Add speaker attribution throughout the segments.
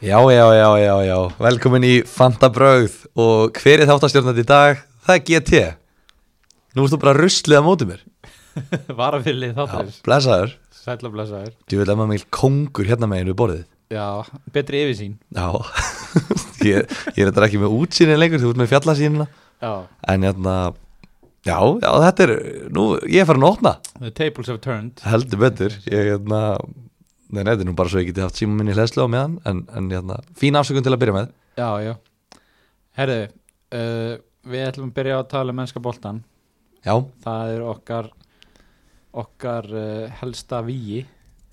Speaker 1: Já, já, já, já, já, velkomin í Fanta Brögð og hver er þáttastjórnandi í dag? Það er GT Nú ert þú bara ruslið á móti mér
Speaker 2: Varafili
Speaker 1: Já,
Speaker 2: þáttarins,
Speaker 1: blessaður
Speaker 2: sætla blessaður
Speaker 1: Þú vil að maður meil kongur hérna meginn við borðið
Speaker 2: Já, betri yfirsýn
Speaker 1: Já, ég, ég er þetta ekki með útsýnin lengur, þú ert með fjallasýnina
Speaker 2: Já,
Speaker 1: En hérna, já, já, þetta er, nú, ég er farin að opna
Speaker 2: the tables have turned
Speaker 1: Heldur betur, ég hérna, nei, nei, þetta er nú bara svo ég geti haft síma minni hlæslu á meðan En, en hérna, fín afsökun til að byrja með
Speaker 2: Já, já Herðu, uh, við ætlum að byrja að tala um mennska boltan
Speaker 1: Já,
Speaker 2: Það er okkar okkar uh, helsta víi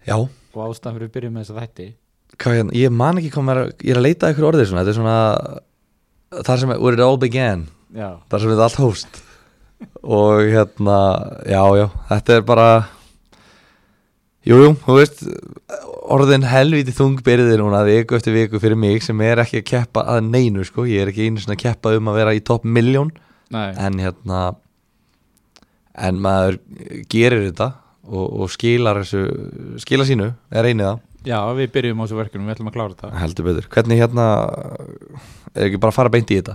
Speaker 1: já
Speaker 2: og ástæðan fyrir að byrja með þessa þætti
Speaker 1: hvað hérna, ég man ekki hvað maður ég er að leita að ykkur orðið svona, þetta er svona þar sem, where it all began
Speaker 2: Já,
Speaker 1: þar sem þetta allt hóst og hérna, já, já þetta er bara jújú, jú, þú veist orðin helviti þungbyrðir núna viku eftir viku fyrir mig sem er ekki að keppa að neinu, sko, ég er ekki einu svona að keppa um að vera í topp miljón
Speaker 2: nei,
Speaker 1: en hérna en maður gerir þetta og, og skilar þessu skilar sínu, er einið það
Speaker 2: já, við byrjum á þessu verkefnum, við ætlum að klára þetta
Speaker 1: Heldur betur, hvernig hérna er ekki bara að fara beint í þetta?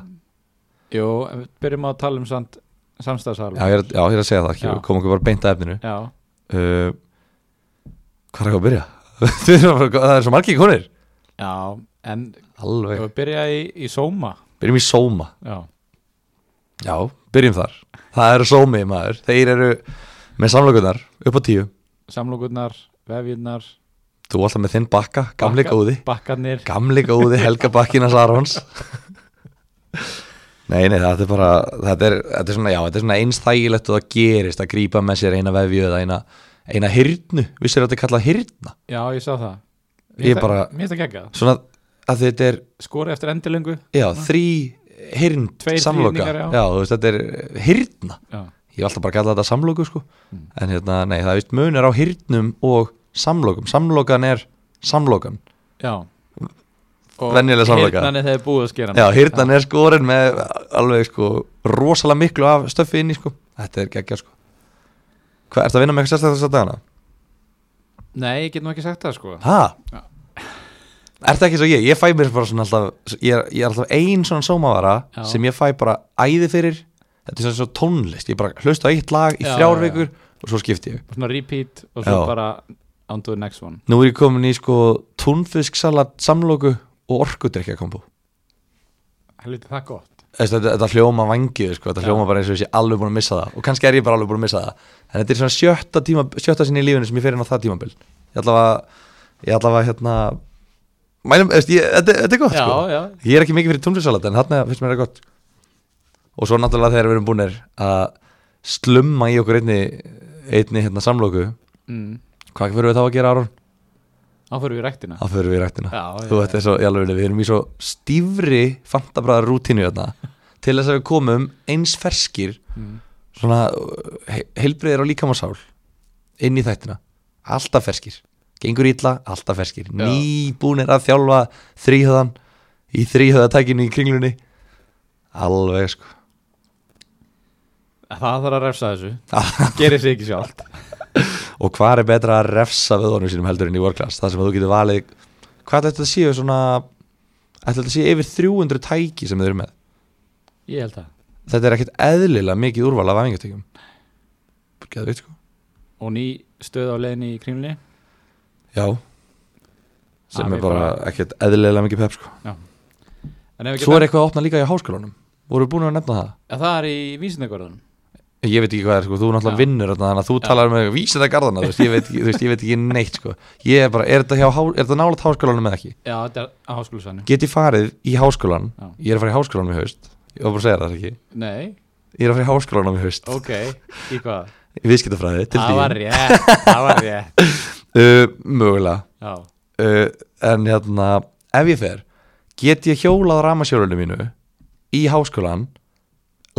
Speaker 2: Jú, en við byrjum á að tala um samt samstæðsarf
Speaker 1: Já, ég er, já, ég er að segja það, ekki,
Speaker 2: Já.
Speaker 1: komum okkur bara beint að efninu
Speaker 2: já,
Speaker 1: uh, Hvað er ekki að byrja? Þið eruð bara- það er svo margir konir
Speaker 2: já, en
Speaker 1: Alveg,
Speaker 2: við byrja í, í sóma
Speaker 1: byrjum í sóma
Speaker 2: Já,
Speaker 1: Já, byrjum þar Það eru sómi maður, þeir eru með samlokunar upp á tíu
Speaker 2: samlokurnar, vefjurnar
Speaker 1: Þú alltaf með þinn bakka, gamli
Speaker 2: bakka-
Speaker 1: góði
Speaker 2: Bakkarnir
Speaker 1: Gamli góði Helga Bakkinas Arons Nei, nei, þetta er bara þetta er, þetta er svona, já, þetta er svona einstægilegt og það gerist að grípa með sér eina vefju eða eina, eina hyrnu, vissir að þetta er kallað hyrna
Speaker 2: Já, ég sá það
Speaker 1: Ég
Speaker 2: Mér finnst
Speaker 1: bara-
Speaker 2: það- Mér finnst það geggjað
Speaker 1: svona að þetta er,
Speaker 2: Skori eftir endilöngu
Speaker 1: já, þrý hyrnd
Speaker 2: Ah. Tveir
Speaker 1: samloka,
Speaker 2: þríhyrningar, já.
Speaker 1: þú veist, þetta er hyrna,
Speaker 2: Já,
Speaker 1: ég hef alltaf bara kallað þetta samloku, sko,
Speaker 2: Hmm.
Speaker 1: en hérna, nei, það er vist munur á hyrnum og samlokum samlokan er samlokan
Speaker 2: já Og
Speaker 1: Venjuleg samloka.
Speaker 2: Hirnan er þegar búið að skera
Speaker 1: Já, hýrnan er skorin með alveg sko rosalega miklu af stöffi inn í sko Þetta er geggja sko Hvað, ertu að vinna með eitthvað sérstaklega þess að dagana?
Speaker 2: Nei, ég get nú ekki sagt það sko
Speaker 1: Ha?
Speaker 2: Já.
Speaker 1: Ertu ekki svo ég? Ég fæ mér bara svona alltaf Ég er, ég er alltaf ein svona sómavara
Speaker 2: Já.
Speaker 1: sem ég fæ bara æði fyrir Þetta er svona svo tónlist, ég bara hlusta á eitt lag í
Speaker 2: Já,
Speaker 1: þrjár
Speaker 2: já, já.
Speaker 1: vikur og svo skipti ég
Speaker 2: Og Svona repeat og svo
Speaker 1: Já.
Speaker 2: bara On to the next one
Speaker 1: Nú er ég komin í sko túnfisksalat samloku og orkudrykja kombo
Speaker 2: Helviti það gott
Speaker 1: Þessi, þetta, þetta hljóma vangið, sko, þetta
Speaker 2: Já.
Speaker 1: hljóma bara eins og ég sé alveg búin að missa það og kannski er ég bara alveg búin að missa það en þetta er svona sjötta, tíma, sjötta sinni í lífinu sem ég fer inn á það tímabil ég ætla að, ég ætla að hérna mælum, veist, ég, þetta, þetta er gott
Speaker 2: Já,
Speaker 1: sko.
Speaker 2: já,
Speaker 1: ég er ekki mikið fyrir tónfisksalat en þarna finnst mér það gott og svo náttúrulega þegar við erum búinir að slumma í okkur einni, einni hérna, samlóku
Speaker 2: mm.
Speaker 1: hvað fyrir við þá að gera Aron?
Speaker 2: Þá fyrir við í ræktina
Speaker 1: Það fyrir við í rættina
Speaker 2: Já, já,
Speaker 1: Þú veit þess að, ég alveg, við erum í svo stífri fantabræðar rútínu hérna til þess að við komum eins ferskir
Speaker 2: Mm.
Speaker 1: svona uh, he- heilbrigðir á líkamásál inn í þættina, alltaf ferskir gengur illa, alltaf ferskir
Speaker 2: Já.
Speaker 1: nýbúnir að þjálfa þrýhöðan í þrýhöðatækinu í kringlunni alveg sko
Speaker 2: Það þarf að refsa þessu Gerir sig ekki sjálft
Speaker 1: og hvað er betra að refsa vöðunum sínum heldur en í World Class, það sem að þú getur valið hvað ætla þetta að séu svona ætla þetta að séu yfir 300 tæki sem þau eru með
Speaker 2: Ég held það
Speaker 1: þetta er ekkert eðlilega mikið úrval af æfingartökjum Geðveit sko
Speaker 2: Og ný stöð á leiðinni í kringlunni
Speaker 1: Já Sem
Speaker 2: Afi
Speaker 1: er bara
Speaker 2: bara-
Speaker 1: ekkert eðlilega mikið pep sko
Speaker 2: En ef við
Speaker 1: Svo
Speaker 2: getum
Speaker 1: er eitthvað að opna líka í háskólanum Voru búin að nefna það?
Speaker 2: Að Það er í vísindagorðunum
Speaker 1: Ég veit ekki hvað er sko, þú náttúrulega
Speaker 2: Já.
Speaker 1: vinnur þarna, þannig að þú talar um eitthvað vísið það garðana þú veist, ég veit, ekki- þú veist, ég veit ekki neitt sko Ég er bara, er þetta, hjá, há- er þetta nálægt háskólanum eða ekki?
Speaker 2: Já, þetta er á háskólusvæðinu
Speaker 1: Get ég farið í háskólan,
Speaker 2: Já.
Speaker 1: ég er að fara í háskólanum í haust Ég var bara að segja það ekki
Speaker 2: Nei,
Speaker 1: Ég er að fara í háskólanum í haust,
Speaker 2: ok, í hvað?
Speaker 1: í viðskiptafræði, til
Speaker 2: Það var
Speaker 1: því
Speaker 2: rétt, það var rétt
Speaker 1: uh, Mögulega
Speaker 2: Já,
Speaker 1: uh, en hérna ef ég fer, get ég hjólað ramasjólunum mínu í háskólan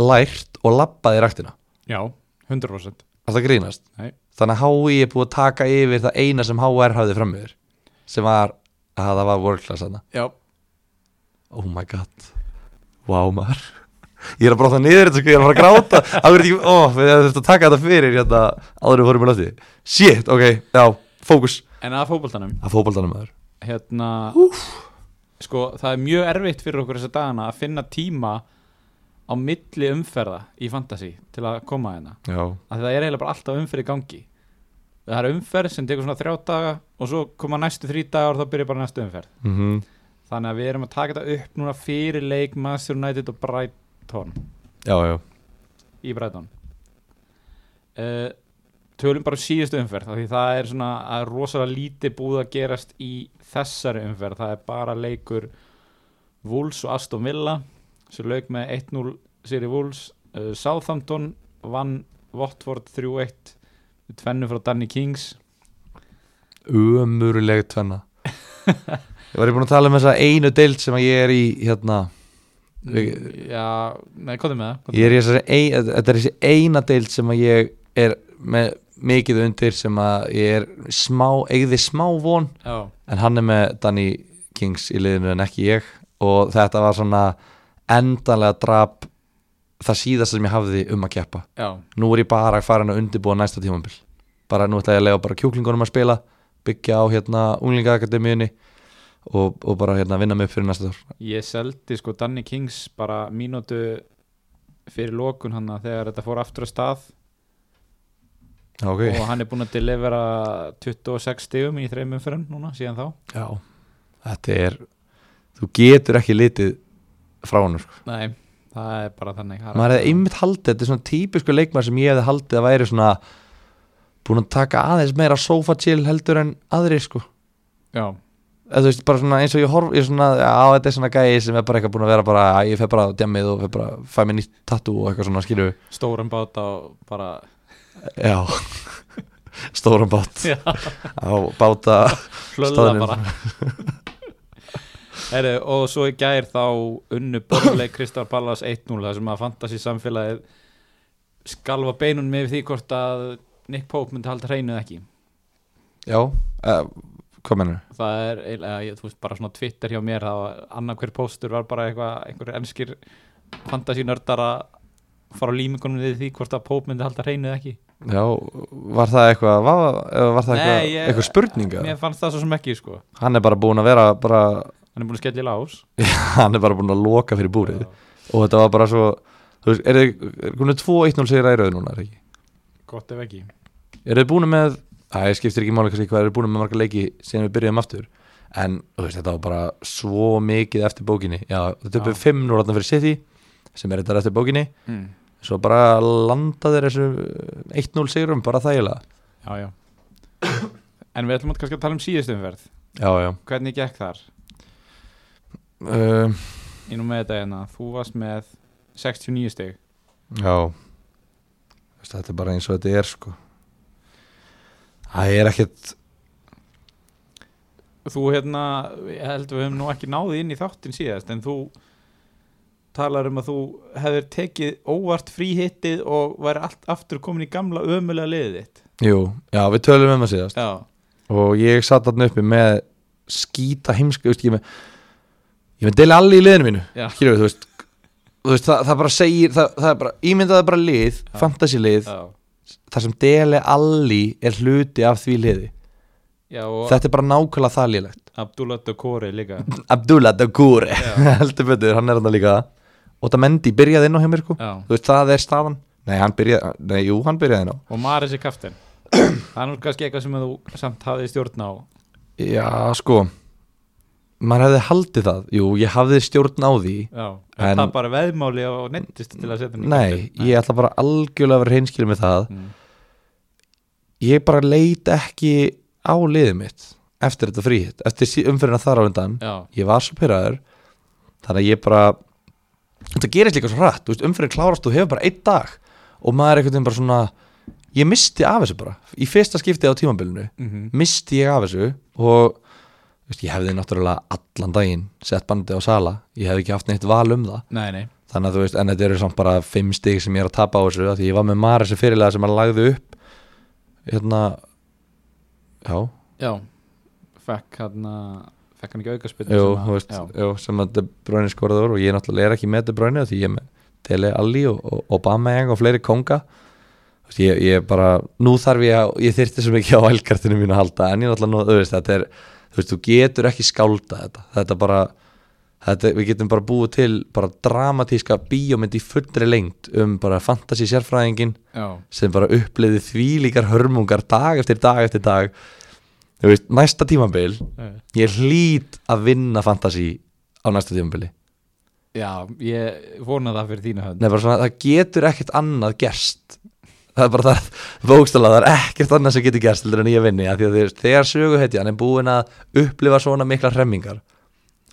Speaker 1: lært og labbað í ræktina,
Speaker 2: já, 100%
Speaker 1: að það grínast
Speaker 2: Nei.
Speaker 1: þannig að HÍ er búið að taka yfir það eina sem HR hafði framöður sem var að það var world class hana
Speaker 2: Já,
Speaker 1: oh my god, wow maður ég er að bróta niður þetta sko, ég er að fara að gráta það verður ekki, ó, við hefum þurft að taka þetta fyrir hérna, áður en við fórum í löfti shit, ok, já, fókus
Speaker 2: en að fótboltanum
Speaker 1: að fótboltanum maður
Speaker 2: Hérna, sko, það er mjög erfitt fyrir okkur þessa dagana að finna tíma á milli umferða í fantasy til að koma hérna
Speaker 1: já,
Speaker 2: að það er eiginlega bara alltaf umferð í gangi það er umferð sem tekur svona þrjá daga og svo koma næstu þrý dagar og þá byrja bara næstu umferð
Speaker 1: mhm
Speaker 2: þannig að við erum að taka þetta upp núna fyrir leik Master United og Brighton
Speaker 1: já, já,
Speaker 2: í Brighton uh, tölum bara um síðustu umferð af því það er svona það er rosalega lítið búið að gerast í þessari umferð það er bara leikur Wolves og Aston Villa sem lauk með 1-0 sýri Wolves uh, Southampton vann Watford 3-1 með tvennu frá Danny Kings
Speaker 1: umuruleg tvenna ég var ég búin að tala um þessa einu deild sem að ég er í hérna, Við-
Speaker 2: já, nei, hvað er með það? Komdu
Speaker 1: ég er í þessari ein, þetta er þessi eina deild sem að ég er með mikið undir sem að ég er smá, eigði smá von
Speaker 2: með það?
Speaker 1: en hann er með Danny Kings í liðinu en ekki ég og þetta var svona endanlega drap það síðast sem ég hafði um að keppa
Speaker 2: já, já,
Speaker 1: nú er ég bara farin að undirbúa næsta tímambil bara nú ætla ég að lega bara kjúklingunum að spila byggja á hérna unglingaakademíunni og, og bara hérna vinna mig upp fyrir næsta ár
Speaker 2: Ég seldi sko Danny Kings bara mínútu fyrir lokun hann þegar þetta fór aftur að stað
Speaker 1: Já, ok,
Speaker 2: og hann er búinn að delivera 26 stigum í þreimum fyrir hann núna síðan þá
Speaker 1: já þetta er, þú getur ekki litið frá hann sko.
Speaker 2: Nei, það er bara þannig Það er
Speaker 1: maður
Speaker 2: alltaf-
Speaker 1: hefði einmitt haldið, þetta er svona típisku leikmar sem ég hefði haldið að væri svona búin að taka aðeins meira sofa chill heldur en aðri sko
Speaker 2: Já,
Speaker 1: eða þú veist, bara svona eins og ég horf ég svona, á þetta er svona gæi sem er bara eitthvað búin að vera bara, "Æ, ég fer bara á djamið og fer bara fæ mér nýtt tattoo og eitthvað svona, skilju
Speaker 2: stóran báta og bara
Speaker 1: já, stóran bát
Speaker 2: Já.
Speaker 1: á báta
Speaker 2: hlöða
Speaker 1: Staðnum.
Speaker 2: bara Heri, og svo í gær þá unnu Borleik Kristal Pallas 1-0 það sem að fantasi samfélagið skalfa beinun með því hvort að Nick Pope myndi halda hreinuð ekki
Speaker 1: já, uh, hvað mennur
Speaker 2: það er eiginlega, ég- þú veist, bara svona Twitter hjá mér, það var annar hver póstur var bara eitthvað, einhverjir enskir fantasínördar að fara á límingunum við því hvort að Pope myndi halda hreinu eða ekki
Speaker 1: já, var það eitthvað var, var það eitthvað,
Speaker 2: Nei, ég-
Speaker 1: eitthvað spurninga
Speaker 2: Mér fannst það svo sem ekki, sko
Speaker 1: hann er bara búin að vera bara,
Speaker 2: Hann er búin að skella í lás
Speaker 1: hann er bara búin að loka fyrir búrið
Speaker 2: Já,
Speaker 1: og þetta var bara svo þú veist, er þið, hún er 2-1-0 sigur æröð núna, er það ekki?
Speaker 2: Gott ef ekki
Speaker 1: Eru þið búin með Það skiptir ekki máli kannski hvað eru búin með marga leiki síðan við byrjuðum aftur En þú veist, þetta var bara svo mikið eftir bókinni Já, þetta er
Speaker 2: Já.
Speaker 1: 5-0 þarna fyrir City sem er þetta eftir bókinni
Speaker 2: mm.
Speaker 1: Svo bara landa þeir þessu 1-0 sigurum, bara þægilega
Speaker 2: Já, já En við ætlum að kannski að tala um síðustu umferð
Speaker 1: Já, já
Speaker 2: Hvernig gekk þar?
Speaker 1: um,
Speaker 2: Ég nú með þetta hérna, þú varst með 69 stig
Speaker 1: Já Þú veist, Þetta er bara eins og þetta er sko Það er ekkert
Speaker 2: Þú hérna, ég held við höfum nú ekki náði inn í þáttin síðast en þú talar um að þú hefur tekið óvart frí hittið og væri allt aftur komin í gamla ömulega liðið þitt
Speaker 1: Jú, já, við tölum um að síðast
Speaker 2: Já,
Speaker 1: og ég satt þarna uppi með skýta heimska, veist, ég er með ég er með deila allir í liðinu mínu
Speaker 2: Já.
Speaker 1: Skilurðu, þú veist, þú veist það, það bara segir það, það er bara, ímyndaði bara lið,
Speaker 2: Já.
Speaker 1: fantasy lið
Speaker 2: já,
Speaker 1: þar sem deli allir er hluti af því liði
Speaker 2: já og
Speaker 1: þetta er bara nákvæmlega það liðlegt
Speaker 2: Abdullah Dokori líka
Speaker 1: Abdullah Daguri,
Speaker 2: Já,
Speaker 1: heldur betur, hann er hann líka og það mendi byrjaði inn á hjá mér sko.
Speaker 2: já.
Speaker 1: þú veist, það er staðan nei, hann byrjaði, nei, jú, hann byrjaði inn á
Speaker 2: og Maris er kaftin Það er nú kannski eitthvað sem þú samt hafið stjórn á
Speaker 1: já, sko maður hefði haldið það, jú, ég hafði stjórn á því
Speaker 2: Já,
Speaker 1: En-
Speaker 2: en, það bara veðmáli og nettist til að setja hann í
Speaker 1: Nei,
Speaker 2: kastið.
Speaker 1: ég ætla bara algjörlega að vera hreinskilið með það
Speaker 2: Mm.
Speaker 1: Ég bara leit ekki á liðið mitt eftir þetta fríhitt, eftir sí- umferðina þar á undan
Speaker 2: Já,
Speaker 1: Ég var svo pyrraður Þannig að ég bara Þetta gerist líka svo hratt, þú veist, umferðin klárast og hefur bara einn dag og maður er einhvern veginn bara svona Ég misti af þessu bara Í fyrsta skiptið á tímabilinu
Speaker 2: mhm,
Speaker 1: misti ég af þessu og þú veist, ég hefði náttúrulega allan daginn sett bandið á sala, ég hefði ekki haft neitt val um það
Speaker 2: nei, nei
Speaker 1: þannig að þú veist, en þetta eru samt bara fimm stig sem ég er að tapa á þessu, af því ég var með Mara sem fyrirlega sem að lagði upp hérna já,
Speaker 2: Já, fekk hann fekk hann ekki aukarspilna
Speaker 1: jú, þú veist,
Speaker 2: já.
Speaker 1: jú, sem að De Bruyne skoraði voru og ég náttúrulega er ekki með De Bruyne af því ég er með Dele Alli og, og Obama og fleiri konga Þú veist, ég, ég bara, nú þarf ég að ég þyrfti svo mikið á elkartinu mínu að halda en ég náttúrulega, nú, þú veist, þetta er þú veist, þú getur ekki skálda þetta, þetta bara Þetta, við getum bara búið til bara dramatíska bíómynd í fullri lengt um bara fantasy sérfræðingin
Speaker 2: já,
Speaker 1: sem bara uppliði þvílíkar hörmungar dag eftir dag eftir dag þú veist, næsta tímabil
Speaker 2: Eh,
Speaker 1: ég hlýt að vinna fantasy á næsta tímabili
Speaker 2: já, ég vona það fyrir þína hönd
Speaker 1: Nei, bara svona, það getur ekkert annað gerst það er bara það, bókstala það er ekkert annað sem getur gerst heldur en ég vinni af því að þegar, þegar söguhetjan er búin að upplifa svona mikla hremmingar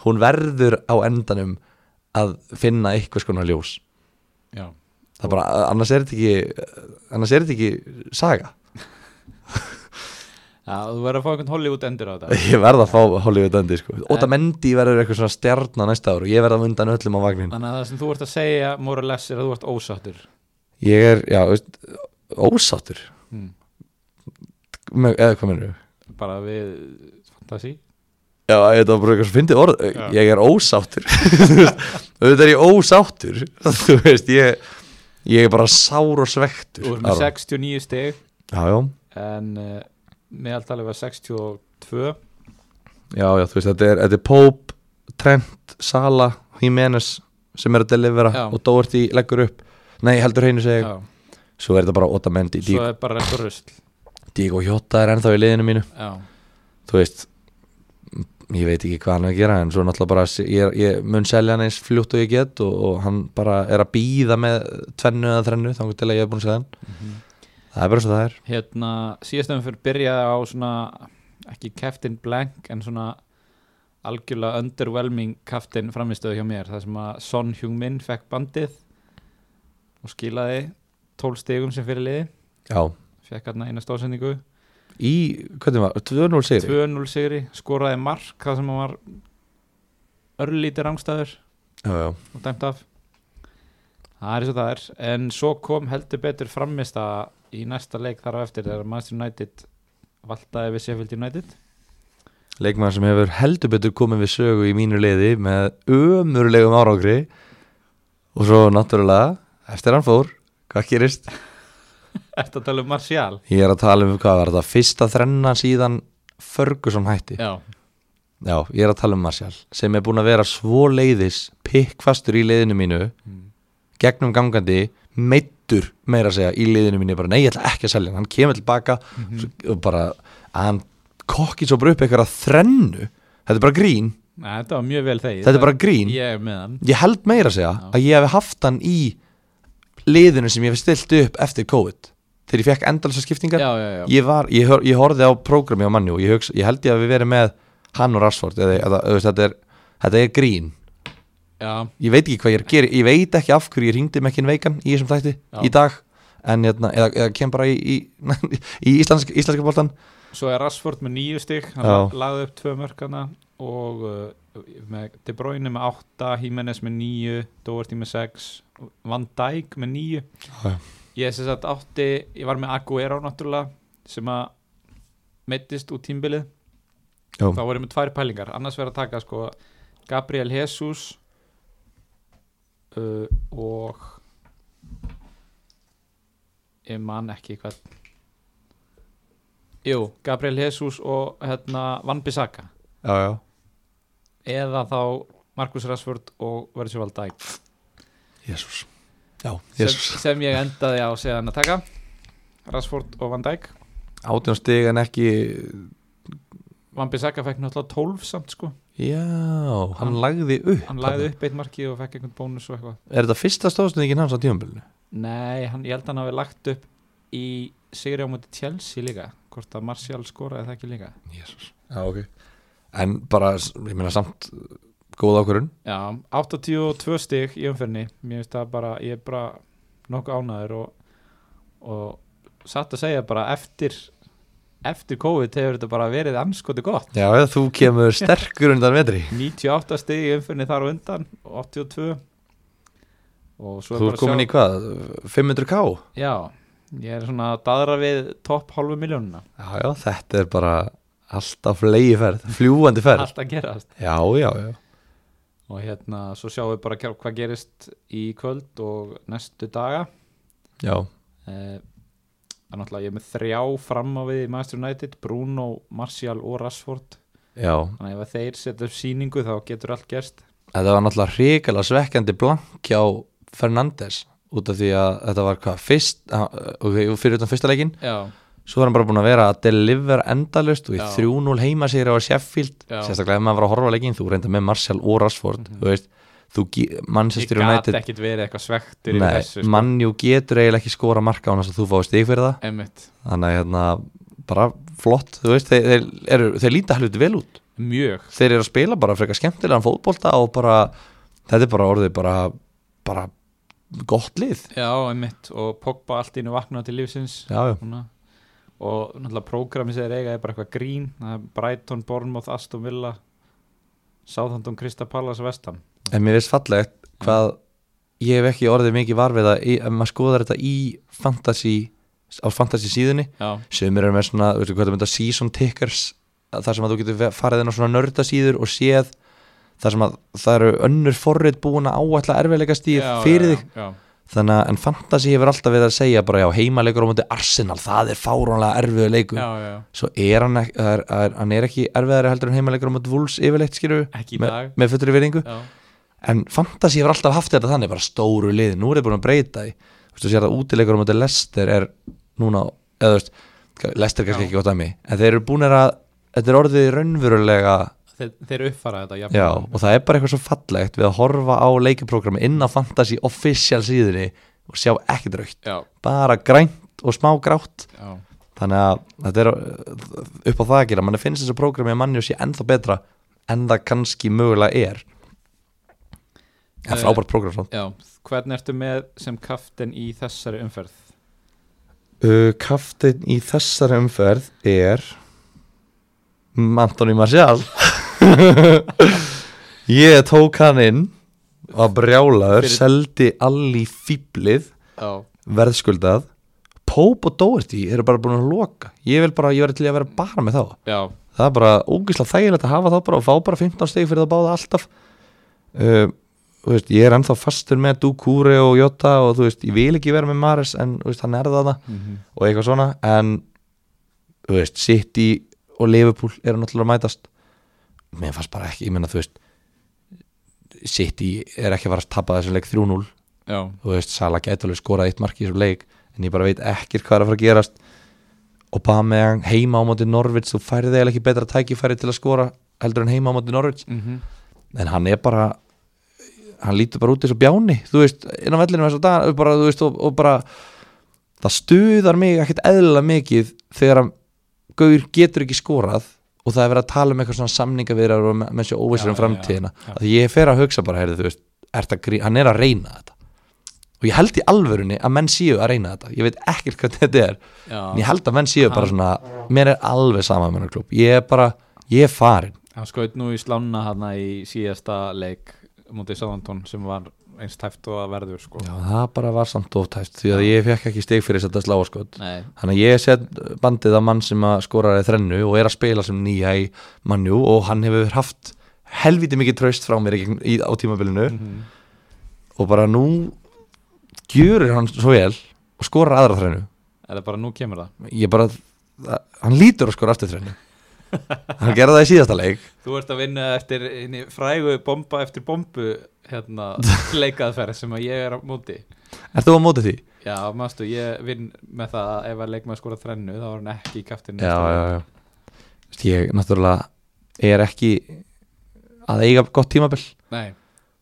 Speaker 1: hún verður á endanum að finna eitthvað skona ljós
Speaker 2: já,
Speaker 1: það er bara, annars er þetta ekki annars er þetta ekki saga
Speaker 2: já, þú verður að fá einhvern Hollywood endur á þetta
Speaker 1: ég verð að fá Hollywood endi sko. Óta Mendi verður eitthvað svona stjarnar næsta ár og ég verð að undan öllum á vagnin
Speaker 2: þannig að það sem þú ert að segja more or less er að þú ert ósáttur
Speaker 1: ég er, já, veist, ósáttur
Speaker 2: mm.
Speaker 1: með- eða hvað minnur
Speaker 2: bara við fantasi
Speaker 1: Já, ég þetta var bara eitthvað svo fyndið orð
Speaker 2: Já.
Speaker 1: Ég er ósáttur Þú veist, Auðvitað er ég ósáttur Þú veist, ég Ég er bara sár og svektur
Speaker 2: þú ert með
Speaker 1: Aron.
Speaker 2: 69 stig
Speaker 1: Já, já,
Speaker 2: en uh, meðaltalið var 62
Speaker 1: já, já, þú veist, þetta er, þetta er Pope, Trent, Sala, Jimenez sem er að delivera
Speaker 2: Já.
Speaker 1: og Doherty leggur upp Nei, heldur hreinu segi
Speaker 2: já,
Speaker 1: ég Svo er þetta bara Otamendi
Speaker 2: svo
Speaker 1: Diego,
Speaker 2: er bara eitthvað rusl
Speaker 1: Diego Jota er ennþá í liðinu mínu
Speaker 2: já,
Speaker 1: Þú veist, ég veit ekki hvað hann er að gera en svo náttúrulega bara, se- ég, ég mun selja hann eins fljótt og ég get og, og hann bara er að býða með tvennu eða þrennu þannig til að ég er búin að segja hann
Speaker 2: Mhm.
Speaker 1: Það er bara svo það er
Speaker 2: hérna síðastöfum fyrir byrjaði á svona ekki Captain Blank en svona algjörlega underwhelming Captain framistöðu hjá mér það sem að Son Heung-min fekk bandið og skilaði 12 stigum sem fyrir liði
Speaker 1: Já,
Speaker 2: fekk hann eina stóðsendingu
Speaker 1: í, hvernig var, 2-0 sigri
Speaker 2: 2-0 sigri, skoraði mark það sem hann var örlítið rangstæður
Speaker 1: Já, já,
Speaker 2: og dæmt af það er svo það er en svo kom heldur betur framist að í næsta leik þar á eftir þegar Manchester United valdaði við Sheffield United
Speaker 1: leikmann sem hefur heldur betur komið við sögu í mínu liði með ömurlegum árangri og svo náttúrulega eftir hann fór, hvað gerist
Speaker 2: Ertu að tala um Martial?
Speaker 1: Ég er að tala um hvað var þetta, fyrsta þrenna síðan Ferguson hætti
Speaker 2: Já,
Speaker 1: Já, ég er að tala um Martial sem er búin að vera svo leiðis pikkfastur í leiðinu mínu Mm. gegnum gangandi, meittur meira að segja í leiðinu mínu, ég bara nei, ég ætla ekki að selja hann, hann kemur tilbaka mm
Speaker 2: Mm-hmm.
Speaker 1: og bara, að hann kokki svo bara upp eitthvað þrennu, þetta er bara grín
Speaker 2: Nei, þetta var mjög vel þegið
Speaker 1: þetta er bara grín,
Speaker 2: Ég er með hann
Speaker 1: ég held meira að segja
Speaker 2: Já.
Speaker 1: að ég hef haft hann í leiðinu sem ég hef stilt upp eftir COVID þegar ég fekk endalsa skiptingar
Speaker 2: Já, já, já,
Speaker 1: ég, var, ég, hor, ég horfði á prógrami á manni og ég, hugsa, ég held ég að við verið með hann og Rashford eða, eða, eða, þetta, er, þetta er grín
Speaker 2: já,
Speaker 1: ég veit ekki hvað ég er að gera ég veit ekki af hverju ég ringdi mekkin veikan í þessum þætti
Speaker 2: Já.
Speaker 1: í dag en hérna, eða, eða kem bara í, í, í íslensk, íslenska boltan
Speaker 2: Svo er Rashford með nýju stig Hann
Speaker 1: Já.
Speaker 2: la- lagði upp tvö mörkana og uh, með De Bruyne með átta Jimenez með níu, Doherty með sex Van Dijk með níu
Speaker 1: Já, já.
Speaker 2: Ég sem sagt átti Ég var með Aguero náttúrulega sem að meittist út tímbilið
Speaker 1: Já.
Speaker 2: Þá voru með tvær pælingar annars verið að taka sko Gabriel Jesus uh, og ég man ekki hvað Jú, Gabriel Jesus og hérna Van Bissaka
Speaker 1: já, já.
Speaker 2: eða þá Markus Rashford og Virgil van Dijk
Speaker 1: Jésús já,
Speaker 2: sem,
Speaker 1: Jésús
Speaker 2: sem ég endaði á séðan að taka Rashford og Van Dijk
Speaker 1: átján stig en ekki
Speaker 2: Van Bissaka fekk náttúrulega 12 samt sko
Speaker 1: já, hann, lagði upp
Speaker 2: hann lagði upp eitt marki og fekk einhvern bónus og eitthvað
Speaker 1: er þetta fyrsta stóðsendingin hans á tímanbölinu?
Speaker 2: Nei, hann, ég held að hann hafi lagt upp í sigri á múti Chelsea líka hvort að Martial skoraði það ekki líka
Speaker 1: Jésús já, ok en bara, ég meina samt góð ákvörun
Speaker 2: Já, 82 stig í umferðinni Mér finnst það bara, ég er bara nokkuð ánæður og, og satt að segja bara eftir eftir COVID hefur þetta bara verið anskoti gott
Speaker 1: Já, eða þú kemur sterkur undan vetri
Speaker 2: 98 stig í umferðinni þar á undan og 82 og svo
Speaker 1: Þú
Speaker 2: bara
Speaker 1: ert komin í hvað? 500k?
Speaker 2: Já, ég er svona að daðra við topp hálfu miljónuna
Speaker 1: Já, já, þetta er bara alltaf flegi ferð, fljúandi ferð
Speaker 2: Allt að gerast
Speaker 1: Já, já, já
Speaker 2: og hérna, svo sjáum við bara hvað gerist í kvöld og næstu daga
Speaker 1: Já,
Speaker 2: Eh, Það er náttúrulega ég er með þrjá fram á við í Master United, Bruno, Martial og Rashford
Speaker 1: já,
Speaker 2: Þannig að ef að þeir setja upp sýningu þá getur allt gerst
Speaker 1: þetta var náttúrulega hrikalega svekkjandi blank hjá Fernandes út af því að þetta var hvað fyrst, ah, ok, fyrir utan fyrsta leikin
Speaker 2: já,
Speaker 1: svo var hann bara búin að vera að deliver endalust og í
Speaker 2: Já.
Speaker 1: 3-0 heima sér á Sheffield
Speaker 2: Já. Mhm.
Speaker 1: sérstaklega ef maður var að horfa á leikinn þú reynda með Martial og Rashford þú veist, þú ge-
Speaker 2: ég
Speaker 1: Manchester
Speaker 2: gat
Speaker 1: United
Speaker 2: ekkit verið eitthvað svektur yfir
Speaker 1: Nei,
Speaker 2: þessu sko.
Speaker 1: mannjú getur eiginlega ekki skora marka á hann þess að þú fáið stig fyrir það
Speaker 2: Einmitt.
Speaker 1: þannig að hérna, bara flott þú veist, þeir, þeir, eru, þeir líta hluti vel út
Speaker 2: mjög
Speaker 1: þeir eru að spila bara frekar skemmtilegan fótbolta og bara, þetta er bara orðið bara, bara gott lið
Speaker 2: já, einmitt, og Pogba allt í einu vakna til lífsins
Speaker 1: já, já,
Speaker 2: Svona. og náttúrulega prógrami sem þeir eiga er bara eitthvað grín það er Brighton, Bournemouth, Aston Villa Southampton, Krista Pallas, Vestham
Speaker 1: en mér veist fallegt hvað ég hef ekki orðið mikið var við það í- ef maður skoðar þetta í fantasy á fantasy síðunni
Speaker 2: já,
Speaker 1: sömur eru með svona, veistu hvað það mynda season tickers þar sem að þú getur ve- farið inn á svona nördasíður og séð þar sem að það eru önnur forrið búin að áætla erfiðleika stíð
Speaker 2: já,
Speaker 1: fyrir
Speaker 2: já,
Speaker 1: þig
Speaker 2: já,
Speaker 1: þannig að en fantasy hefur alltaf verið að segja bara já heimalegur á móti Arsenal, það er fárónlega erfiðu leikur
Speaker 2: já, já, já.
Speaker 1: svo er hann, ekki, er, er, hann er ekki erfiðari heldur en heimalegur á móti Wolves yfirleitt skilur
Speaker 2: ekki í
Speaker 1: Me-
Speaker 2: dag
Speaker 1: með fullri virðingu
Speaker 2: já,
Speaker 1: en fantasy hefur alltaf haft þetta þannig bara stóru lið, nú er þið búin að breyta því þú veist þú sér að útilegur á móti Lester er núna, eða þú veist ka- Lester er kannski
Speaker 2: Já.
Speaker 1: ekki gott að mig en þeir eru búin að, þetta er orðið raunverulega
Speaker 2: þeir, þeir uppfara þetta jafnvel.
Speaker 1: já, og það er bara eitthvað svo fallegt við að horfa á leikaprógrami inn á fantasy official síðunni og sjá ekkert raukt
Speaker 2: já,
Speaker 1: bara grænt og smá grátt
Speaker 2: já,
Speaker 1: þannig að þetta er uh, upp á það að gera mann finnst þessu prógrami að manni og sé ennþá betra en það kannski mögulega er það
Speaker 2: Eh,
Speaker 1: er frábært prógram samt
Speaker 2: já hvernig ertu með sem kaftin í þessari umferð
Speaker 1: uh, Kaftin í þessari umferð er Antoni Marcial ég tók hann inn að brjálaður,
Speaker 2: Fyrir-
Speaker 1: seldi allir fýblið
Speaker 2: já,
Speaker 1: verðskuldað Pope og Doherty eru bara búin að loka ég vil bara, ég verði til í að vera bara með þá
Speaker 2: já,
Speaker 1: það er bara ógislega þægilegt að hafa þá bara og fá bara 15 stegi fyrir það báða alltaf uh, þú veist, ég er ennþá fastur með Dukure og Jota og þú veist, ég vil ekki vera með Maris en þú veist, hann er það
Speaker 2: mhm,
Speaker 1: og eitthvað svona en þú veist, City og Liverpool eru náttúrulega að mætast mér fannst bara ekki, ég menna þú veist City er ekki að fara að tapa þessum leik 3-0
Speaker 2: já,
Speaker 1: þú veist, Sala gæti alveg skorað eitt mark í þessum leik en ég bara veit ekkert hvað er að fara að gerast Aubameyang heima á móti Norvits þú færði eiginlega ekki betra tækifæri til að skora heldur en heima á móti Norvits
Speaker 2: mhm,
Speaker 1: en hann er bara hann lítur bara út eins og bjáni þú veist, inn á vellinu þess að dag bara, þú veist, og, og bara það stuðar mig ekkert eðlilega mikið þegar að Gaur getur ekki skorað og það er verið að tala um eitthvað svona samninga við erum með sér óvissur um
Speaker 2: Já, já,
Speaker 1: framtíðina
Speaker 2: já.
Speaker 1: að ég fer að hugsa bara, heyrðu, þú veist ertu að grí- hann er að reyna þetta og ég held í alvörunni að menn séu að reyna þetta ég veit ekkert hvað þetta er en
Speaker 2: já
Speaker 1: ég held að menn séu bara svona mér er alveg sama með hennar klub ég er bara, ég er farin
Speaker 2: hann skaut nú í slána hana í síðasta leik mútið Southampton sem var eins tæft og að verður sko
Speaker 1: Já, það bara var samt oftæst því að ég fekk ekki steg fyrir þetta sláaskot
Speaker 2: nei,
Speaker 1: Þannig að ég set bandið að mann sem að skorar í þrennu og er að spila sem nýja í mannjú og hann hefur haft helviti mikið tröst frá mér í, gegn- í, á tímabilinu
Speaker 2: mhm,
Speaker 1: og bara nú gjörur hann svo vel og skorar aðra þrennu
Speaker 2: er það bara nú kemur það
Speaker 1: ég bara, það, hann lítur að skora aftur þrennu hann gerði það í síðasta leik
Speaker 2: Þú ert að vinna eftir hinni frægu bomba eftir bombu hérna, leikaðferð sem að ég er á móti
Speaker 1: Er þú á móti því?
Speaker 2: Já, mástu, ég vinn með það að ef að leikmaður skora þrennu þá er hann ekki í kaftinu
Speaker 1: Já, já, já Vist, Ég náttúrulega er ekki að eiga gott tímabil
Speaker 2: Nei,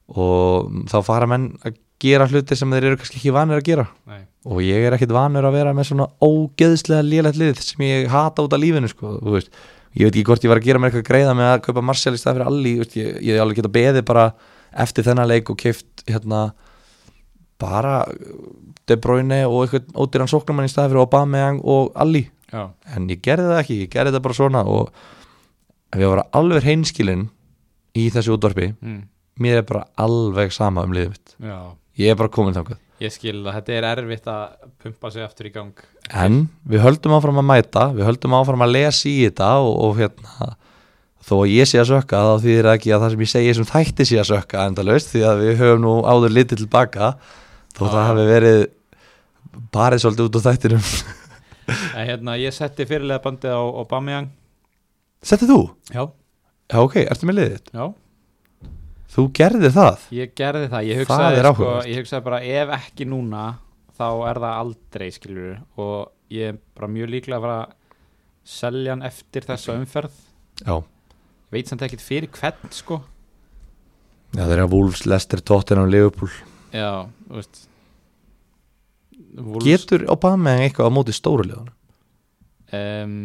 Speaker 1: og þá fara menn að gera hluti sem þeir eru kannski ekki vanir að gera
Speaker 2: nei,
Speaker 1: og ég er ekkit vanur að vera með svona ógeðslega lélegt lið sem ég hata út af lífinu sko, þú veist. ég veit ekki hvort ég var að gera mér eitthvað greiða með að kaupa Marcial í stað fyrir Alli veist, ég, ég hef alveg geta beðið bara eftir þennan leik og keift hérna bara De Bruyne og eitthvað ódýran sóknumann í stað fyrir Aubameyang og Alli
Speaker 2: já,
Speaker 1: en ég gerði það ekki, ég gerði það bara svona og ef ég var alveg hreinskilinn í þessu útvarpi
Speaker 2: mm,
Speaker 1: mér er bara alveg sama um liðið mitt
Speaker 2: já
Speaker 1: ég er bara komin þangað
Speaker 2: Ég skil að þetta er erfitt að pumpa sig aftur í gang
Speaker 1: en við höldum áfram að mæta við höldum áfram að lesa í þetta og, og hérna þó að ég sé að sökka þá þýðir það ekki að það sem ég segi sem þætti sé að sökka endalaust því að við höfum nú áður litið tilbaka þó
Speaker 2: Já.
Speaker 1: það hafi verið barið svolítið út á þættinum
Speaker 2: En hérna, ég setti fyrirlega bandið á Aubameyang
Speaker 1: Settið þú?
Speaker 2: Já,
Speaker 1: Já ok, ertu með liðið? þitt?
Speaker 2: já
Speaker 1: Þú gerðir það?
Speaker 2: Ég gerði það, ég
Speaker 1: Það
Speaker 2: hugsaði,
Speaker 1: er
Speaker 2: sko,
Speaker 1: áhugavert.
Speaker 2: ég hugsaði bara ef ekki núna þá er það aldrei skilur og ég er bara mjög líklega að fara að selja hann eftir þessa umferð
Speaker 1: Já,
Speaker 2: veit samt ekkert fyrir hvern sko
Speaker 1: Já það er að Wolves, Leicester, Tottenham, Liverpool
Speaker 2: Já, þú veist Wolves,
Speaker 1: Getur Aubameyang eitthvað á móti stóru liðan?
Speaker 2: um,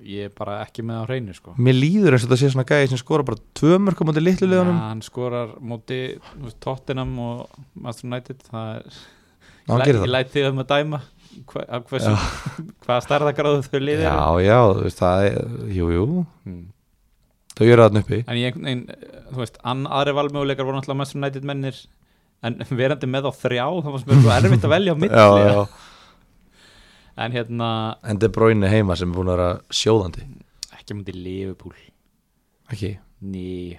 Speaker 2: Ég er bara ekki með á hreinu sko
Speaker 1: Mér líður eins og þetta sé svona gæði sem skora bara tvö mörg á móti litlu liðanum
Speaker 2: Ja, hann skorar móti þú veist, Tottenham og Master United það er,
Speaker 1: Já, hann
Speaker 2: ég,
Speaker 1: gerir
Speaker 2: læt- ég
Speaker 1: það
Speaker 2: læt þig um að dæma hva, af hversu, hvaða stærðagráðu þau liðir
Speaker 1: Já, já, þú veist það er, jú, jú
Speaker 2: mm.
Speaker 1: Þau eru þarna uppi
Speaker 2: en ég einhvern veginn, eh, þú veist, ann, aðri valmöguleikar voru náttúrulega Master United mennir en verandi með á þrjá þá fannst mér svo erfitt að velja á milli
Speaker 1: já, já.
Speaker 2: en hérna,
Speaker 1: En De Bruyne heima sem er búin að vera sjóðandi
Speaker 2: ekki mútið Liverpool
Speaker 1: Ekki,
Speaker 2: ný,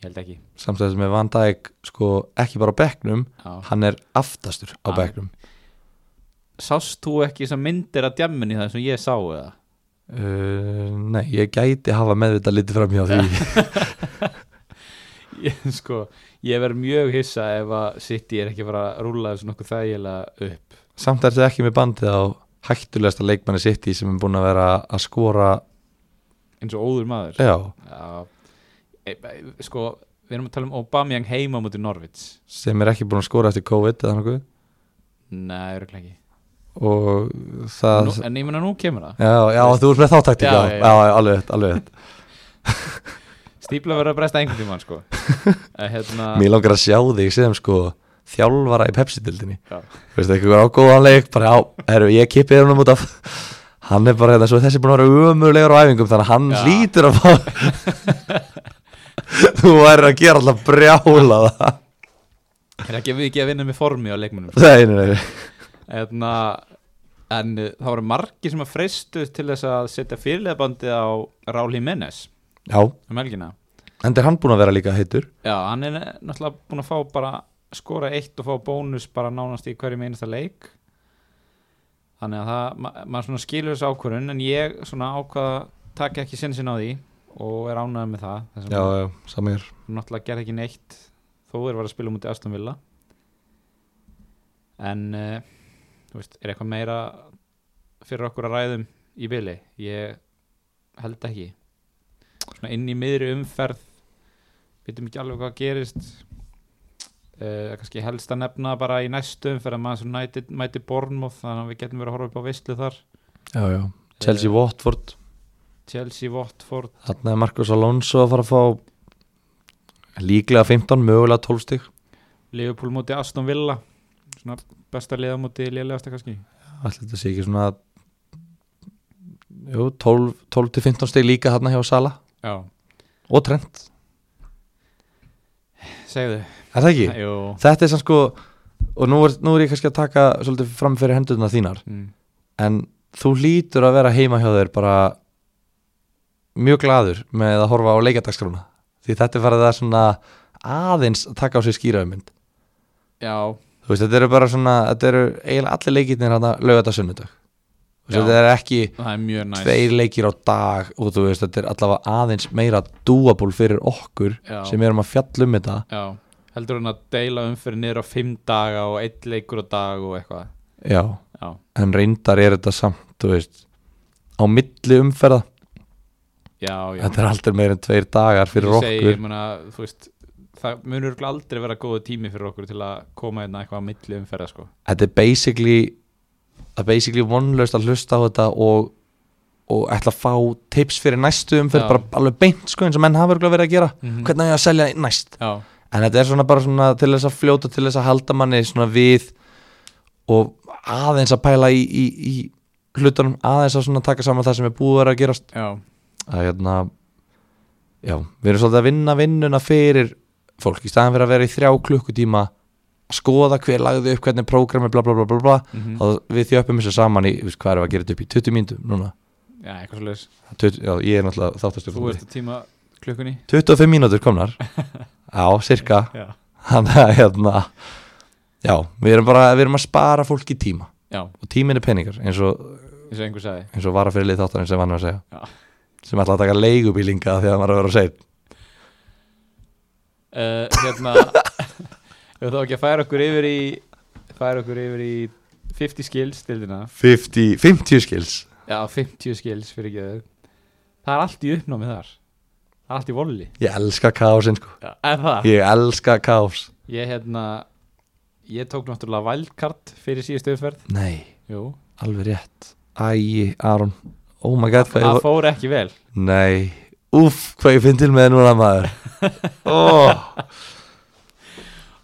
Speaker 2: ég held ekki
Speaker 1: samstæðis með Van Dijk sko ekki bara á bekknum
Speaker 2: Já.
Speaker 1: Hann er aftastur á
Speaker 2: Hann-
Speaker 1: bekknum
Speaker 2: sást þú ekki þessar myndir að djammin í það sem ég sá eða?
Speaker 1: uh, Nei, ég gæti hafa meðvitað litið fram hjá því
Speaker 2: Ég, sko, ég verð mjög hissa ef að City er ekki bara að rúla þessu nokkuð þægilega upp
Speaker 1: samt er þetta ekki með bandið á hættulegasta leikmanni sitt í sem er búin að vera að skora
Speaker 2: eins og óður maður
Speaker 1: já,
Speaker 2: Já. E, e, sko, við erum að tala um Aubameyang heima mútið Norvits
Speaker 1: sem er ekki búin að skora eftir COVID eða nokkuð
Speaker 2: Nei, örugglega ekki
Speaker 1: og það
Speaker 2: nú, En ég meina nú kemur það
Speaker 1: já, já, þú ert með þáttaktík
Speaker 2: Já,
Speaker 1: já,
Speaker 2: já,
Speaker 1: já,
Speaker 2: já.
Speaker 1: já, alveg rétt, alveg rétt
Speaker 2: Stípla verður að bresta einhvern tímann sko Eh, hérna,
Speaker 1: mér langar að sjá þig sem sko þjálfara í Pepsi-dildinni
Speaker 2: Já.
Speaker 1: veistu, eitthvað á góðan leik bara já, herru, ég kippi honum út af hann er bara hérna, svo þessi er búin að vera umurlegur á æfingum þannig að hann
Speaker 2: Já.
Speaker 1: hlýtur að fá þú væri að gera alltaf brjála það
Speaker 2: Er ekki við ekki að vinna með formi á leikmunum
Speaker 1: nei, nei, nei,
Speaker 2: hérna, En eh, það voru margir sem að freistu til þess að setja fyrirleðbandið á Ráli Mennes
Speaker 1: já
Speaker 2: um helgina
Speaker 1: Enda er hann búin að vera líka heitur
Speaker 2: Já, hann er náttúrulega búin að fá bara skora eitt og fá bónus bara nánast í hverjum einasta leik Þannig að það, ma maður svona skilur þessu ákvörun en ég svona ákvaða taka ekki sinnsinn á því og er ánægð með það þess að
Speaker 1: já, samir
Speaker 2: náttúrulega gerði ekki neitt þó er var að spila mútið Aston Villa en uh, veist, er eitthvað meira fyrir okkur að ræðum í byli ég held ekki svona inn í miðri umferð veitum ekki alveg hvað gerist uh, kannski helst að nefna bara í næstu umferð að maður mæti, mæti Bournemouth þannig að við getum verið að horfa upp á veislu þar
Speaker 1: já, já. Chelsea
Speaker 2: Eh,
Speaker 1: Watford
Speaker 2: Chelsea, Watford
Speaker 1: Þarna er Marcus Alonso að fara að fá Líklega 15, mögulega 12 stig
Speaker 2: Liverpool mútið Aston Villa svona besta liða mútið liðlegasta kannski
Speaker 1: Allt þetta sé ekki svona Jú, 12, 12 til 15 stig líka þarna hjá Sala
Speaker 2: já
Speaker 1: Og Trent,
Speaker 2: Segðu
Speaker 1: er það ekki?
Speaker 2: Jú
Speaker 1: Þetta er sann sko Og nú er, nú er ég kannski að taka svolítið fram fyrir hendurna þínar
Speaker 2: mm.
Speaker 1: En þú lítur að vera heima hjá þér bara Mjög gladur með að horfa á leikjadagskrána Því þetta er farið að svona aðeins taka á sig skýraðumynd
Speaker 2: Já,
Speaker 1: þú veist, þetta eru bara svona þetta eru eiginlega allir leikirnir hann að lauga þetta sunnudag Þú veist,
Speaker 2: Já.
Speaker 1: þetta er ekki
Speaker 2: það er mjög næst
Speaker 1: tveir leikir á dag og þú veist, þetta er allavega aðeins meira dúaból fyrir okkur
Speaker 2: Já.
Speaker 1: sem erum að fjalla um þetta
Speaker 2: Já, heldur hann að deila umfyrir niður á fimm daga og eitt leikur á dag og eitthvað
Speaker 1: já,
Speaker 2: Já,
Speaker 1: en reyndar er þetta samt, þú veist á milli umferða,
Speaker 2: já, já
Speaker 1: þetta er aldrei meira en tveir dagar fyrir
Speaker 2: Ég segi,
Speaker 1: okkur
Speaker 2: Ég meina, þú veist Það munur örugglega aldrei vera góðu tími fyrir okkur til að koma hérna eitthvað á milli umferða sko
Speaker 1: þetta er basically það er basically vonlaust að hlusta á þetta og, og ætla að fá tips fyrir næstu umferð,
Speaker 2: Já. Mm.
Speaker 1: bara alveg beint sko eins og menn hafa örugglega verið að gera hvernig á ég að selja næst
Speaker 2: Já,
Speaker 1: En þetta er svona bara svona til þess að fljóta til þess að halda manni svona við og aðeins að pæla í, í, í hlutunum aðeins að svona taka saman það sem er búið að vera að gerast
Speaker 2: já,
Speaker 1: að hérna já, við erum svolítið að vinna vinnuna fyrir fólk í staðan fyrir að vera í þrjá klukkutíma að skoða hver lagði upp hvernig prógrami bla bla bla bla bla
Speaker 2: mhm.
Speaker 1: og við þjöppum þessu saman í, við, hvað erum við að gera þetta upp í 20 mínútum núna,
Speaker 2: já eitthvað svo leis
Speaker 1: 20, já, ég er náttúrulega þáttastur
Speaker 2: Þú ert að tíma klukkunni
Speaker 1: 25 mínútur komnar já, cirka
Speaker 2: Já,
Speaker 1: Þannig að hérna Já, við erum bara við erum að spara fólki tíma
Speaker 2: já,
Speaker 1: og tímin er peningar eins og,
Speaker 2: eins og einhver sagði
Speaker 1: eins og vara fyrir lið þáttarinn sem vann að segja
Speaker 2: Já.
Speaker 1: sem ætla að taka leigubílinga þegar maður er að vera á sein
Speaker 2: uh, hérna ef þá ekki að færa okkur yfir í færa okkur yfir í 50 skills stildina
Speaker 1: 50, 50 skills
Speaker 2: já 50 skills fyrir ekki það er allt í uppnámi þar það er allt í volli
Speaker 1: Ég elska kásin sko
Speaker 2: já, en það
Speaker 1: Ég elska kás
Speaker 2: ég hérna ég tók náttúrulega wildcard fyrir síðustu umferð
Speaker 1: Nei,
Speaker 2: jú
Speaker 1: alveg rétt Æi, Aron Oh my god, hvað ég
Speaker 2: það
Speaker 1: vor
Speaker 2: fór ekki vel
Speaker 1: Nei, úff, hvað ég finn til með núna maður oh.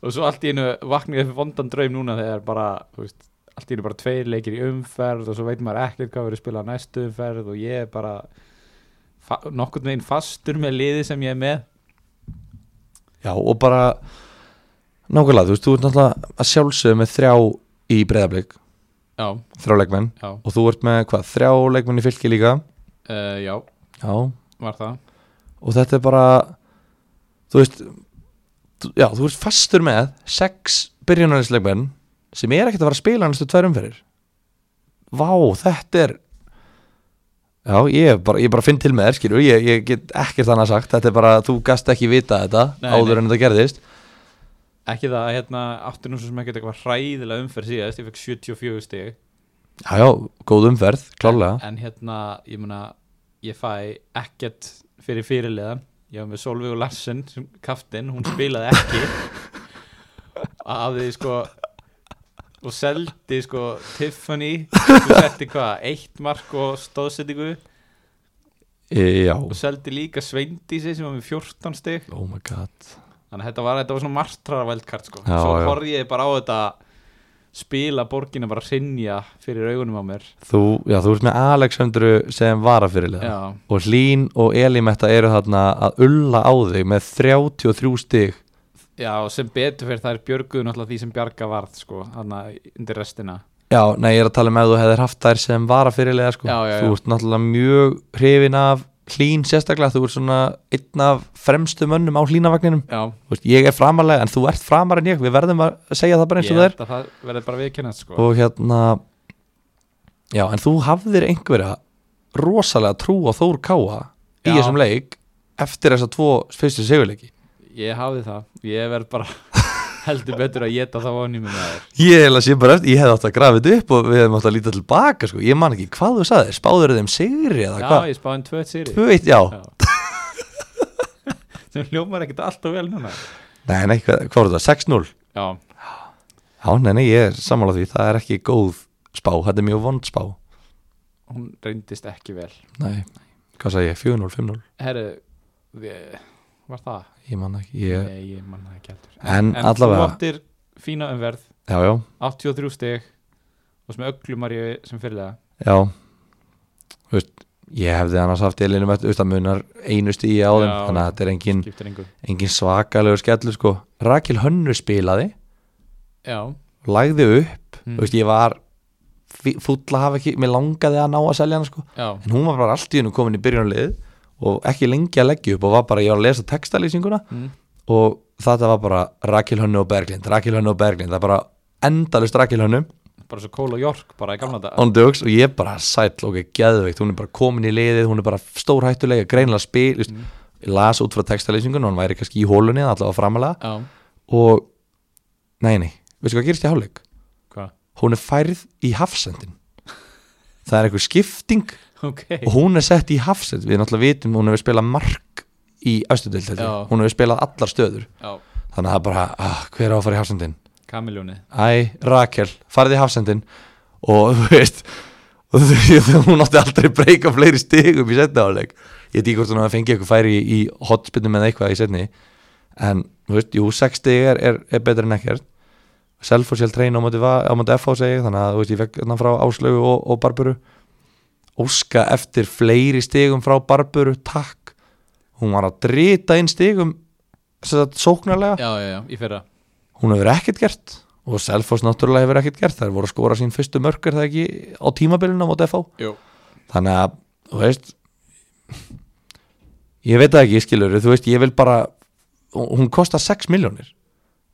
Speaker 2: og svo allt í einu vaknaði upp við vondan draum núna þegar bara þú veist, allt í einu bara tveir leikir í umferð og svo veit maður ekkert hvað verið spilað næstu umferð og ég er bara fa- nokkurn veginn fastur með liði sem ég er með
Speaker 1: Já, og bara Nákvæmlega, þú veist, þú ert náttúrulega að sjálfsögðu með þrjá í breyðablík
Speaker 2: já,
Speaker 1: Þrjá leikmenn
Speaker 2: já,
Speaker 1: Og þú ert með hvað, þrjá leikmenn í fylki líka
Speaker 2: uh, já
Speaker 1: Já, og
Speaker 2: var það
Speaker 1: þetta er bara Þú veist þú- Já, þú ert fastur með sex byrjunarleikmenn sem er ekkert að fara að spila næstu tvær umferðir Vá, þetta er Já, ég er bara, ég bara finn til með þér, skilur, ég, ég get ekkert annað sagt, þetta er bara, þú gast ekki vita þetta
Speaker 2: Nei,
Speaker 1: áður en þetta gerðist
Speaker 2: ekki það að hérna áttur nú svo sem ekkert eitthvað hræðilega umferð síðast ég fekk 74 stig
Speaker 1: Já, já, góð umferð, klálega
Speaker 2: en hérna, ég meina ég fæ ekkert fyrir fyrirliðan ég var með Solveig og Larsen sem kaftin, hún spilaði ekki að því sko og seldi sko Tiffany, þú setti hvað eitt mark og stóðsettingu
Speaker 1: E, já
Speaker 2: og seldi líka Sveindísi sem var með 14 stig
Speaker 1: Oh my god
Speaker 2: þannig að þetta var, þetta var svona martrara veldkart sko.
Speaker 1: Já,
Speaker 2: svo
Speaker 1: já.
Speaker 2: horfði ég bara á þetta spila borgina bara hrynja fyrir augunum á mér
Speaker 1: Þú, já, þú ert með Alexandru sem varafyrirlega
Speaker 2: já,
Speaker 1: Og Hlín og Elimetta eru þarna að ulla á þig með 33 stig
Speaker 2: já og sem betur fyrir það er björguðu náttúrulega því sem bjarga varð sko, hann undir restina
Speaker 1: Já, nei, ég er að tala með að þú hefðir haft þær sem varafyrirlega sko.
Speaker 2: Já, já, já.
Speaker 1: Þú ert náttúrulega mjög hrifin af Hlín sérstaklega Þú ert svona einn af fremstu mönnum á Hlínavagninum
Speaker 2: já,
Speaker 1: Þú veist, Ég er framarlega en þú ert framar en ég Við verðum að segja það bara eins
Speaker 2: ég
Speaker 1: og það er
Speaker 2: held að það verði bara viðkennast sko.
Speaker 1: og hérna já, en þú hafðir einhverja rosalega trú á Þór Káa í
Speaker 2: Já.
Speaker 1: þessum leik eftir þessa tvo fyrstu sigurleiki
Speaker 2: ég hafði það, ég verð bara heldur betur að geta það vonni mér með þér
Speaker 1: ég held að sé bara eftir, ég hefði átt að grafa þetta upp og við hefðum átt að líta tilbaka sko, ég man ekki hvað þú saðir, spáður þeim sigri eða
Speaker 2: já,
Speaker 1: hvað,
Speaker 2: ég spáði um tvö sýri
Speaker 1: tvö eitt, já
Speaker 2: sem hljómar ekkert alltaf vel núna
Speaker 1: nei, nei, hvað, hvað voru það, 6-0
Speaker 2: já,
Speaker 1: já, nei, nei, ég er sammála því, það er ekki góð spá, þetta er mjög vond spá
Speaker 2: hún reyndist ekki vel
Speaker 1: nei, hvað sagði ég, 4-0, 5-0
Speaker 2: herru, við- var það?
Speaker 1: ég man ekki, ég,
Speaker 2: Nei, ég manna ekki heldur
Speaker 1: en,
Speaker 2: en þú
Speaker 1: allavega
Speaker 2: áttir fína umverð
Speaker 1: já, já, 83
Speaker 2: 83 stig og sem öglumari sem fyrir það
Speaker 1: Já Þú veist, Ég hefði annars haft elinu með þetta munar einu stíi á þeim
Speaker 2: Já.
Speaker 1: þannig að þetta er engin,
Speaker 2: skiptir engu
Speaker 1: engin svakalegur skellu sko. Rakil Hönnu spilaði
Speaker 2: já,
Speaker 1: lagði upp,
Speaker 2: Mm.
Speaker 1: þú veist ég var fúll að hafa ekki, mér langaði að ná að selja hana sko,
Speaker 2: já,
Speaker 1: en hún var bara allt í hennu komin í byrjunarlið og ekki lengi að leggja upp og var bara, ég var að lesa textalýsinguna
Speaker 2: mm.
Speaker 1: og þetta var bara Rakil Hönnu og Berglind, Rakil Hönnu og Berglind það er bara endalust Rakil Hönnu
Speaker 2: bara svo kól og jork bara í gamla dag
Speaker 1: on dögs og ég er bara sæll og ekki geðveikt, hún er bara komin í liðið hún er bara stórhættulega, greinilega spil mm.
Speaker 2: Mm.
Speaker 1: ég las út frá textalýsingun og hann væri kannski í hólunni, allavega framalega
Speaker 2: já,
Speaker 1: og, nei nei, veistu hvað gerist í hálfleik?
Speaker 2: hvað?
Speaker 1: Hún er færð í hafsendin það er einhver skipting
Speaker 2: ok,
Speaker 1: og hún er sett í hafsend við náttúrulega vitum, hún hefur spilað mark í östudild,
Speaker 2: Já.
Speaker 1: hún hefur spilað allar stöður
Speaker 2: já,
Speaker 1: þannig að það er bara, ah, hver á að fara í hafsendin?
Speaker 2: kamiljóni
Speaker 1: æ, Rakel, farði í hafsendin og þú veist og þú veist, hún átti aldrei breyka fleiri stigum í setna áleik ég veit ekki hvort hún hafi fengið eitthvað færi í, í hotspinnum eða eitthvað í setni en, þú veist, jú, 6 stig er, er, er betra en ekkert Selfoss ég held treina á móti, Va- á móti FH segi ég, þannig að, þú veist, ég fekk þarna frá Áslaugu og, og Barburu óska eftir fleiri stigum frá Barburu, takk hún var að drita inn stigum sem sagt, sóknarlega
Speaker 2: já, já, já, í fyrra
Speaker 1: hún hefur ekkert gert og Selfoss náttúrulega hefur ekkert gert þær voru að skora sín fyrstu mörk er það ekki á tímabilinu á móti FH
Speaker 2: Jú.
Speaker 1: þannig að, þú veist ég veit það ekki, skilur þú veist, ég vil bara hún kostar 6 miljónir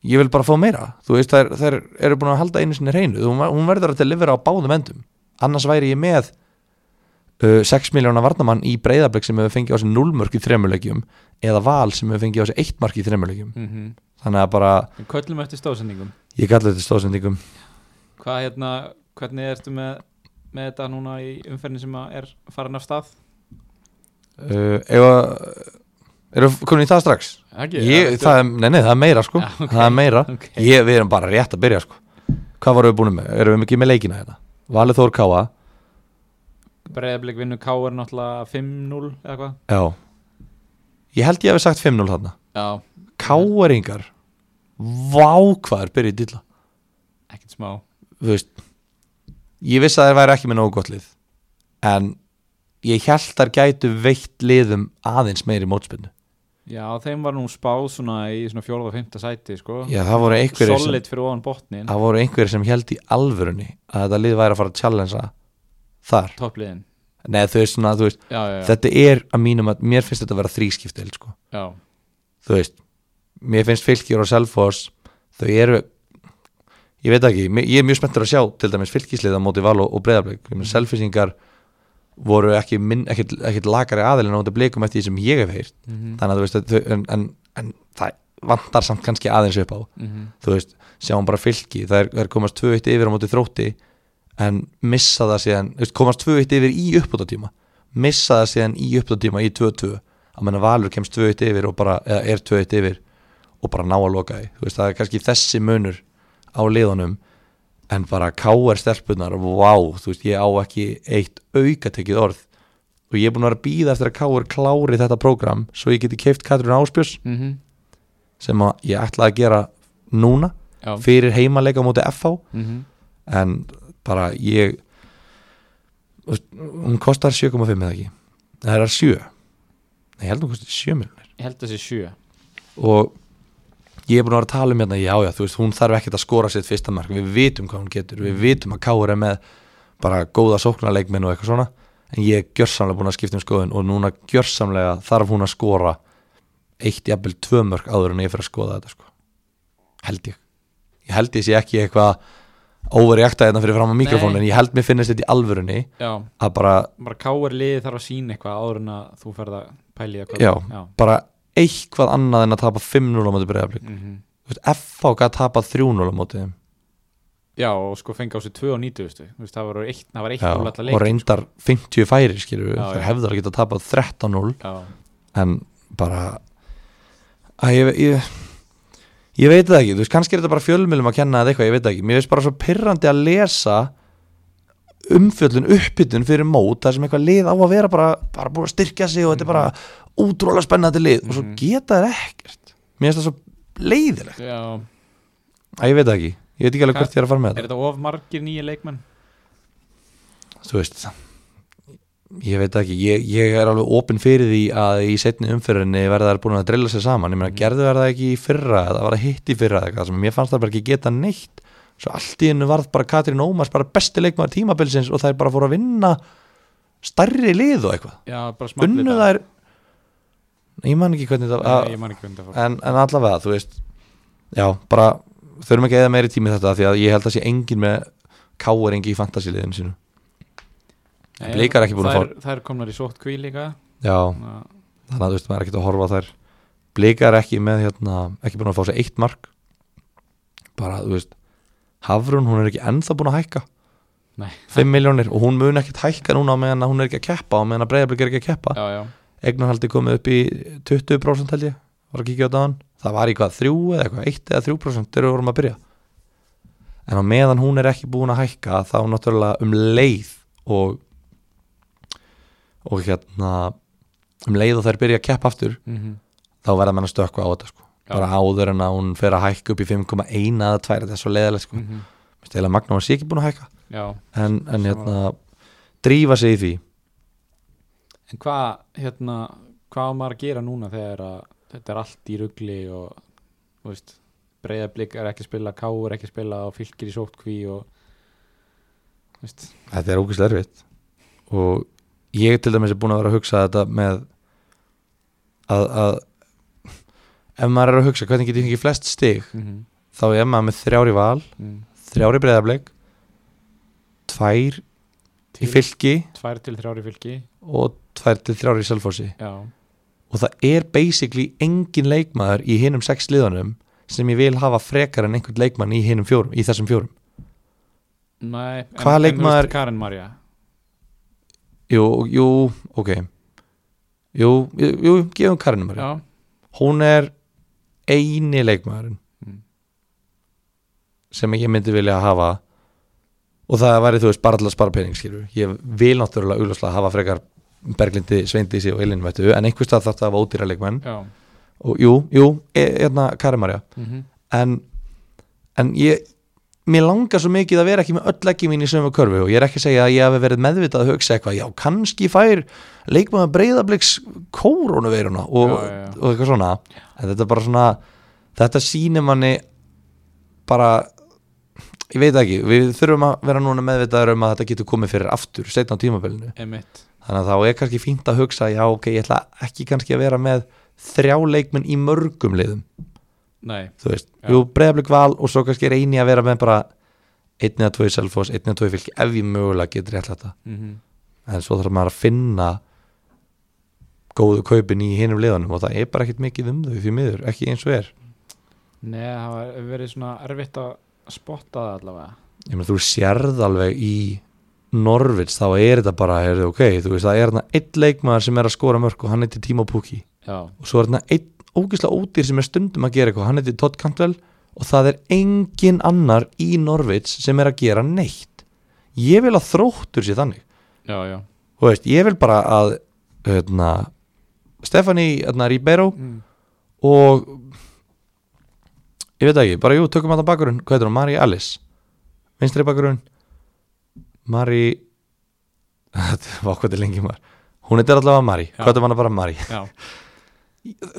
Speaker 1: ég vil bara fá meira, þú veist, þær, þær eru búin að halda einu sinni reynu, hún, hún verður að delivera á báðum endum annars væri ég með uh, 6 miljóna varnamann í breyðablik sem hefur fengið á sig 0 mörg í þremulegjum eða val sem hefur fengið á sig 1 mark í þremulegjum
Speaker 2: mm -hmm.
Speaker 1: þannig að bara,
Speaker 2: Köllum eftir stóðsendingum
Speaker 1: ég kallar þetta stóðsendingum
Speaker 2: Hvað hérna, hvernig ertu með, með þetta núna í umferðin sem að er farin af stað?
Speaker 1: uh, ef að erum við komin í það strax?
Speaker 2: Ekki,
Speaker 1: Ég, það, er, nei, nei, það er meira sko
Speaker 2: Já, ok.
Speaker 1: það er meira,
Speaker 2: Ok.
Speaker 1: ég, við erum bara rétt að byrja sko hvað varum við búin með, erum við ekki með leikina hérna Valið Þór Káa,
Speaker 2: Breiðablik vinnu K.R. náttúrulega 5-0 eða hvað?
Speaker 1: já ég held ég hefði sagt 5-0 þarna
Speaker 2: Já,
Speaker 1: Káeringar vákvaður byrjuð dilla
Speaker 2: ekkert smá
Speaker 1: þú veist ég vissi að þeir væri ekki með nógu gott lið en ég held þær gætu veitt liðum aðeins meiri mótspinnu
Speaker 2: Já, þeim var nú spáð svona í svona fjórða og fymta sæti sko
Speaker 1: já það voru einhverjir sem,
Speaker 2: Solid fyrir ofan botnin,
Speaker 1: það voru einhverjir sem held í alvörunni að þetta lið væri að fara að challengea þar
Speaker 2: toppliðin
Speaker 1: Nei, þau er svona, þú veist,
Speaker 2: Já, já, já,
Speaker 1: þetta er að mínum að mér finnst þetta að vera þrískipti held, sko.
Speaker 2: já,
Speaker 1: þú veist, mér finnst fylgjur og selfos, þau eru ég veit ekki, mér- ég er mjög spenntur að sjá til dæmis fylgisliða móti val og, og breyðarblik selfisingar voru ekki, minn, ekkit, ekkit lagari aðilin á þetta blikum eftir því sem ég hef heyrt
Speaker 2: mhm,
Speaker 1: þannig að þú veist, að þau, en, en, en það vantar samt kannski aðeins upp á
Speaker 2: mhm
Speaker 1: þú veist, sjáum bara fylki það er, það er komast 2-1 yfir á móti þrótti en missa það síðan þú veist, komast 2-1 yfir í uppbótatíma missa það síðan í uppbótatíma í 2-2 að menna Valur kemst 2-1 yfir og bara, eða er 2-1 yfir og bara ná að loka því, þú veist, það er kannski þessi munur á liðunum en bara káar stelpunar, vá þú veist, ég á ekki eitt aukatekið orð og ég er búin að vera að býða eftir að káar klári þetta prógram svo ég geti keift Katrín Áspjörs
Speaker 2: mhm,
Speaker 1: sem að ég ætlaði að gera núna
Speaker 2: Já,
Speaker 1: fyrir heimaleika á móti FH
Speaker 2: mhm,
Speaker 1: en bara ég þú veist, hún kostar 7,5 eða ekki það er 7 Nei, ég held hún kostar 7 miljonir
Speaker 2: ég held að sé sjö
Speaker 1: og ég er búin að vera að tala um hérna já já þú veist hún þarf ekkert að skora sitt fyrsta mark við vitum hvað hún getur, við vitum að Káur er með bara góða sóknarleikminn og eitthvað svona en ég er gjörsamlega búin að skipta um skoðun og núna gjörsamlega þarf hún að skora eitt jafnvel tvö mörg áður en ég fyrir að skoða þetta sko. held ég ég held ég sé ekki eitthvað overreakta hérna fyrir fram á mikrofónu
Speaker 2: Nei.
Speaker 1: en ég held mér finnist þetta í alvörunni
Speaker 2: Já,
Speaker 1: að bara,
Speaker 2: bara K.R. liði þarf að sína eitthvað áður en að þú ferð að pæli eitthvað
Speaker 1: Já.
Speaker 2: já.
Speaker 1: bara eitthvað annað en að tapa 5-0 á móti breyðablík
Speaker 2: mhm.
Speaker 1: FH gæti tapað 3-0 á móti þeim
Speaker 2: já, og sko fengi á sig 2 og 90 veistu. Þú veist, það var eitt, það var eitt
Speaker 1: Já,
Speaker 2: úr alltaf leik
Speaker 1: og reyndar 50 færi skilur við,
Speaker 2: sko. Já,
Speaker 1: þeir
Speaker 2: já.
Speaker 1: hefðar að geta tapað 13-0
Speaker 2: Já,
Speaker 1: en bara að ég, ég ég veit það ekki, þú veist, kannski er þetta bara fjölmjölum að kenna eða eitthvað, ég veit það ekki, mér veist bara svo pirrandi að lesa umfjöllun, uppbytun fyrir mót þar sem eitthvað lið á að vera bara, bara búin að styrkja sig og þetta er bara útrúlega spennandi lið og svo
Speaker 2: Mhm.
Speaker 1: geta þær ekkert mér finnst það svo leiðilegt
Speaker 2: já,
Speaker 1: að ég veit það ekki, ég veit ekki alveg
Speaker 2: Hvað-
Speaker 1: hvert ég er að fara með þetta
Speaker 2: er þetta of margir nýja leikmenn?
Speaker 1: þú veist ég veit ekki, ég, ég er alveg opinn fyrir því að í setni umfyrinni verða þær búin að drilla sér saman, ég meina gerðu þær það ekki í fyrra, það var að hitt í fyrra eða eitthvað sem mér fannst það bara ekki geta neitt svo allt í hennu varð bara Katrín Ómars bara besti leikmaður tímabilsins og þær bara fóru að vinna stærri lið og eitthvað,
Speaker 2: Já, bara smaklið
Speaker 1: unnu þær ég man ekki hvernig það
Speaker 2: Ég man ekki hvernig það fór
Speaker 1: en, en allavega, þú veist já, bara, þurfum ekki eða meiri tími í þetta af því að ég held að sé engin með káeringi í fantasiliðinu sínu
Speaker 2: Nei,
Speaker 1: Blikar ekki búin að
Speaker 2: þær- Þær komnar í sótt kví líka
Speaker 1: já,
Speaker 2: þannig að-
Speaker 1: þannig að þú veist maður er ekkert að horfa á þær blikar ekki með hérna ekki búin að fá sér eitt mark bara þú veist Hafrún hún er ekki ennþá búin að hækka
Speaker 2: Nei.
Speaker 1: 5 miljónir og hún mun ekkert hækka núna á meðan að hún er ekki að keppa og meðan að breyðarblik er ekki að keppa
Speaker 2: Já, já,
Speaker 1: eignarhaldi komið upp í 20% held ég var að kíkja á dagann það var í hvað 3 eða eitthvað 1 eða 3% þegar við vorum að byrja en á meðan hún er ekki búin að hækka þá náttúrulega um leið og og hérna um leið og þær byrja að keppa aftur
Speaker 2: mhm
Speaker 1: þá verða menn að stökkva á þetta sko.
Speaker 2: Já.
Speaker 1: bara áður en að hún fer að hækka upp í 5,1 eða 2 þetta er svo leiðilegt sko.
Speaker 2: mhm.
Speaker 1: mm. eða Magna hún sé ekki búin að hækka
Speaker 2: Já,
Speaker 1: en, en
Speaker 2: Sammála.
Speaker 1: hérna drífa sig í því
Speaker 2: en hvað hérna, hvað á maður að gera núna þegar að þetta er allt í rugli og þú veist, breyðablík er ekki að spila K er ekki að spila og fylgir í sótkví og þú veist,
Speaker 1: þetta er ógeðslega erfitt og ég til dæmis er búin að vera að hugsa þetta með að, að ef maður er að hugsa hvernig getur fengið flest stig
Speaker 2: mm
Speaker 1: þá er maður með þrjári val,
Speaker 2: mm,
Speaker 1: þrjári breyðarbleik tvær í fylki
Speaker 2: tvær til þrjár í fylki
Speaker 1: og tvær til þrjár í Selfossi
Speaker 2: já,
Speaker 1: og það er basically engin leikmaður í hinum sex liðunum sem ég vil hafa frekar en einhvern leikmann í hinum fjórum, í þessum fjórum
Speaker 2: nei en-
Speaker 1: Hvaða
Speaker 2: en þú
Speaker 1: leikmaður-
Speaker 2: veist Karen Marja,
Speaker 1: Jú, jú, ok Jú, jú, jú gefum Karinum
Speaker 2: já,
Speaker 1: Hún er eini leikmaðurinn
Speaker 2: Mm.
Speaker 1: sem ég myndi vilja hafa og það væri, þú veist, bara alltaf spara pening skilur. Ég vil náttúrulega augljóslega hafa frekar Berglindi, Sveindísi og Elinu veitu, en einhvers stað þarf það að hafa ódýra leikmenn
Speaker 2: já
Speaker 1: og jú, jú, e, hérna Karin Marja
Speaker 2: mhm,
Speaker 1: en, en ég mér langar svo mikið að vera ekki með öll ekki mín í sömu körfu og ég er ekki að segja að ég hafi verið meðvitað að hugsa eitthvað, já kannski fær leikmaður breyðabliks kórónuveiruna og,
Speaker 2: Já, já, já.
Speaker 1: og eitthvað svona en þetta er bara svona þetta sýnir manni bara ég veit ekki, við þurfum að vera núna meðvitaður um að þetta getur komið fyrir aftur setna á tímabölinu,
Speaker 2: emitt
Speaker 1: þannig að þá er kannski fínt að hugsa, já ok, ég ætla ekki kannski að vera með þrjá leikmenn í mörgum liðum
Speaker 2: nei,
Speaker 1: þú veist,
Speaker 2: Já.
Speaker 1: jú breyðablík val og svo kannski reyni að vera með bara einn eða tvö í Selfoss, einn eða tvö í fylki ef ég mögulega getur rétt þetta
Speaker 2: mhm,
Speaker 1: en svo þarf maður að finna góðu kaupin í hinum liðanum og það er bara ekkert mikið um þau fyrir miður, ekki eins og er
Speaker 2: nei, það var verið svona erfitt að spotta það allavega
Speaker 1: ég meina þú sérð alveg í Norvits þá er þetta bara er, ok, þú veist það er þarna einn leikmaður sem er að skora mörk og hann heitir Timo Pukki
Speaker 2: já,
Speaker 1: og svo er þarna einn ógislega ódýr sem er stundum að gera eitthvað, hann heitir Todd Cantwell og það er engin annar í Norvits sem er að gera neitt ég vil að þróttur sér þannig
Speaker 2: já, já
Speaker 1: og veist, ég vil bara að hérna, Stefani hérna, Ribeiro
Speaker 2: mm.
Speaker 1: og ég veit ekki, bara jú, tökum að það bakurinn hvað heitir hún, Mari Alice vinstri bakurinn Mari þetta var hvað til lengi maður hún heitir allavega Mari,
Speaker 2: Já.
Speaker 1: hvað heitir hann bara Mari
Speaker 2: já,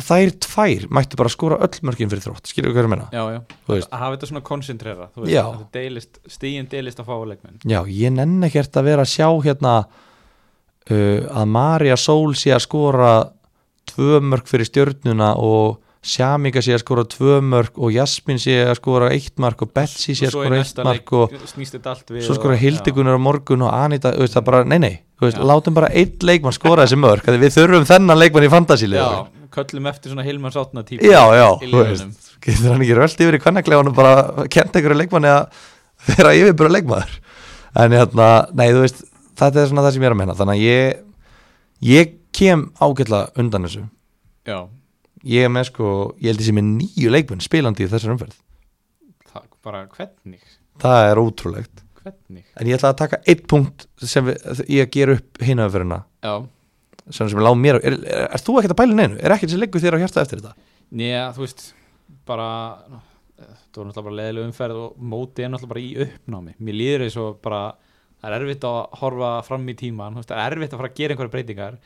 Speaker 1: þær tvær mættu bara skora öll mörkin fyrir þrótt skilur við hverju meina
Speaker 2: já, já
Speaker 1: Þú veist.
Speaker 2: að hafa þetta svona koncentrera þú
Speaker 1: Já.
Speaker 2: veist, að deilist, stíin deilist að fá leikmenn
Speaker 1: já, ég nenn ekkert að vera að sjá hérna uh, að Marja Sól sé að skora tvö mörk fyrir stjörnuna og Sjámika sé að skora tvö mörk og Jasmin sé að skora eitt mark og Betsy sé
Speaker 2: Og
Speaker 1: að
Speaker 2: svo í
Speaker 1: skora eitt
Speaker 2: næsta
Speaker 1: mark og
Speaker 2: leik snýst þetta allt við
Speaker 1: svo skora
Speaker 2: og-
Speaker 1: Hildigunar á morgun og Anita, þú veist, það bara, nei nei þú veist,
Speaker 2: Já.
Speaker 1: látum bara eitt leikmann skora þessi mörk af því við þurfum þennan leikmann í
Speaker 2: já,
Speaker 1: fantasílið okkar.
Speaker 2: já, köllum eftir svona Hilmars átna típa
Speaker 1: já, já,
Speaker 2: í
Speaker 1: þú veist
Speaker 2: liðunum.
Speaker 1: getur hann ekki rölt yfir í kvennaklefanum bara kent einhverju leikmanni að vera yfirbúra leikmaður en hérna, nei þú veist þetta er svona það sem ég er að menna þannig að ég, ég kem ágætlega undan þessu
Speaker 2: já,
Speaker 1: ég er með sko, ég held ég sem er nýju leikmenn spilandi í þessar umferð
Speaker 2: það, bara hvernig
Speaker 1: það er ótrúlegt
Speaker 2: hvernig,
Speaker 1: en ég ætla að taka eitt punkt sem við, ég ger upp hinna umferðina
Speaker 2: já
Speaker 1: sem, sem er lág mér á, er, er, er þú ekkert að bæla neinu? er ekkert sem leggur þér á hjarta eftir þetta?
Speaker 2: Nýja, þú veist, bara það var náttúrulega bara leðileg umferð og mótið er náttúrulega bara í uppnámi mér líður eins og bara það er erfitt að horfa fram í tíman þú veist, það er erfitt að fara að gera einhverja breytingar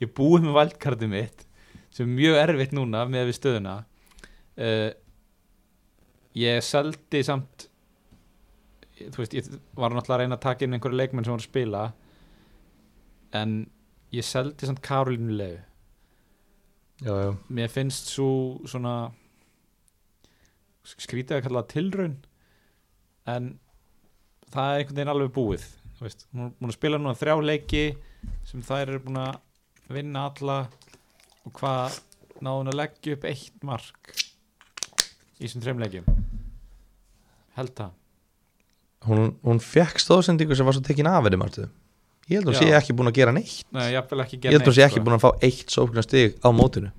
Speaker 2: ég er búið með valdkartið mitt sem er mjög erfitt núna með við stöðuna uh, ég seldi samt þú veist, ég var náttúrulega að reyna að taka inn einhverja leikmenn sem voru að spila en ég seldi samt Karolínu leiðu
Speaker 1: Já, já.
Speaker 2: mér finnst svo svona skrítið að kalla það tilraun en það er einhvern veginn alveg búið þú veist, hún er búin að spila núna þrjá leiki sem þær eru búin að vinna alla og hvað náði hún að leggja upp eitt mark í þessum þrejum leikjum held það
Speaker 1: Hún, hún fekk stóðsendingu sem var svo tekin af henni margtu ég held hún
Speaker 2: Já.
Speaker 1: sé ekki búin að gera neitt sko.
Speaker 2: Nei, jafnvel ekki sko.
Speaker 1: ég held hún sé ekki búin að fá eitt sóknar stig á mótinu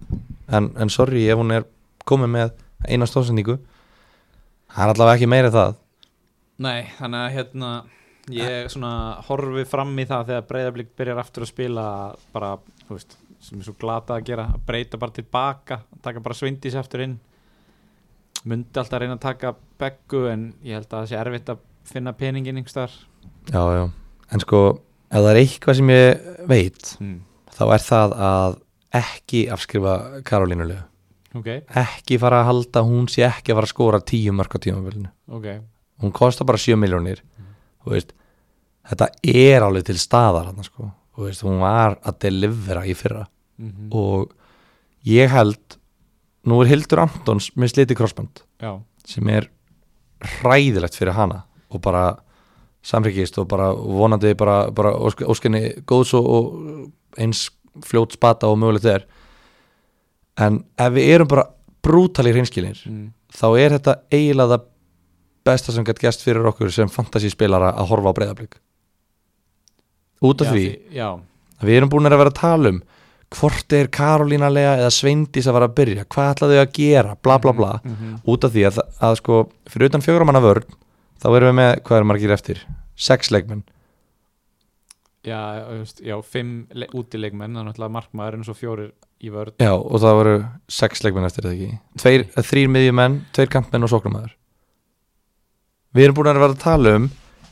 Speaker 1: en, en sorry ef hún er komið með eina stóðsendingu það er allavega ekki meira en það
Speaker 2: Nei, þannig að hérna ég svona horfi fram í það þegar breyðablík byrjar aftur að spila bara, þú veist, sem er svo glata að gera að breyta bara tilbaka, taka bara svindis aftur inn myndi alltaf að reyna að taka beggu en ég held að það sé erfitt að finna peningin yngstar
Speaker 1: já, já. en sko, ef það er eitthvað sem ég veit
Speaker 2: mm.
Speaker 1: þá er það að ekki afskrifa Karolínulegu
Speaker 2: Ok,
Speaker 1: ekki fara að halda, hún sé ekki að fara að skora tíu mörg á tímafélinu
Speaker 2: ok
Speaker 1: hún kostar bara 7 miljónir þú veist, þetta er alveg til staðar hann sko, þú veist, hún var að delivera í fyrra
Speaker 2: mm
Speaker 1: og ég held nú er Hildur Antons með sliti krossband
Speaker 2: Já,
Speaker 1: sem er hræðilegt fyrir hana og bara samryggist og bara vonandi bara, bara ósk, óskinni góðs og, og eins fljót spata og mögulegt er en ef við erum bara brútali hreinskilinir
Speaker 2: mm.
Speaker 1: þá er þetta eiginlega það besta sem gætt gæst fyrir okkur sem fantasíspilara að horfa á breyðablík út af
Speaker 2: já,
Speaker 1: því
Speaker 2: já,
Speaker 1: að við erum búin að vera að tala um hvort er Karolína Lea eða Sveindís að vera að byrja, hvað ætla þau að gera bla bla bla,
Speaker 2: mhm.
Speaker 1: út af því að, að sko, fyrir utan fjögur manna vörn þá erum við með, hvað er margir eftir? sex leikmenn,
Speaker 2: já, þú veist, já fimm le útileikmenn, þannig að markmaður en svo fjórir í vörð
Speaker 1: já og það voru sex leikmenn eftir þetta ekki, Tveir, þrýr miðjumenn, tveir kampmenn og sóknumæður við erum búin að vera að tala um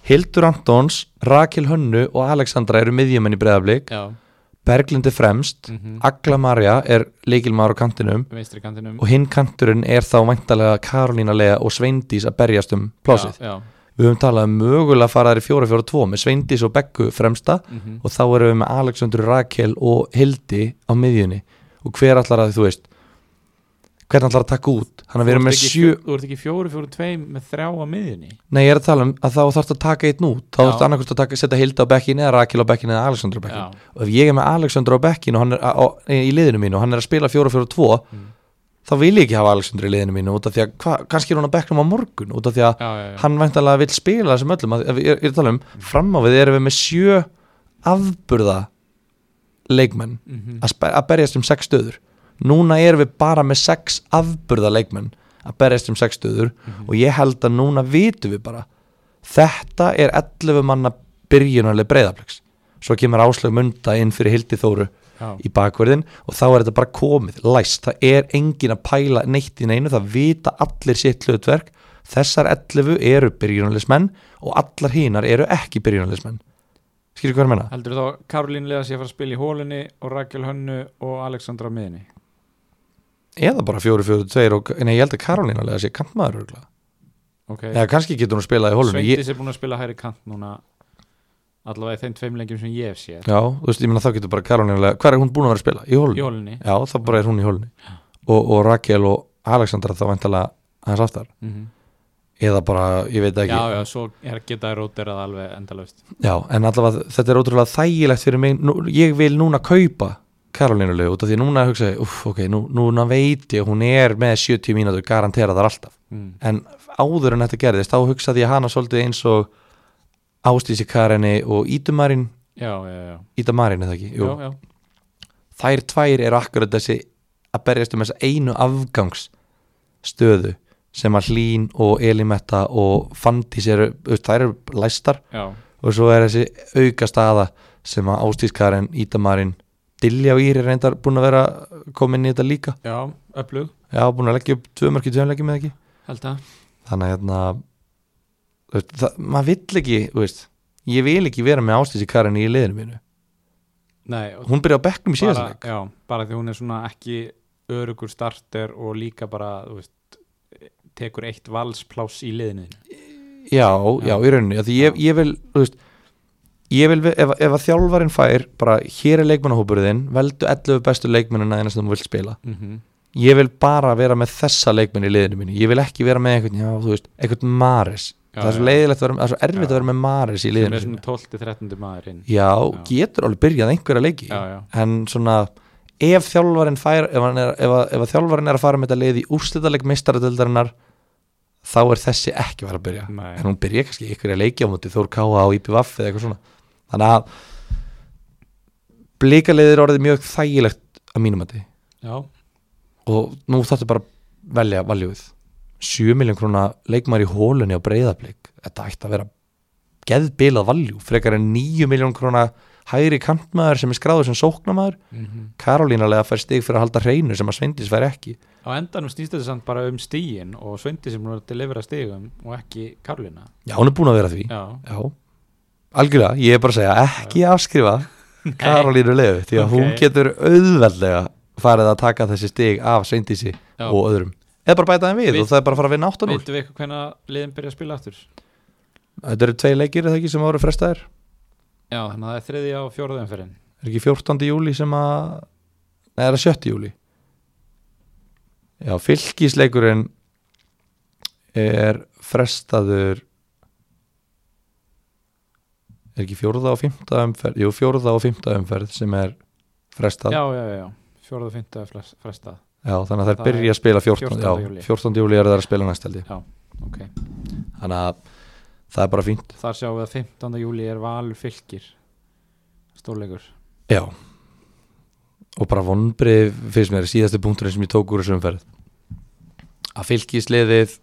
Speaker 1: Hildur Antons, Rakel Hönnu og Alexandra eru miðjumenn í breyðablík
Speaker 2: já,
Speaker 1: Berglindi fremst,
Speaker 2: mhm,
Speaker 1: Agla Marja er leikilmaður á kantinum
Speaker 2: vinstri kantinum
Speaker 1: og hinn kanturinn er þá væntalega Karolína Lea og Sveindís að berjast um plásið.
Speaker 2: já, já,
Speaker 1: Við höfum talað um mögulega að fara þær í 4-4-2 með Sveindís og Beggu fremsta
Speaker 2: mhm,
Speaker 1: og þá erum við með Alexander Rakel og Hildi á miðjunni og hver allar að þú veist hvern allar að taka út þannig að við erum
Speaker 2: Þú
Speaker 1: með
Speaker 2: ert ekki
Speaker 1: sjö,
Speaker 2: fjó- Þú ert ekki fjóri, fjóri, tvei með þrjá á miðinni
Speaker 1: nei ég er að tala um að þá þarfst að taka einn út, þá
Speaker 2: Já.
Speaker 1: þarfst annarkvist að taka, setja Hildi á bekkin eða Rakel á bekkin eða Alexander á bekkin
Speaker 2: Já,
Speaker 1: og ef ég er með Alexander á bekkin og hann er á, á, í liðinu mínu og hann er að spila 4-4-2
Speaker 2: Mm.
Speaker 1: þá vil ég ekki hafa Alexander í liðinu mínu út af því að hva, kannski er hann á bekknum á morgun út af því að
Speaker 2: já, já, já.
Speaker 1: hann væntalega vil spila þessum öllum að, að, ég, ég er að tala um, fram á við erum við með sjö afburða leikmenn
Speaker 2: Mhm.
Speaker 1: að, spe- að berjast um sex stöður núna erum við bara með sex afburða leikmenn að berjast um sex stöður
Speaker 2: Mhm.
Speaker 1: og ég held að núna vitum við bara þetta er 11 manna byrjunarlega breyðaflegs svo kemur áslög munda inn fyrir Hildi Þóru
Speaker 2: já,
Speaker 1: í bakverðin og þá er þetta bara komið læst, það er engin að pæla neitt í neinu, það vita allir sitt hlutverk, þessar 11 eru byrjunarlegsmenn og allar hinar eru ekki byrjunarlegsmenn skilur hvað ég menna?
Speaker 2: Heldur þá Karolín Lea sé að fara að spila í hólunni og Rakel Hönnu og Alexandra á miðinni
Speaker 1: Eða bara 4-4-2 og nei, ég held að Karolín alveg að sé kantmaður örugglega.
Speaker 2: okay.
Speaker 1: eða kannski getur hún spilað í hólunni ég,
Speaker 2: Sveindis er búin að spila hæri kant núna allavega í þeim tveim lengjum sem ég hef séð
Speaker 1: Já, þú veist, ég menna þá getur bara Karolín alveg hvað er hún búin að vera að spila? Í hólunni?
Speaker 2: í hólunni
Speaker 1: Já, þá bara er hún í hólunni og, og Rakel og Alexandra þá væntalega hans aftar eða bara, ég veit ekki
Speaker 2: Mhm. já, já, svo er geta róterað alveg endalaust
Speaker 1: Já, en allavega þetta er ótrúlega þægilegt fyrir mig nú, ég vil núna kaupa Karolínulegu út af því núna hugsa ég uff, ok, nú, núna veit ég að hún er með 70 mínútur garanteraðar alltaf
Speaker 2: mm.
Speaker 1: en áður en þetta gerðist þá hugsaði ég hana svolítið eins og Ástísi Karinni og Ídumarinn
Speaker 2: já, já, já,
Speaker 1: Ídamarinn eða ekki, jú,
Speaker 2: já, já.
Speaker 1: þær tvær eru akkurat þessi að berjast um þessa einu afgangsstöðu sem að Hlín og Elimetta og Fandís eru, þú veist, þær eru læstar
Speaker 2: já.
Speaker 1: og svo er þessi auka staða sem að Ástískarinn, Ídamarinn Dilja og Ír er reyndar búin að vera komin í þetta líka,
Speaker 2: já öflug,
Speaker 1: já, búin að leggja upp tvö mörki tveimleikjum eða ekki,
Speaker 2: held að
Speaker 1: þannig að hérna, þú veist, það, maður vill ekki, þú veist ég vil ekki vera með Ástískarinn í liðinu mínu,
Speaker 2: Nei, og
Speaker 1: hún byrja á bekknum í
Speaker 2: bara,
Speaker 1: síðast
Speaker 2: já, bara því hún er svona ekki örugur starter og líka bara þú veist, tekur eitt valspláss í liðinu þínu.
Speaker 1: já,
Speaker 2: Já.
Speaker 1: já, í rauninni, af því ég, ég vil þú veist, ég vil, ef, ef að þjálfarinn fær bara, hér er leikmannahópurðinn veldu 11 bestu leikmennina eina sem þú vilt spila ég vil bara vera með þessa leikmenn í liðinu mínu, ég vil ekki vera með einhvern, já, þú veist, einhvern Maris
Speaker 2: Já,
Speaker 1: það er svo
Speaker 2: já.
Speaker 1: leiðilegt að vera, það er svo erfitt
Speaker 2: Já.
Speaker 1: að vera með Maris í
Speaker 2: sem
Speaker 1: liðinu
Speaker 2: er
Speaker 1: sínu.
Speaker 2: svona 12-13 maður inn
Speaker 1: já,
Speaker 2: Já.
Speaker 1: getur alveg byrjað einhverja leiki
Speaker 2: já, já,
Speaker 1: en svona, ef þjálfarinn fær, ef, hann er, ef, að- ef að þjálfarinn er að fara með þetta leið í úrslitaleg mistaradeldarinnar þá er þessi ekki að vera að byrja
Speaker 2: Nei.
Speaker 1: en hún byrja kannski einhverja leiki á móti Þór Káa á IPVF eða eitthvað svona þannig að blikaleiðir er orðið mjög þægilegt að mínum að
Speaker 2: já,
Speaker 1: og nú þarftu bara að velja valjúið 7 miljón krona leikmar í hólunni á breyðablík þetta ætti að vera geðbilað valjú frekar en 9 miljón krona hægri kantmaður sem er skráður sem sóknamaður Mhm. Karolínalega fær stig fyrir að halda hreinu sem að Sveindis fær ekki
Speaker 2: á endanum snýst þetta samt bara um stíin og Sveindi sem er að delivera stigum og ekki Karlina
Speaker 1: já, hún er búin að vera því
Speaker 2: já,
Speaker 1: já, algjörlega, ég er bara að segja ekki afskrifa Karolínulegu því að
Speaker 2: Ok.
Speaker 1: hún getur auðveldlega farið að taka þessi stig af Sveindisi
Speaker 2: já.
Speaker 1: og öðrum eða bara bæta þeim við,
Speaker 2: Við-
Speaker 1: og það er bara að fara að vinna 8
Speaker 2: veitum við eitthvað hvernig liðin byrja að spila aftur
Speaker 1: þetta eru tvei leikir eða ekki sem voru frestaðir
Speaker 2: já, þannig að það er þriðja og fjóraða umferðin
Speaker 1: er ekki 14. júli sem að nei, er það 7. júli já, fylgisleikurinn er frestaður er ekki fjórða og fymta umferð jú, fjórða og fymta umferð sem er frestað,
Speaker 2: já, já, já, já. fjóruð og fynda frestað
Speaker 1: Já, þannig að þær
Speaker 2: Það
Speaker 1: byrja að spila 14,
Speaker 2: 14. júlí.
Speaker 1: já, 14. júli er það að spila næst held ég,
Speaker 2: ok,
Speaker 1: þannig að það er bara fínt,
Speaker 2: þar sjáum við að 15. júli er valur fylgir stórleikur
Speaker 1: já og bara vonbrið fyrst mér, síðasti punkturinn sem ég tók úr þessu umferð að fylgisliðið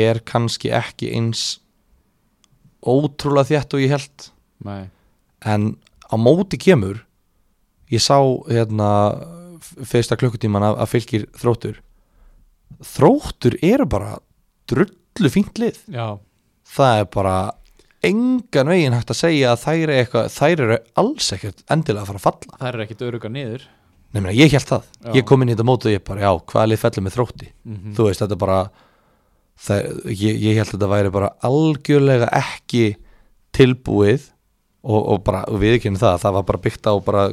Speaker 1: er kannski ekki eins ótrúlega þétt og ég held
Speaker 2: Nei.
Speaker 1: en á móti kemur ég sá hérna f- fyrsta klukkutíman að, að fylgir þróttur þróttur eru bara drullu fínt lið
Speaker 2: já,
Speaker 1: það er bara engan veginn hægt að segja að þær eru, eitthvað, þær eru alls ekkert endilega að fara að falla
Speaker 2: það er ekkit öruga niður
Speaker 1: nefnir að ég held það,
Speaker 2: Já.
Speaker 1: ég kom inn í þetta mót og ég bara já, hvaða lið fellur með þrótti
Speaker 2: Mhm.
Speaker 1: þú veist, þetta bara það, ég, ég held að þetta væri bara algjörlega ekki tilbúið og, og bara og við ekki henni það, það var bara byggt á bara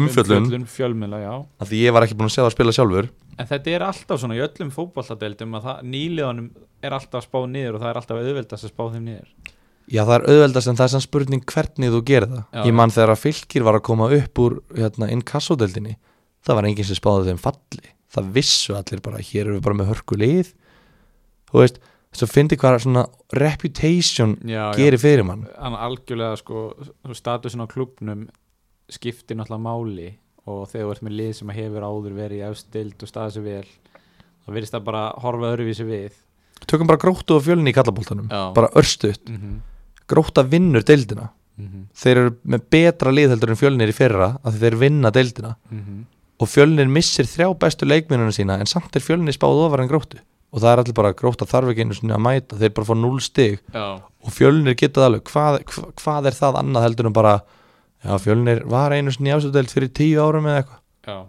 Speaker 1: umfjöllun,
Speaker 2: fjölmiðla, já
Speaker 1: af því ég var ekki búin að segja að spila sjálfur
Speaker 2: En þetta er alltaf svona í öllum fótballadeildum að það, nýliðanum er alltaf spáð niður og það er alltaf auðveldast að spá þeim niður.
Speaker 1: Já, það er auðveldast en það er sann spurning hvernig þú gerir það.
Speaker 2: Já.
Speaker 1: Ég mann þegar að fylgir var að koma upp úr hérna, inkassodeldinni, það var enginn sem spáði þeim falli. Það vissu allir bara, hér erum við bara með hörku lið. Þú veist, þess að fyndi hvað svona reputation
Speaker 2: Já,
Speaker 1: gerir fyrir mann.
Speaker 2: Þannig að algjörlega sko, statusin á klubnum skiptir náttúrulega máli og þegar þú ert með lið sem hefur áður verið í austild og staðið sér vel, þá virðist það bara horfa öðruvísi við.
Speaker 1: Tökum bara gróttu og fjölni í kallabóltanum.
Speaker 2: Já.
Speaker 1: Bara örstuðt.
Speaker 2: Mm -hmm.
Speaker 1: Gróta vinnur deildina.
Speaker 2: Mm -hmm.
Speaker 1: Þeir eru með betra lið heldur en fjölnir í fyrra af því þeir vinna deildina.
Speaker 2: Mm -hmm.
Speaker 1: og fjölnir missir þrjá bestu leikmennuna sína en samt er fjölnir spáð ofar en gróttu og það er allir bara gróta þarf ekki einu sinni að mæta þeir bara fá 0 stig
Speaker 2: Já.
Speaker 1: og fjölnir geta það alveg hvað, hva, hvað er það annað heldur en bara já fjölnir var einu sinni ásöldelt fyrir 10 árum eða eitthvað
Speaker 2: Já,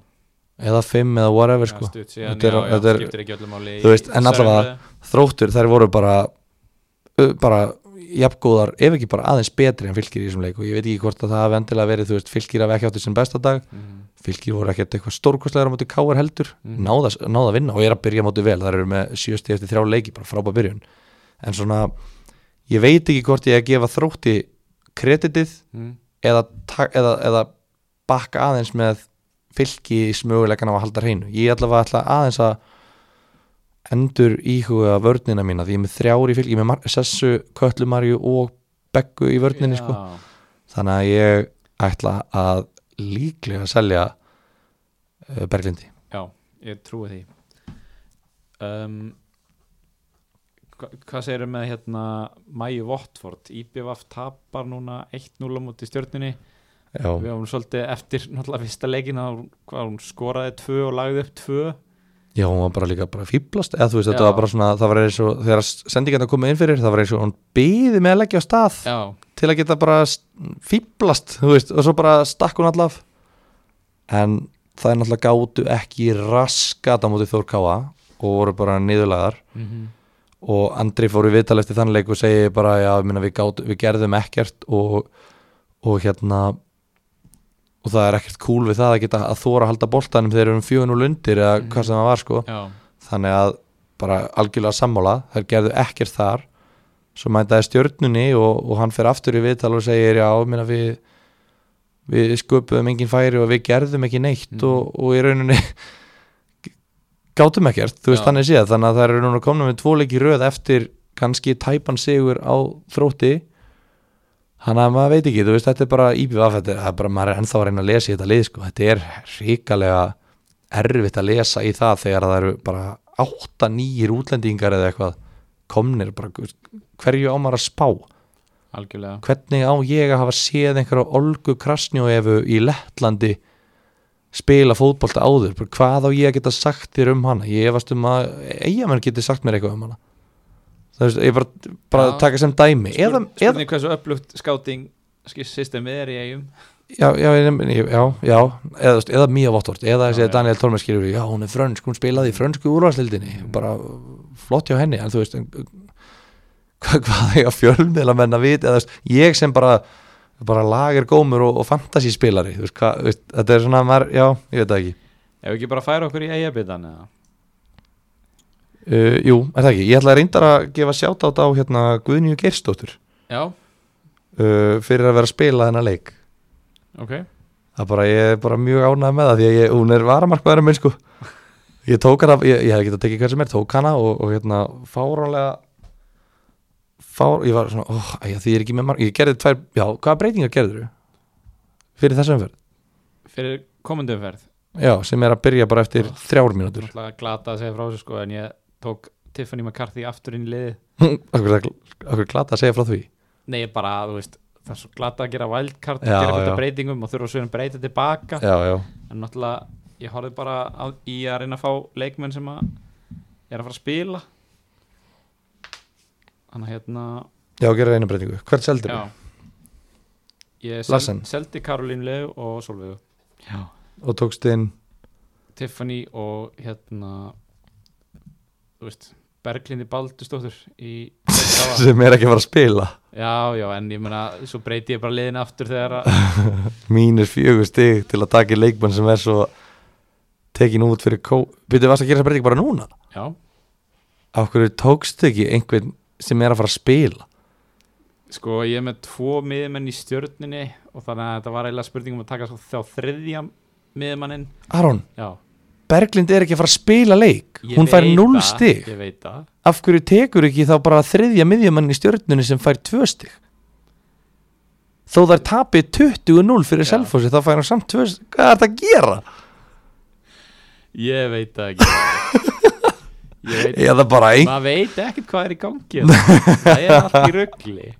Speaker 1: eða 5 eða whatever
Speaker 2: já,
Speaker 1: sko
Speaker 2: stutt síðan,
Speaker 1: Þetta er-
Speaker 2: já, já,
Speaker 1: þetta er-
Speaker 2: skiptir ekki öllu máli í-
Speaker 1: Þú veist,
Speaker 2: í
Speaker 1: en
Speaker 2: þessari
Speaker 1: allavega-
Speaker 2: umræðu.
Speaker 1: þróttur þær voru bara ö, bara jafngóðar ef ekki bara aðeins betri en fylgir í þessum leik og ég veit ekki hvort að það hafi endilega verið þú veist fylgir af ekki átti sinn besta dag
Speaker 2: Mhm.
Speaker 1: fylgir voru ekkert eitthvað stórkostlegar á móti káar heldur
Speaker 2: Mhm.
Speaker 1: náða, náða að vinna og er að byrja móti vel það eru með sjösti eftir þrjá leiki bara frábæð byrjun en svona ég veit ekki hvort ég að gefa þrótti kreditið
Speaker 2: Mhm.
Speaker 1: eða, ta- eða, eða bakka aðeins með fylgis mögulegan á að halda hreinu ég allavega ætla aðeins að endur íhuga vörnina mína því ég er með þrjár í fylgi með Mar- Sessu, Köllumarju og Beggu í vörninni sko
Speaker 2: Já.
Speaker 1: þannig að ég ætla að líklega selja uh, Berglindi
Speaker 2: Já, ég trúi því um, hva, Hvað segirðu með hérna Mæju Votford, IBVF tapar núna 1-0 á móti stjörninni Við
Speaker 1: já,
Speaker 2: hafum svolítið eftir náttúrulega fyrsta leikin að hún, hvað, hún skoraði 2 og lagði upp 2
Speaker 1: já, hún var bara líka bara fýblast eða þú veist,
Speaker 2: Já.
Speaker 1: þetta var bara svona, það var eins og þegar sendingarna komið inn fyrir, það var eins og hún býði með að leggja á stað
Speaker 2: Já,
Speaker 1: til að geta bara fýblast, þú veist, og svo bara stakk hún allaf en það er náttúrulega gátu ekki raskat á móti Þór Káa og voru bara niðurlegaðar
Speaker 2: mm -hmm.
Speaker 1: og Andri fór í viðtal eftir þann leik og segi bara já, ég meina, við, gátu, við gerðum ekkert og, og hérna og það er ekkert cool við það að geta að þóra að halda boltanum þegar við erum fjóðin og lundir
Speaker 2: Mm.
Speaker 1: eða hvað sem það var sko
Speaker 2: já,
Speaker 1: þannig að bara algjörlega sammála þær gerðu ekkert þar svo mætaði stjörnunni og, og hann fer aftur í viðtal og segir já, ég meina við við sköpuðum engin færi og við gerðum ekki neitt
Speaker 2: Mhm.
Speaker 1: og, og í rauninni gátum ekkert, þú veist
Speaker 2: Já.
Speaker 1: þannig séð þannig að það eru núna komna með tvo leiki í röð eftir kannski tæpan sigur á þrótti þannig að maður veit ekki, þú veist þetta er bara íbjöf þetta er það er bara, maður er ennþá að reyna að lesa í þetta lið sko, þetta er ríkalega erfitt að lesa í það þegar það eru bara átta nýjir útlendingar eða eitthvað komnir bara, þú veist, hverju á maður að spá
Speaker 2: algjörlega
Speaker 1: hvernig á ég að hafa séð einhverja Olgu Krasnjóefu í Lettlandi spila fótbolta áður Bara hvað á ég að geta sagt þér um hana ég efast um að eigamenn geti sagt mér eitthvað um hana það veist, ég bara, bara
Speaker 2: Já.
Speaker 1: taka sem dæmi eða,
Speaker 2: Spurning
Speaker 1: eða,
Speaker 2: spurning hversu upplugt skáting systemið er í eigum
Speaker 1: já, já, ég nefni- ég- já, já eða, þú veist, eða Mía Votvort, eða
Speaker 2: Já,
Speaker 1: þessi
Speaker 2: já.
Speaker 1: Daniel Tormes skilur við, já hún er frönsk, hún spilaði í frönsku úrvarslildinni,
Speaker 2: Mhm.
Speaker 1: bara flott hjá henni, en þú veist en, hvað, hvað er að fjölmiðla menn að vita eða, þú veist, ég sem bara bara lager gómur og, og fantasyspilari þú veist, hvað, þú veist, þetta er svona maður, já, ég veit það ekki
Speaker 2: Ef við ekki bara færa okkur í eigabitan eða
Speaker 1: uh, jú, er það ekki, ég ætla að reyndar að gefa sjátt á hérna Guðnýju Geirsdóttur
Speaker 2: Já,
Speaker 1: uh, fyrir að vera að spila þennan leik
Speaker 2: ok,
Speaker 1: það er bara, ég er bara mjög ánægð með það því að ég, hún er varamarkmaðurinn minn sko ég tók hana, ég, ég hef getað tekið hver sem er tók hana og, og hérna fáránlega fár, ég var svona, óh, oh, því ég er ekki með mark ég gerði tvær, já, hvaða breytingar gerður fyrir þessa umferð?
Speaker 2: fyrir komundu umferð
Speaker 1: Já, sem er að byrja bara eftir þrjár mínútur
Speaker 2: náttúrulega glata að segja frá þessu sko en ég tók Tiffany McCarthy aftur inn í liði
Speaker 1: okkur, okkur glata að segja frá því
Speaker 2: nei, bara, þú veist, það er svo glata að gera wildcard,
Speaker 1: Já,
Speaker 2: gera
Speaker 1: já.
Speaker 2: þetta breytingum og þurfa svo að breyta tilbaka
Speaker 1: Já, já,
Speaker 2: en náttúrulega, ég horfði bara á, í að reyna að fá leikmenn sem að er að fara að spila þannig að hérna
Speaker 1: já, gera einu breytingu Hvert seldur
Speaker 2: já
Speaker 1: við?
Speaker 2: ég
Speaker 1: Larsen.
Speaker 2: sel, seldi Karolín Leu og Solveigu já
Speaker 1: Og tókst inn,
Speaker 2: Tiffany og hérna þú veist Berglindi Baldustóttur í já,
Speaker 1: sem er ekki að fara að spila
Speaker 2: já, en ég meina svo breyti ég bara liðin aftur þegar að
Speaker 1: Mínus fjögur stig til að taka í leikmann sem er svo tekin út fyrir kó Byrðu, varst að gera þessa breytingu bara núna?
Speaker 2: já,
Speaker 1: Af hverju tókst ekki einhvern sem er að fara að spila?
Speaker 2: sko ég er með tvo miðmenn í stjörninni og þannig að þetta var eiginlega spurning um að taka svo þá þriðja miðmanninn
Speaker 1: Aron,
Speaker 2: já,
Speaker 1: Berglind er ekki að fara að spila leik
Speaker 2: ég
Speaker 1: Hún fær
Speaker 2: veit
Speaker 1: 0
Speaker 2: það,
Speaker 1: stig
Speaker 2: ég veit það
Speaker 1: Af hverju tekur ekki þá bara þriðja miðjumann í stjörnunni sem fær 2 stig Þó þær tapi 20-0 fyrir
Speaker 2: Já.
Speaker 1: Selfossi þá fær hann samt 2 stig Hvað er það að gera?
Speaker 2: ég veit það ekki ég veit
Speaker 1: Eða bara ein...
Speaker 2: maður veit ekkert hvað er í gangi hérna. það er allt í ruggli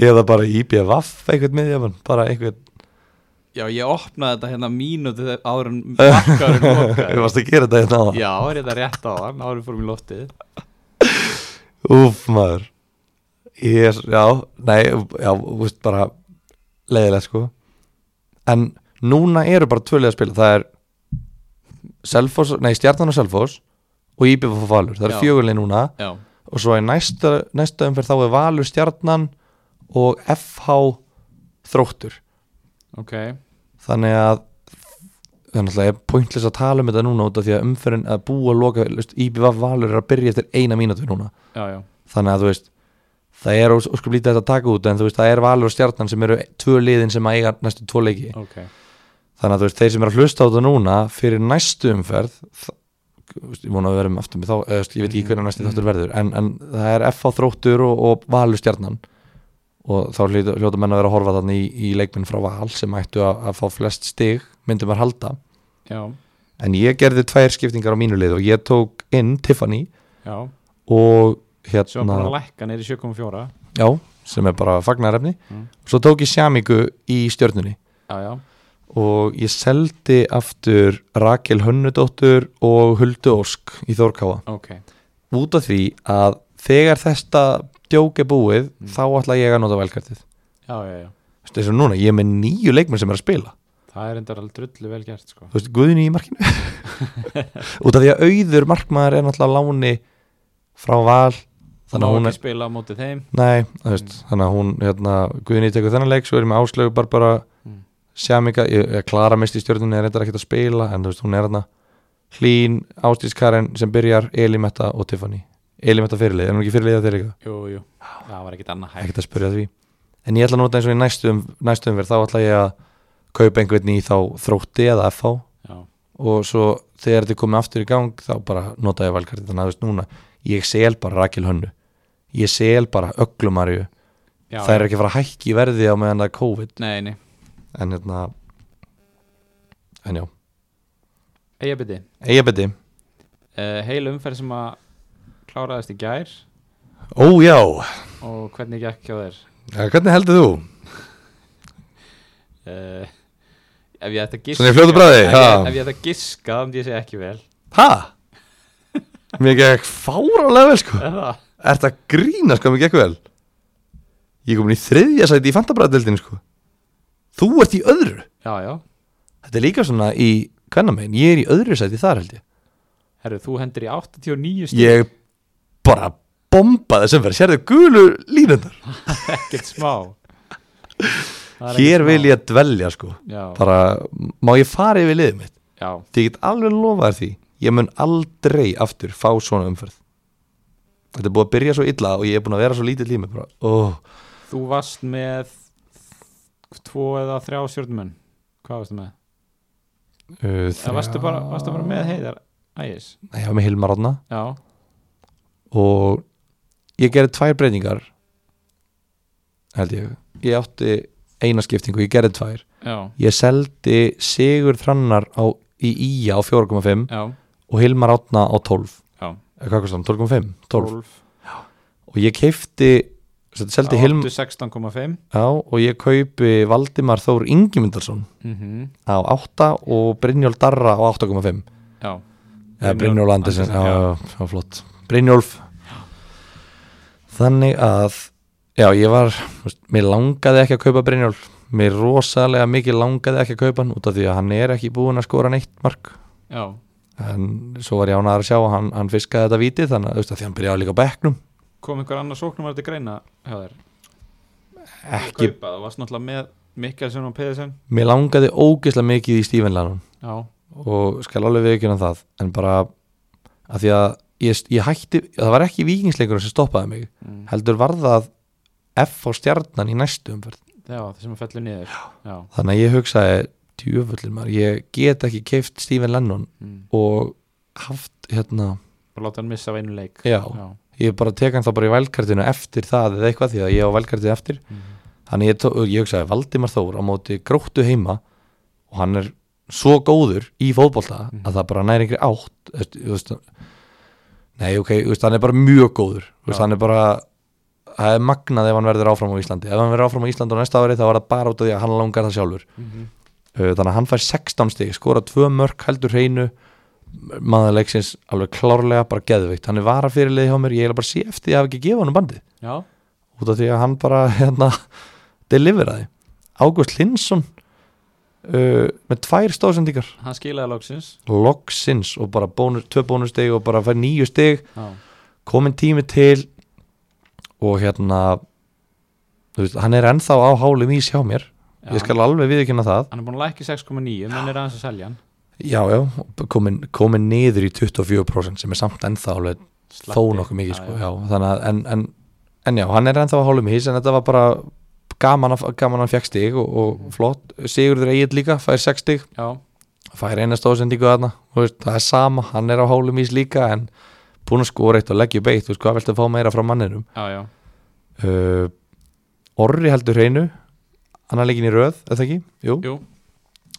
Speaker 1: Eða bara IPVF einhvern miðjumann Bara einhvern
Speaker 2: já ég opnaði þetta hérna mínúti áður en markaðurinn
Speaker 1: Við
Speaker 2: lokaði.
Speaker 1: varst að gera þetta hérna á það
Speaker 2: já er þetta rétt á þann áður en við fórum í loftið
Speaker 1: Úf maður Ég er, já, nei, já, þú veist bara leiðilegt sko En núna eru bara tvö liða að spila Það er Selfoss, nei Stjarnan og Selfoss Og IBF og Valur, það
Speaker 2: Já.
Speaker 1: er fjögulegi núna
Speaker 2: já
Speaker 1: Og svo er næsta, næsta umferð þá er Valur Stjarnan og FH Þróttur
Speaker 2: ok
Speaker 1: Þannig að það er náttúrulega pointless að tala um þetta núna út af því að umferðin að búa að loka IBF Valur er að byrja eftir eina mínútu núna
Speaker 2: já já
Speaker 1: þannig að þú veist það er óskum lítið þetta að taka út en þú veist það er Valur og Stjarnan sem eru tvö liðin sem að eiga næstu tvo leiki
Speaker 2: ok
Speaker 1: þannig að þú veist þeir sem eru að hlusta á þetta núna fyrir næstu umferð þa- þú veist, ég vona að við verum aftur með þá eða, þú veist, ég
Speaker 2: Mm.
Speaker 1: veit ekki hvernig næstu þáttur verður en, en það er FH þróttur og, og Valur Stjarnan og þá hljóta, hljóta menn að vera að horfa þannig í, í leikminn frá Val sem ættu að, að fá flest stig myndum að halda
Speaker 2: já
Speaker 1: en ég gerði tvær skiptingar á mínu lið og ég tók inn Tiffany
Speaker 2: já
Speaker 1: og
Speaker 2: sem var búin að
Speaker 1: hérna
Speaker 2: lækka neyri 7.4
Speaker 1: já, sem er bara fagnarefni
Speaker 2: Mm.
Speaker 1: svo tók ég sjámingu í stjörnunni
Speaker 2: já já
Speaker 1: og ég seldi aftur Rakel Hönnudóttur og Huldu Ósk í Þórkáa
Speaker 2: ok
Speaker 1: út af því að þegar þetta djók er búið
Speaker 2: Mm.
Speaker 1: þá ætla ég að nota velkartið
Speaker 2: já já já
Speaker 1: þess að núna, ég er með nýju leikmenn sem er að spila
Speaker 2: það er endar alveg drullu vel gert sko
Speaker 1: þú veist, Guðni í markinu út af því að auður markmaður er náttúrulega á láni frá val þannig að hún
Speaker 2: má
Speaker 1: er
Speaker 2: ekki spila á móti þeim
Speaker 1: Nei, þú veist, þannig að hún hérna, Guðni tekur þennan leik, svo erum við áslögu bara bara
Speaker 2: Mm.
Speaker 1: Sjámika, ég, ég Klara mist í stjórnunni er reyndar ekkert að spila, en þú veist, hún er hérna Hlín, Ástís Karen sem byrjar Elimetta og Tiffany Elimetta fyrirlið, er hún ekki fyrirlið að þeir eitthvað?
Speaker 2: jú jú það var ekkert annað hægt
Speaker 1: Ekkert að spyrja að því En ég ætla að nota eins og í næstum, næstum verð, þá ætla ég að kaupa einhvern í þá þrótti eða FH
Speaker 2: já
Speaker 1: og svo þegar þetta er komið aftur í gang þá bara nota ég valkartið þannig að þú veist núna ég sel bara Rakel Hönnu ég sel bara Öglumarju
Speaker 2: já
Speaker 1: það er ekki að fara að hækki í verði á meðan það er COVID
Speaker 2: nei nei
Speaker 1: en hérna en já,
Speaker 2: ég byrði
Speaker 1: eigabiti
Speaker 2: uh, heil umferð sem að kláraðist í gær
Speaker 1: ó já,
Speaker 2: og hvernig gekk hjá þér
Speaker 1: ja, hvernig heldur þú?
Speaker 2: uh, ef ég ætti að giska
Speaker 1: Svona í fljótu bragði,
Speaker 2: ef,
Speaker 1: ha.
Speaker 2: ég- ef ég ætti að giska þá myndi ég segja ekki vel
Speaker 1: ha? mér gekk fáralega vel sko
Speaker 2: Eða?
Speaker 1: ert að grína sko, mér gekk vel ég er komin í þriðja sæti í fantabræðdeldinu sko þú ert í öðru
Speaker 2: já, já,
Speaker 1: þetta er líka svona í kvennamein, ég er í öðru sæti þar held ég
Speaker 2: herru, þú hendur í 89 stík
Speaker 1: ég bara bombaði sem verið, sérðu gulu línundar
Speaker 2: ekkert smá Það er ekkert
Speaker 1: hér
Speaker 2: smá.
Speaker 1: vil ég dvelja sko
Speaker 2: já,
Speaker 1: bara, má ég fara yfir liðið mitt
Speaker 2: já,
Speaker 1: því ég get alveg lofaðar því ég mun aldrei aftur fá svona umferð þetta er búið að byrja svo illa og ég er búin að vera svo lítið lími bara, oh,
Speaker 2: Þú varst með tvo eða þrjá stjórnumenn Hvað varstu með?
Speaker 1: Uh,
Speaker 2: Eða varstu bara, varstu bara með heiðar Ægis?
Speaker 1: Ég var með Hilmar Rána
Speaker 2: Já,
Speaker 1: og ég gerði tvær breytingar held ég ég átti eina skiptingu, ég gerði tvær
Speaker 2: já,
Speaker 1: ég seldi Sigur Þrannar á, í Ía á 4,5
Speaker 2: já,
Speaker 1: og Hilmar Átna á 12
Speaker 2: já
Speaker 1: eða hvað kostar hann, 12,5 12.
Speaker 2: Tólf.
Speaker 1: og ég keifti sem sagt, seldi
Speaker 2: Já,
Speaker 1: Hilmar
Speaker 2: áttu 16,5
Speaker 1: á, og ég kaupi Valdimar Þór Ingimundarsson
Speaker 2: Mhm,
Speaker 1: á 8 og Brynjól Darra á 8,5
Speaker 2: Já,
Speaker 1: eða
Speaker 2: Brynjólf
Speaker 1: Brynjólf Andersen,
Speaker 2: Andersen,
Speaker 1: já,
Speaker 2: já.
Speaker 1: já, já, flott Brynjólf þannig að já, ég var, þú veist, mér langaði ekki að kaupa Brynjólf, mér rosalega mikið langaði ekki að kaupa hann út af því að hann er ekki búinn að skora neitt mark
Speaker 2: já,
Speaker 1: en svo var ég ánaðar að sjá að hann, hann fiskaði þetta vitið þannig að þú veist, af því að hann byrjaði líka á bekknum
Speaker 2: kom einhver annar sóknum að þetta greina hjá þér?
Speaker 1: ekki,
Speaker 2: Kaupa, þú varst náttúrulega með Mikkelsen og Pedersen
Speaker 1: mér langaði ógeðslega mikið í Stephen Lennon
Speaker 2: Já,
Speaker 1: og skal alveg viðkjöna það en bara að því að ég, ég hætti, það var ekki vikingsleikur sem stoppaði mig
Speaker 2: mm.
Speaker 1: heldur var það F á stjarnan í næstu umferð
Speaker 2: já það sem að fellu niður Já,
Speaker 1: þannig að ég hugsaði djöfullin maður, ég get ekki keift Stephen Lennon
Speaker 2: mm.
Speaker 1: og haft hérna,
Speaker 2: bara láta hann missa af einu leik
Speaker 1: já,
Speaker 2: já.
Speaker 1: ég bara tek hann þá bara í vælkartinu eftir það eða eitthvað því að ég á vælkartinu eftir
Speaker 2: Mhm.
Speaker 1: þannig ég, tó, ég hugsaði Valdimar Þór á móti gróttu heima og hann er svo góður í fótbolta
Speaker 2: Mhm.
Speaker 1: að það bara næri yngri átt þú veist, þú veist, nei ok, þú veist, hann er bara mjög góður þú veist,
Speaker 2: Já.
Speaker 1: hann er bara það er magnað ef hann verður áfram á Íslandi ef hann verður áfram á Íslandi á næsta ári þá var það bara út af því að hann langar það sjálfur
Speaker 2: Mhm.
Speaker 1: Uh, þannig að hann fær 16 stig, skora tvö mörk heldur hreinu maðurleiksins alveg klárlega bara geðveikt hann er vara fyrirlið hjá mér, ég er bara sé eftir því að hafa ekki gefa hann um bandið
Speaker 2: já,
Speaker 1: út af því að hann bara hérna, deliveraði Ágúst Linsson uh, með tvær stóðsendingar
Speaker 2: hann skilaði loksins
Speaker 1: loksins og bara bónus, tvö bónusteg og bara fær nýju stig
Speaker 2: Já,
Speaker 1: komin tími til og hérna þú veist, hann er ennþá á hálum ís hjá mér
Speaker 2: já.
Speaker 1: ég skal alveg viðkynna það
Speaker 2: Hann er búin að lækka í 6,9 menn er aðeins að selja hann
Speaker 1: Já, já, komin, komin niður í 24% sem er samt ennþá alveg
Speaker 2: Slatti.
Speaker 1: þó nokkuð mikið
Speaker 2: Já,
Speaker 1: sko,
Speaker 2: já.
Speaker 1: já, þannig að en, en, en já, hann er ennþá að hálfum hís en þetta var bara gaman að, gaman að hann fekk stig og,
Speaker 2: Mm.
Speaker 1: og flott, Sigurður Egil líka fær 6 stig,
Speaker 2: Já,
Speaker 1: fær eina stóðsendingu þarna, þú veist, það er sama hann er á hálfum hís líka en búin að skora eitt og leggja upp eitt, þú veist, hvað viltu að fá meira frá manninum
Speaker 2: já, já,
Speaker 1: uh, Orri heldur hreinu annar leikin í röð, eða ekki? Jú,
Speaker 2: jú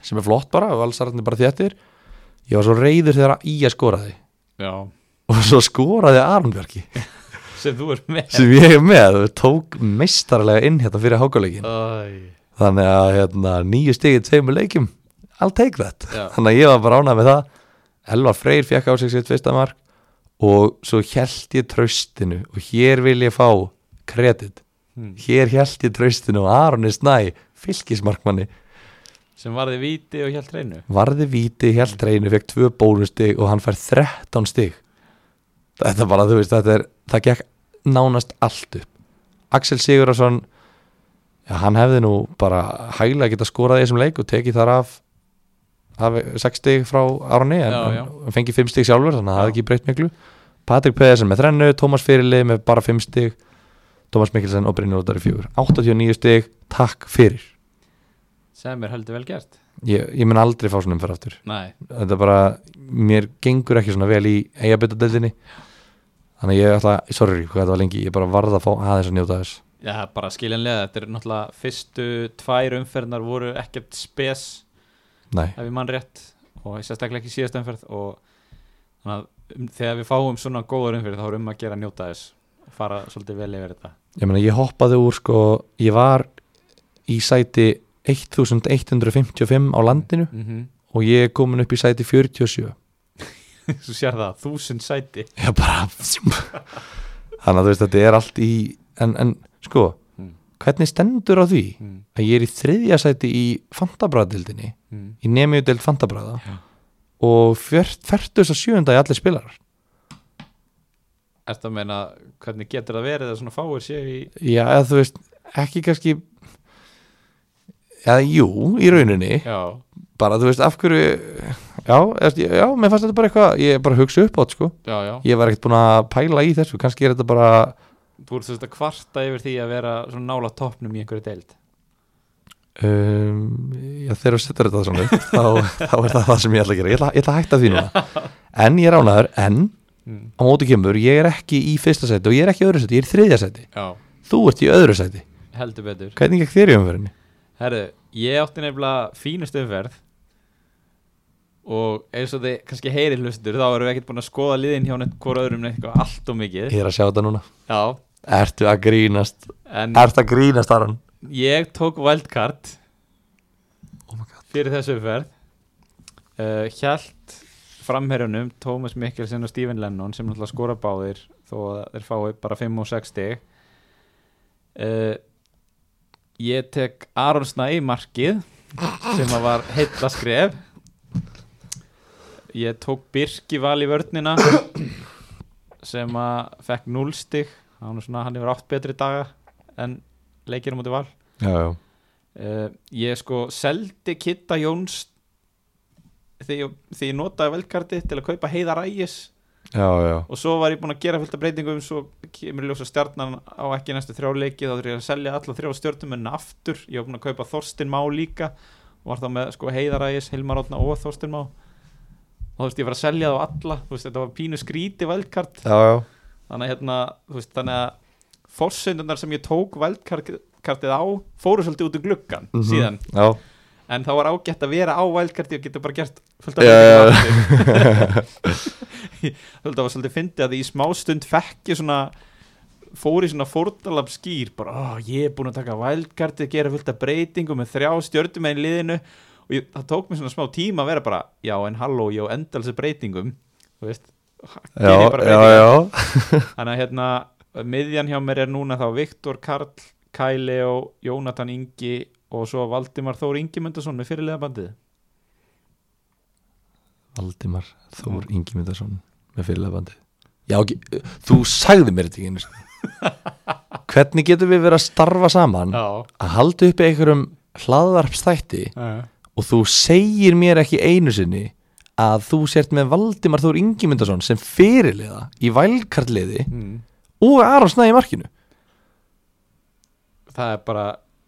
Speaker 1: sem er flott bara, valsararnir bara þéttir ég var svo reyður þegar í að skora þig
Speaker 2: Já,
Speaker 1: og svo skoraði Arnbjörki
Speaker 2: sem þú er með
Speaker 1: sem ég er með, tók meistarlega inn hérna fyrir hákuleikin
Speaker 2: Æ,
Speaker 1: þannig að hérna, nýju stigið tveimur leikjum I'll take that
Speaker 2: Já.
Speaker 1: þannig að ég var bara ánað með það Elvar Freyr fekk á sig sitt fyrsta mark og svo held ég traustinu og hér vil ég fá kredit
Speaker 2: Hmm.
Speaker 1: hér held ég traustinu og Aronni Snæ fylgismarkmanni
Speaker 2: Sem varði víti og hjælt reynu
Speaker 1: varði víti, held reynu, fekk tvö bónustig og hann fær 13 stig þetta bara, þú veist, þetta er það gekk nánast allt upp Axel Sigurðarsson já, hann hefði nú bara hæglega geta skorað í þessum leik og tekið þar af hafi 6 stig frá Arni en
Speaker 2: Já, já.
Speaker 1: hann fengið 5 stig sjálfur þannig að það
Speaker 2: Já.
Speaker 1: hafði ekki breytt miklu Patrik Pedersen með þrennu, Tómas Fyrirlið með bara 5 stig Tómas Mikkelsen og Brynjólf Dæri 4 89 stig, takk fyrir
Speaker 2: Sem er heldur vel gert
Speaker 1: ég, ég mun aldrei fá svona umferð aftur
Speaker 2: Nei,
Speaker 1: þetta bara, mér gengur ekki svona vel í eigabitadeldinni þannig að ég ætla, sorry hvað þetta var lengi ég bara varð að fá aðeins að njóta þess
Speaker 2: já, bara skiljanlega Þetta er náttúrulega fyrstu tvær umferðnar voru ekkert spes
Speaker 1: nei,
Speaker 2: ef ég mann rétt og sérstaklega ekki síðast umferð og þannig að um, þegar við fáum svona góður umferð þá er um að gera að njóta þess og fara svolítið vel yfir þetta
Speaker 1: ég meina ég hoppaði úr sko, ég var í sæti 1155 á landinu
Speaker 2: mm
Speaker 1: og ég er komin upp í sæti 47
Speaker 2: Svo sér það, þúsund sæti
Speaker 1: ég bara þannig að þú veist þetta er allt í en, en sko,
Speaker 2: Mm.
Speaker 1: hvernig stendur á því
Speaker 2: mm.
Speaker 1: að ég er í þriðja sæti í fantabræðdildinni
Speaker 2: Mm.
Speaker 1: í nemiðdelt fantabræða
Speaker 2: Já.
Speaker 1: og fyrtust að sjöunda í allir spilarar
Speaker 2: Ertu að meina hvernig getur það verið að svona fáir séu í
Speaker 1: já, eða þú veist, ekki kannski eða jú í rauninni,
Speaker 2: Já,
Speaker 1: bara þú veist af hverju, já, eða, já mér fannst þetta bara eitthvað, ég bara hugsa upp átt sko
Speaker 2: já, já
Speaker 1: ég var ekkert búin að pæla í þessu kannski er þetta bara
Speaker 2: þú ert sérst að kvarta yfir því að vera svona nála toppnum í einhverju deild
Speaker 1: um, já, þegar þú setur þetta svona upp, þá, þá er það það sem ég ætla að gera ég ætla, ég ætla að hætta því núna en ég er ánæður, en
Speaker 2: mm.
Speaker 1: á móti kemur ég er ekki í fyrsta seti og ég er ekki í öðru seti, ég er í þriðja seti
Speaker 2: Já,
Speaker 1: þú ert í öðru seti,
Speaker 2: heldur betur
Speaker 1: hvernig ekki þér í umferðinni
Speaker 2: Herðu, ég átti nefnilega fínust umferð og eins og þið kannski heyri hlustur þá erum við ekkert búin að skoða liðin hjá neitt hvora öðrum neitt eitthvað allt og mikið
Speaker 1: ég er að sjá þetta núna,
Speaker 2: Já,
Speaker 1: ertu að grínast
Speaker 2: en
Speaker 1: ertu að grínast Aron
Speaker 2: ég tók wildcard
Speaker 1: oh my god,
Speaker 2: fyrir þessu umferð uh, Hjælt framherjunum Tómas Mikkelsen og Stephen Lennon sem náttúrulega skora báðir þó að þeir fái bara 5 og 6 stig uh, Ég tek Aron Snæ í markið sem að var heilla skref Ég tók Birki val í vörnina sem að fekk 0 stig hann, er svona, hann hefur átt betri daga en leikir á móti val
Speaker 1: já, já,
Speaker 2: Uh, ég sko seldi Kitta Jóns þegar ég, þegar ég notaði velkarti til að kaupa Heiðar Ægis
Speaker 1: já, já.
Speaker 2: og svo var ég búinn að gera fullt af breytingum svo kemur ljósa stjarnan á ekki næstu þrjá leiki þá þurfti ég að selja alla þrjá stjörnum en aftur, ég var búinn að kaupa Þorstin Má líka og var þá með sko Heiðar Ægis, Hilmar Átna og Þorstin Má þá þú veist ég var að selja þá alla þú veist þetta var pínu skríti velkart
Speaker 1: já, já.
Speaker 2: þannig að hérna, þú veist, þannig að fórsöndunar sem ég tók vældkartið á fóru svolítið út úr gluggan
Speaker 1: Mhm.
Speaker 2: síðan,
Speaker 1: já.
Speaker 2: en þá var ágætt að vera á vældkartið og geta bara gert fullt
Speaker 1: Já, já, já.
Speaker 2: af hlutum það var svolítið fyndið að ég í smástund fekk ég svona fór í svona fórtalab skýr bara, ó, ég er búin að taka vældkartið gera fullt af breytingum með þrjá stjörnum einn liðinu og ég, það tók mér svona smá tíma að vera bara, já en halló, ég á endalse breytingum þú veist,
Speaker 1: Já,
Speaker 2: geri ég bara
Speaker 1: já,
Speaker 2: breytingar.
Speaker 1: já.
Speaker 2: Þannig að hérna, miðjan hjá mér er núna þá Viktor Karl, Kæli og Jónatan Ingi og svo Valdimar Þór Ingi Mundarsson með fyrirlega bandið.
Speaker 1: Valdimar Þór Ingi Myndarsson með fyrirlefandi Mm. Já, ekki, þú sagði mér þetta ekki einu sinni. Hvernig getum við verið að starfa saman
Speaker 2: Já.
Speaker 1: að halda uppi einhverjum hlaðvarpstætti
Speaker 2: Já,
Speaker 1: og þú segir mér ekki einu sinni að þú sért með Valdimar Þór Ingi Myndarsson sem fyrirliða í vælkartliði
Speaker 2: Mm.
Speaker 1: og Aron Snæði í markinu
Speaker 2: það er bara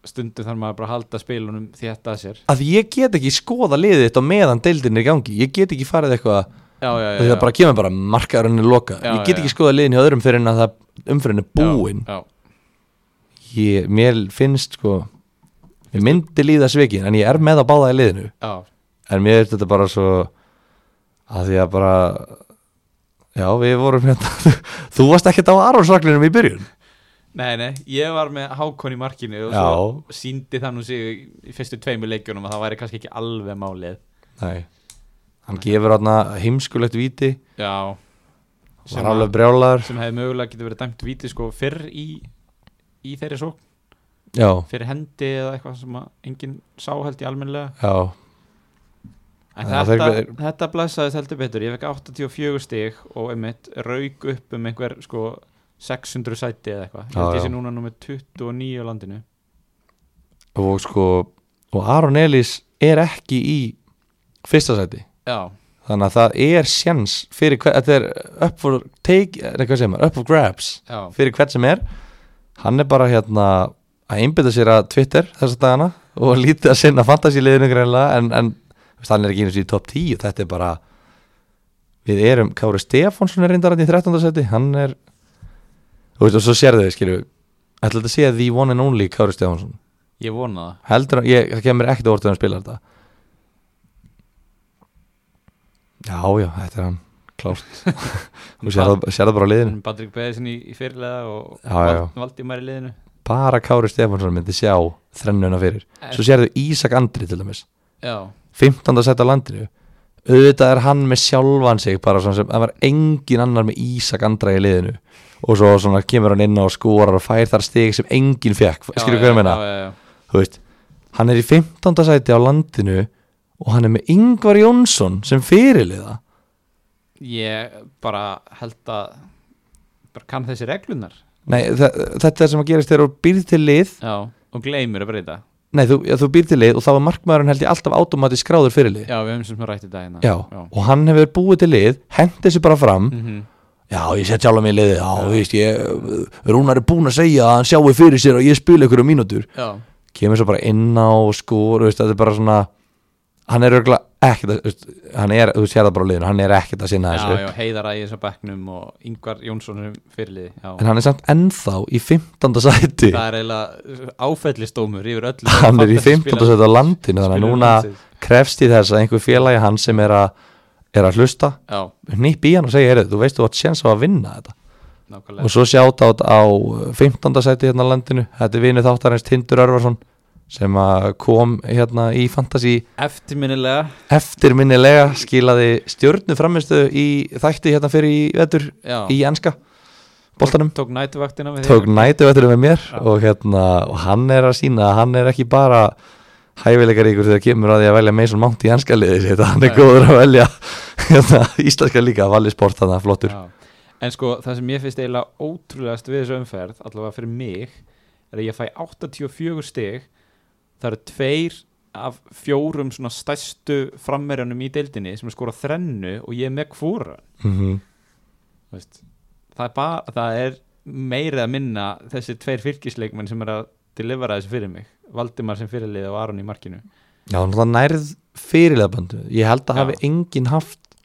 Speaker 2: stundum þarf maður bara að halda spilunum þetta að sér.
Speaker 1: að ég get ekki skoða liðið þetta á meðan deildin er í gangi ég get ekki farið eitthvað
Speaker 2: Já, já, já.
Speaker 1: Því það bara kemur bara markaðurinn er loka
Speaker 2: Já,
Speaker 1: Ég get
Speaker 2: já,
Speaker 1: ekki
Speaker 2: já.
Speaker 1: skoða liðin hjá öðrum fyrir en að það umfyrir er búin
Speaker 2: Já,
Speaker 1: ég, Mér finnst sko Ég myndi líða svikin En ég er með að báða í liðinu
Speaker 2: já,
Speaker 1: En mér er þetta bara svo að Því að bara Já, við vorum hérna Þú varst ekkert á Aronsraklinum í byrjun
Speaker 2: Nei, nei, ég var með hákon í markinu og svo síndi það nú sig í- í fyrstu tveimu leikjunum að það væri kannski ekki alveg málið.
Speaker 1: Nei Hann gefur hann heimskulegt víti
Speaker 2: Já.
Speaker 1: Var alveg brjálar
Speaker 2: sem hefði mögulega getur verið dæmt víti sko fyrr í, í þeirri sók
Speaker 1: Já,
Speaker 2: fyrir hendi eða eitthvað sem að enginn sá held í almennlega
Speaker 1: já,
Speaker 2: en
Speaker 1: Já,
Speaker 2: þetta,
Speaker 1: þeir-
Speaker 2: þetta blæsaðist heldur betur ég fekk 84 stig og einmitt rauk upp um einhver sko 600 sæti eða eitthvað ég
Speaker 1: Já,
Speaker 2: held ég
Speaker 1: já.
Speaker 2: sé núna nummer 29 á landinu
Speaker 1: og sko Og Aron Elís er ekki í Fyrsta sæti
Speaker 2: já,
Speaker 1: þannig að það er sjans fyrir hver, þetta er up for take eða hvað segir maður, up for grabs
Speaker 2: já,
Speaker 1: fyrir hvern sem er hann er bara hérna að einbytta sér að Twitter þessa dagana og lítið að sinna fantasíliðinu greinlega en, en þú veist, hann er ekki einu sér í top 10 þetta er bara við erum, Kári Stefánsson er reyndar hann í 13. seti hann er þú veist, og svo sérðu þau skilju ætla þetta að sé the one and only Kári Stefánsson
Speaker 2: ég vona það
Speaker 1: heldur hann, ég, það kemur ekkert orðið að hann spila þetta já, já, þetta er hann klárt, þú sér það, sér það bara á liðinu
Speaker 2: en Patrik Beðisinn í, í fyrirlega og
Speaker 1: Já, já, já.
Speaker 2: valdi maður í liðinu
Speaker 1: bara Kári Stefánsson myndi sjá þrennuna fyrir, svo sérðu Ísak Andri til dæmis,
Speaker 2: já,
Speaker 1: 15. sætt á landinu auðvitað er hann með sjálfan sig bara svona sem, það var engin annar með Ísak Andra í liðinu og svo svona kemur hann inn á og skorar og fær þar stig sem enginn fekk,
Speaker 2: já,
Speaker 1: skilur
Speaker 2: já,
Speaker 1: hvað ég meina
Speaker 2: já, já, já.
Speaker 1: þú veist, hann er í 15. sæti á landinu og hann er með Ingvar Jónsson sem fyrirliða
Speaker 2: ég bara held að bara kann þessi reglunar
Speaker 1: nei, þa- þetta er sem að gerast þegar þú býr til lið
Speaker 2: já, og gleymir að breyta
Speaker 1: nei, þú, ja, þú býr til lið og þá er markmaðurinn held ég alltaf automatisk skráður fyrirlið
Speaker 2: Já, við höfum sem sem rætt í dagina
Speaker 1: já, og hann hefur búið til lið hendi þessu bara fram,
Speaker 2: Mhm.
Speaker 1: já, ég sett sjálf að mig í liðið, já, þú veist, ég Rúnar er búinn að segja að hann sjáu fyrir sér og ég spila ykkur um mínútur
Speaker 3: já,
Speaker 1: kemur svo bara inn á og skor, þú veist, þetta er bara svona hann er örgulega ekkert að, þú veist, hann er, þú sér það bara á liðinu, hann er ekkert að sinna
Speaker 2: já,
Speaker 1: þessu
Speaker 2: já, heiðar ægis á bekknum og Yngvar Jónsson sem fyrirliði já.
Speaker 1: en hann er samt ennþá í 15. sæti
Speaker 2: það er eiginlega áfællistómur yfir öllu
Speaker 1: hann er í 15. sæti á landinu þannig að
Speaker 2: Spila um
Speaker 1: núna
Speaker 2: landsins.
Speaker 1: krefst í þess að einhver félagi hans sem er að, er að hlusta
Speaker 2: já,
Speaker 1: hnipp í hann og segja, heyrðu, þú veist, þú átt séns á að vinna þetta
Speaker 2: nákvæmlega
Speaker 1: og svo sjátt átt á 15. sæti hérna á landinu, þetta er vinið þáttarins Tindur Örvarsson sem að kom hérna í Fantasí
Speaker 2: eftirminnilega,
Speaker 1: eftirminnilega skilaði stjórnu framistu í þætti hérna fyrir í vetur
Speaker 2: já,
Speaker 1: í enska boltanum
Speaker 2: tók nætuvaktina með
Speaker 1: tók
Speaker 2: þér.
Speaker 1: nætu vetturinn með mér og hérna og hann er að sína að hann er ekki bara hæfileikar ykkur þegar kemur að því að velja Mason Mount í enska liðið sitt hann er
Speaker 2: Nei.
Speaker 1: góður að velja hérna, íslenska líka, valið sport þannig að flottur
Speaker 2: Já. En sko, það sem ég finnst eiginlega ótrúlegast við þessu umferð, allavega fyrir mig, er að ég fæ 84 stig, það eru tveir af fjórum svona stærstu frammerjanum í deildinni sem er skora þrennu og ég er með kvóra.
Speaker 1: mm
Speaker 2: Veist. Það er, bara, það er meira að minna þessi tveir fylgisleikmenn sem er að delivera þessu fyrir mig. Valdimar sem fyrirliði og Aron í markinu.
Speaker 1: Já, náttúrulega nærð fyrirlega böndu Ég held að
Speaker 2: Já.
Speaker 1: hafi enginn haft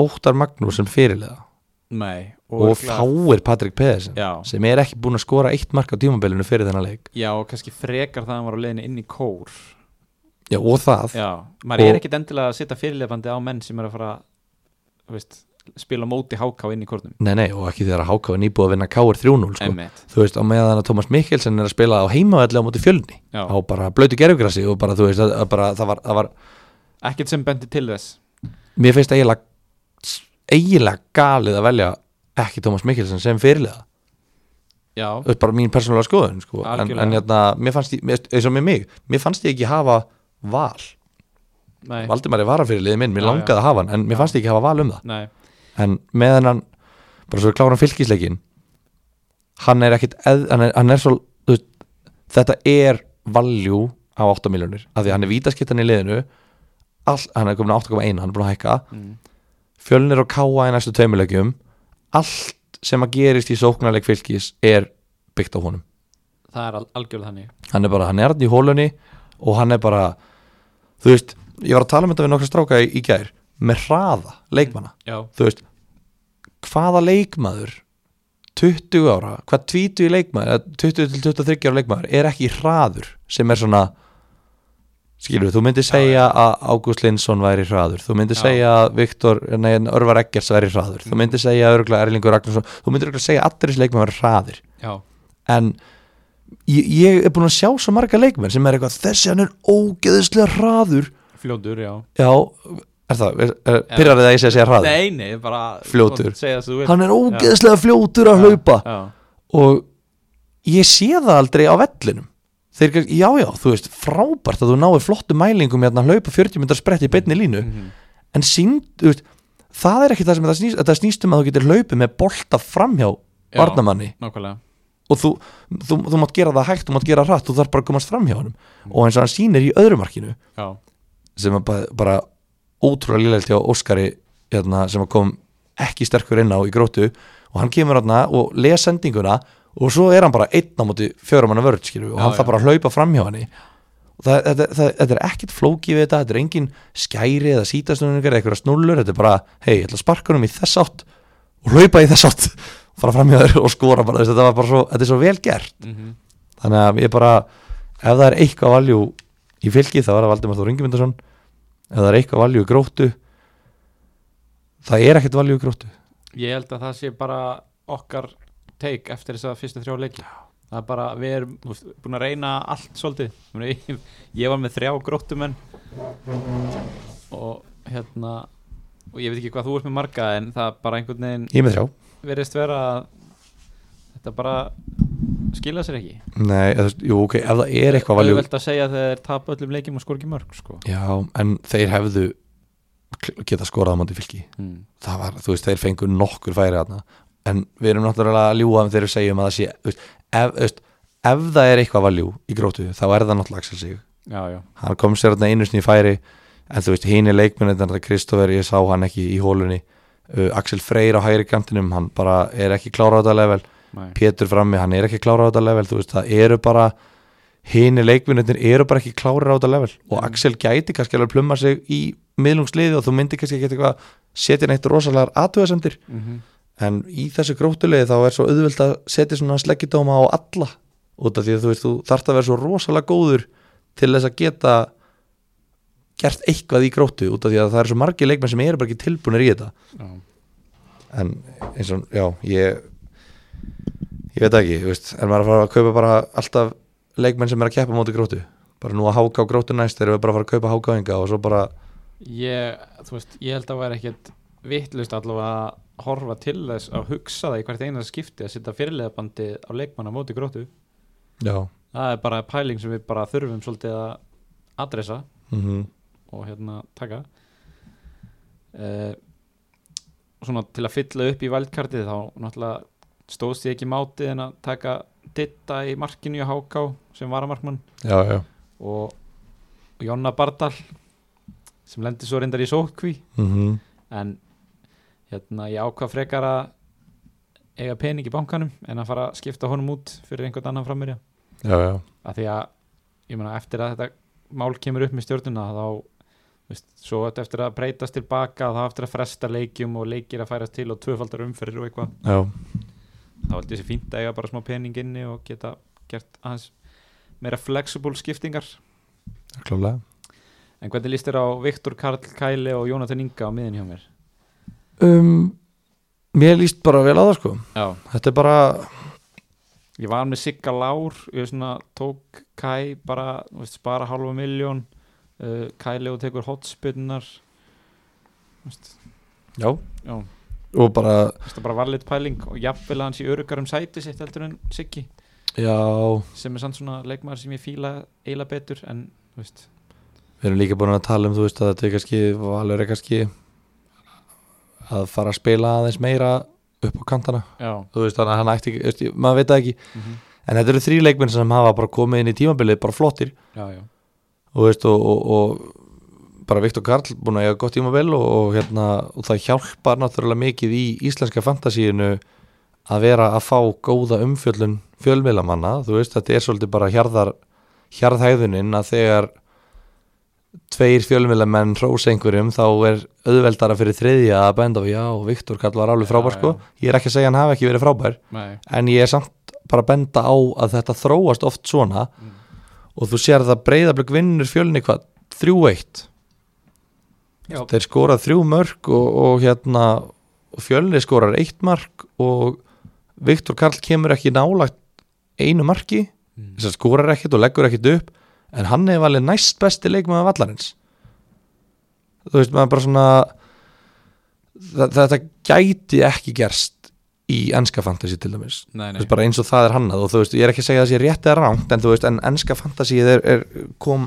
Speaker 1: Óttar Magnús sem fyrirlega
Speaker 2: Nei.
Speaker 1: og, fáir Patrik Pedersen
Speaker 2: Já,
Speaker 1: sem er ekki búin að skora eitt mark á tímabilinu fyrir þennan leik
Speaker 2: já, og kannski frekar það að hann var á leiðinni inn í kór.
Speaker 1: Já, og það
Speaker 2: Já, maður er
Speaker 1: Og-
Speaker 2: ekkit endilega að setja fyrirlefandi á menn sem er að fara þú veist, spila á móti háká inn í kórnum
Speaker 1: Nei, nei, og ekki þegar að HK er nýbúið að vinna KR 3-0 sko.
Speaker 2: Emmett,
Speaker 1: Þú veist, á meðan að Tómas Mikkelsen er að spila á heimavelli á móti fjölni
Speaker 2: já,
Speaker 1: á bara blötu gerfugrassi og bara, þú veist, að, að bara, það, var, það var
Speaker 2: ekkert sem bendi til þess
Speaker 1: Mér finnst eiginlega eiginlega galið að velja ekki Tómas Mikkelsen sem fyrirlega
Speaker 2: Já,
Speaker 1: Þú veist, bara mín persónulega skoðun sko. en,
Speaker 2: Algjörlega.
Speaker 1: en hérna, mér fannst ég, mér- eins og með mig mér fannst ég ekki hafa val
Speaker 2: nei,
Speaker 1: Valdimar er vara fyrir liðið minn, mér
Speaker 2: Já,
Speaker 1: langaði að hafa hann en mér fannst ég ekki hafa val um
Speaker 2: nei
Speaker 1: það en með hennan, bara svo við klárum fylgisleikin hann er ekkit eð, hann, er, hann er svo þú veist, þetta er valjú á 8 miljónir, af því að hann er vítaskiptan í liðinu all, hann er komin á 8,1 hann er búin að hækka,
Speaker 2: mm.
Speaker 1: fjölnir og káa í næstu tveimilegjum allt sem að gerist í sóknarleik fylgis er byggt á honum
Speaker 2: Það er al algjörlega þannig
Speaker 1: hann er bara, hann er hann í hólunni og hann er bara þú veist, ég var að tala um þetta við nokkra stráka í, í gær með hraða leikmanna
Speaker 2: Já,
Speaker 1: þú veist, hvaða leikmaður 20 ára, hvað 20 leikmaður eða 20 til 23 ára leikmaður er ekki hraður sem er svona skilur, þú myndir segja að Ágúst Lindsson væri hraður, þú myndir
Speaker 2: Já. Mm.
Speaker 1: segja að Viktor, nei, en Örvar Eggerts væri hraður þú myndir segja að Örgla Erlingur Ragnarsson þú myndir örgla segja að allir þessi leikmaður eru hraðir
Speaker 2: já,
Speaker 1: en ég, ég er búin að sjá svo marga leikmenn sem er eitthvað þessi hann er ógeðislega hraður
Speaker 2: fljótur, já
Speaker 1: já, er það, er, er, pyrrar það að ég sé að segja hraður
Speaker 2: Nei, nei, bara
Speaker 1: Fljótur.
Speaker 2: segja það sem þú vilt.
Speaker 1: hann er ógeðislega fljótur að
Speaker 2: Já,
Speaker 1: hlaupa
Speaker 2: Já,
Speaker 1: og ég sé það aldrei á vellinum þeir, kannski- já já, þú veist, frábært að þú náir flottu mælingum hérna að hlaupa 40 myndar sprett í beinni línu
Speaker 2: Mhm.
Speaker 1: en sínd, þú veist, það er ekki það sem það snýst, það snýst um að þú getur hlaupið með bolta framhjá
Speaker 2: Já.
Speaker 1: varnamanni
Speaker 2: nákvæmlega
Speaker 1: og þú, þú, þú mátt gera það hægt, þú mátt gera hratt þú þarf bara að komast fram hjá honum og eins og hann sýnir í öðru markinu
Speaker 2: Já,
Speaker 1: sem er bara, bara ótrúlega lillelt hjá Óskari hérna, sem að kom ekki sterkur inn á í grótu og hann kemur hérna og les sendinguna og svo er hann bara einn á móti fjórum hann að vörð skilju og
Speaker 2: Já,
Speaker 1: hann
Speaker 2: já.
Speaker 1: þarf bara að hlaupa fram hjá hann það, þetta, það, þetta er ekkit flóki við þetta þetta er engin skæri eða sítastunningar eða eitthvað snullur, þetta er bara hei, ég ætla að sparka hann í þess átt og hlaupa í þess átt fara fram hjá þér og skora bara, þú veist, þetta, var bara svo, þetta er svo vel gert
Speaker 2: mm
Speaker 1: þannig að ég bara ef það er eitthvað valjú í fylki þá er það Valdimar Þór Ingimundarsson ef það er eitthvað valjú í gróttu það er ekkert valjú í gróttu
Speaker 2: ég held að það sé bara okkar take eftir þess að fyrstu þrjá leiki það er bara, við erum þú veist, búin að reyna allt svolítið Ég meina, ég, ég var með þrjá gróttumenn og hérna og ég veit ekki hvað þú ert með marga en það er bara einhvern veginn
Speaker 1: ég er með þrjá
Speaker 2: verðist vera að þetta bara skila sér ekki
Speaker 1: Nei, eða, þú veist, jú, okay, ef það er eitthvað valjú
Speaker 2: auðvelt að segja þegar þeir tapa öllum leikjum og skor ekki mörg sko.
Speaker 1: já, en þeir hefðu kl- geta skorað á móti fylki
Speaker 2: mm.
Speaker 1: það var, þú veist, þeir fengu nokkur færi þarna en við erum náttúrulega að ljúga um þegar við segjum að það sé þú veist, ef, þú veist, ef það er eitthvað valjú í gróttu þá er það náttúrulega Axel Sig
Speaker 2: já, já,
Speaker 1: hann kom sér þarna einu sinni í færi en þú veist, hinn er leikmennir Kristoffer, ég sá hann ekki í hólunni uh, Axel Freyr á hægri kantinum hann bara er ekki klára á þetta level
Speaker 2: Nei.
Speaker 1: Pétur frammi, hann er ekki klára á þetta level þú veist, það eru bara hini leikvinnir eru bara ekki klára á þetta level og
Speaker 2: Mm.
Speaker 1: Axel gæti kannski alveg plumma sig í miðlungsliði og þú myndir kannski ekki eitthvað setja neitt rosalegar aðtöðasemdir
Speaker 2: Mhm.
Speaker 1: en í þessu grótulegi þá er svo auðvöld að setja svona sleggjudóma á alla út af því að þú veist, þú þarft að vera svo rosalega góður til þess að geta gert eitthvað í gróttu út af því að það eru svo margir leikmenn sem eru bara ekki tilbúinir í þetta
Speaker 2: Já.
Speaker 1: en eins og, já, ég ég veit það ekki, þú veist en maður er að fara að kaupa bara alltaf leikmenn sem er að keppa móti gróttu bara nú að háka á gróttu næst erum við bara að fara að kaupa hákaðinga og svo bara,
Speaker 2: ég, þú veist, ég held að vera ekkert vittlust allavega að horfa til þess að hugsa það í hvert eina skipti að setja fyrirliðabandi á leikmanna móti gróttu
Speaker 1: já
Speaker 2: það er bara pæling sem við bara þurfum svolítið að adressa
Speaker 1: mm
Speaker 2: og hérna taka eh, svona til að fylla upp í vældkartið þá náttúrulega stóðst ég ekki mátið en að taka ditta í markinu í HK sem varamarkmann
Speaker 1: já, já
Speaker 2: og, og Jonna Bardal sem lendi svo reyndar í sókví
Speaker 1: mm
Speaker 2: en hérna ég ákvað frekar að eiga pening í bankanum en að fara að skipta honum út fyrir einhvern annan framverja
Speaker 1: já, já,
Speaker 2: af því að ég meina eftir að þetta mál kemur upp með stjórnuna þá veist, svo átti eftir að breytast tilbaka þá eftir að fresta leikjum og leikir að færast til og tvöfaldar umferðir og eitthvað
Speaker 1: já
Speaker 2: þá held ég sér fínt að eiga bara smá pening inni og geta gert aðeins meira flexible skiptingar
Speaker 1: klálega
Speaker 2: en hvernig líst þér á Viktor Karl Kæli og Jónatan Inga á miðin hjá mér
Speaker 1: um, mér líst bara vel á það sko
Speaker 2: Já,
Speaker 1: þetta er bara,
Speaker 2: ég var með Sigga Lár ég svona tók Kæ bara, þú veist, spara halva miljón uh, Kæli og tekur hotspinnar þú veist,
Speaker 1: já
Speaker 2: já
Speaker 1: og bara,
Speaker 2: þetta bara var lit pæling og jafnvel að hann sé örugar um sæti sitt heldur en Siggi
Speaker 1: já
Speaker 2: sem er samt svona leikmaður sem ég fíla eila betur en þú veist
Speaker 1: við erum líka búin að tala um, þú veist, að þetta er kannski valur er kannski að fara að spila aðeins meira upp á kantana,
Speaker 2: já,
Speaker 1: þú veist, þannig að hann ætti ekki, þú veist, ég- maður veit það ekki,
Speaker 2: mm
Speaker 1: en þetta eru þrý leikmenn sem hafa bara komið inn í tímabilið, bara flottir
Speaker 2: já, já,
Speaker 1: og veist, og, og, og bara Viktor Karl búin að eiga gott tímabil og, og hérna, og það hjálpar náttúrulega mikið í íslenska fantasíinu að vera að fá góða umfjöllun fjölmiðlamanna, þú veist, þetta er svolítið bara hjarðar, hjarðhæðunin að þegar tveir fjölmiðlamenn hrós einhverjum þá er auðveldara fyrir þriðja að benda á já, Viktor Karl var alveg
Speaker 2: Já,
Speaker 1: frábær sko,
Speaker 2: já.
Speaker 1: ég er ekki að segja að hann hafi ekki verið frábær
Speaker 2: nei
Speaker 1: en ég er samt bara að benda á að þetta þróast oft svona
Speaker 2: Mm.
Speaker 1: og þú sér það breyðablögg vinnur fjölni hvað, 3-1
Speaker 2: já,
Speaker 1: þeir skorað þrjú mörk og, og hérna og fjölni skorar eitt mark og Viktor Karl kemur ekki nálagt einu marki
Speaker 2: Mm.
Speaker 1: þess að skorar ekkit og leggur ekkit upp en hann hefur valið næst besti leikmaður vallarins þú veist maður bara svona þa- þetta gæti ekki gerst í ennska fantasy til dæmis
Speaker 2: nei,
Speaker 1: Þú
Speaker 2: nei
Speaker 1: veist, bara eins og það er hannað og þú veist, ég er ekki að segja það sé rétt eða rangt en þú veist, en ennska fantasíið er, er kom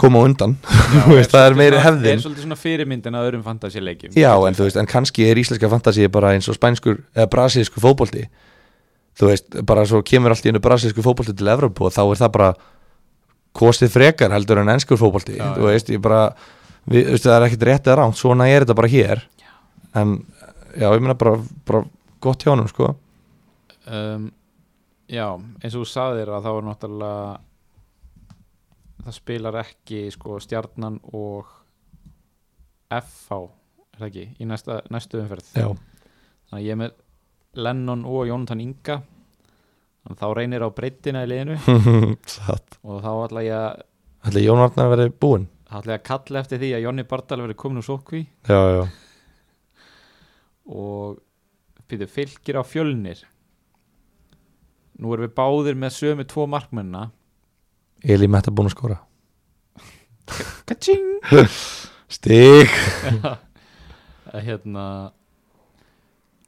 Speaker 1: kom á undan, þú veist, það er meiri
Speaker 2: er
Speaker 1: hefðin
Speaker 2: svolítið svona fyrirmyndin að öðrum fantasíleikjum
Speaker 1: já, en þú veist, en kannski er íslenska fantasíið bara eins og spænskur, eða brasísku fótbolti þú veist, bara svo kemur allt í einu brasísku fótbolti til Evropa og þá er það bara kostið frekar heldur en ennskur fótbolti,
Speaker 2: Já,
Speaker 1: þú
Speaker 2: já.
Speaker 1: veist, ég bara við, þú veist, það er ekkit rétt eða rangt, svona er þetta bara hér en, já, ég meina bara, bara gott hjá honum, sko
Speaker 2: um, já, eins og þú sagðir að þá er náttúrulega það spilar ekki sko stjarnan og FH er það ekki, í næsta, næstu umferð
Speaker 1: já,
Speaker 2: þannig að ég er með Lennon og Jónatan Inga þannig að þá reynir á breyttina í liðinu
Speaker 1: satt
Speaker 2: og þá ætla ég að
Speaker 1: Ætli Jón Arnar verið búinn?
Speaker 2: þá ætla ég að kalla eftir því að Jonni Bardal verið komin úr sókví
Speaker 1: Já, já,
Speaker 2: og býtu fylgir á fjölnir nú erum við báðir með sömu tvo markmennina
Speaker 1: Elí Metta búinn að skora
Speaker 2: Kaching!
Speaker 1: Stig
Speaker 2: að hérna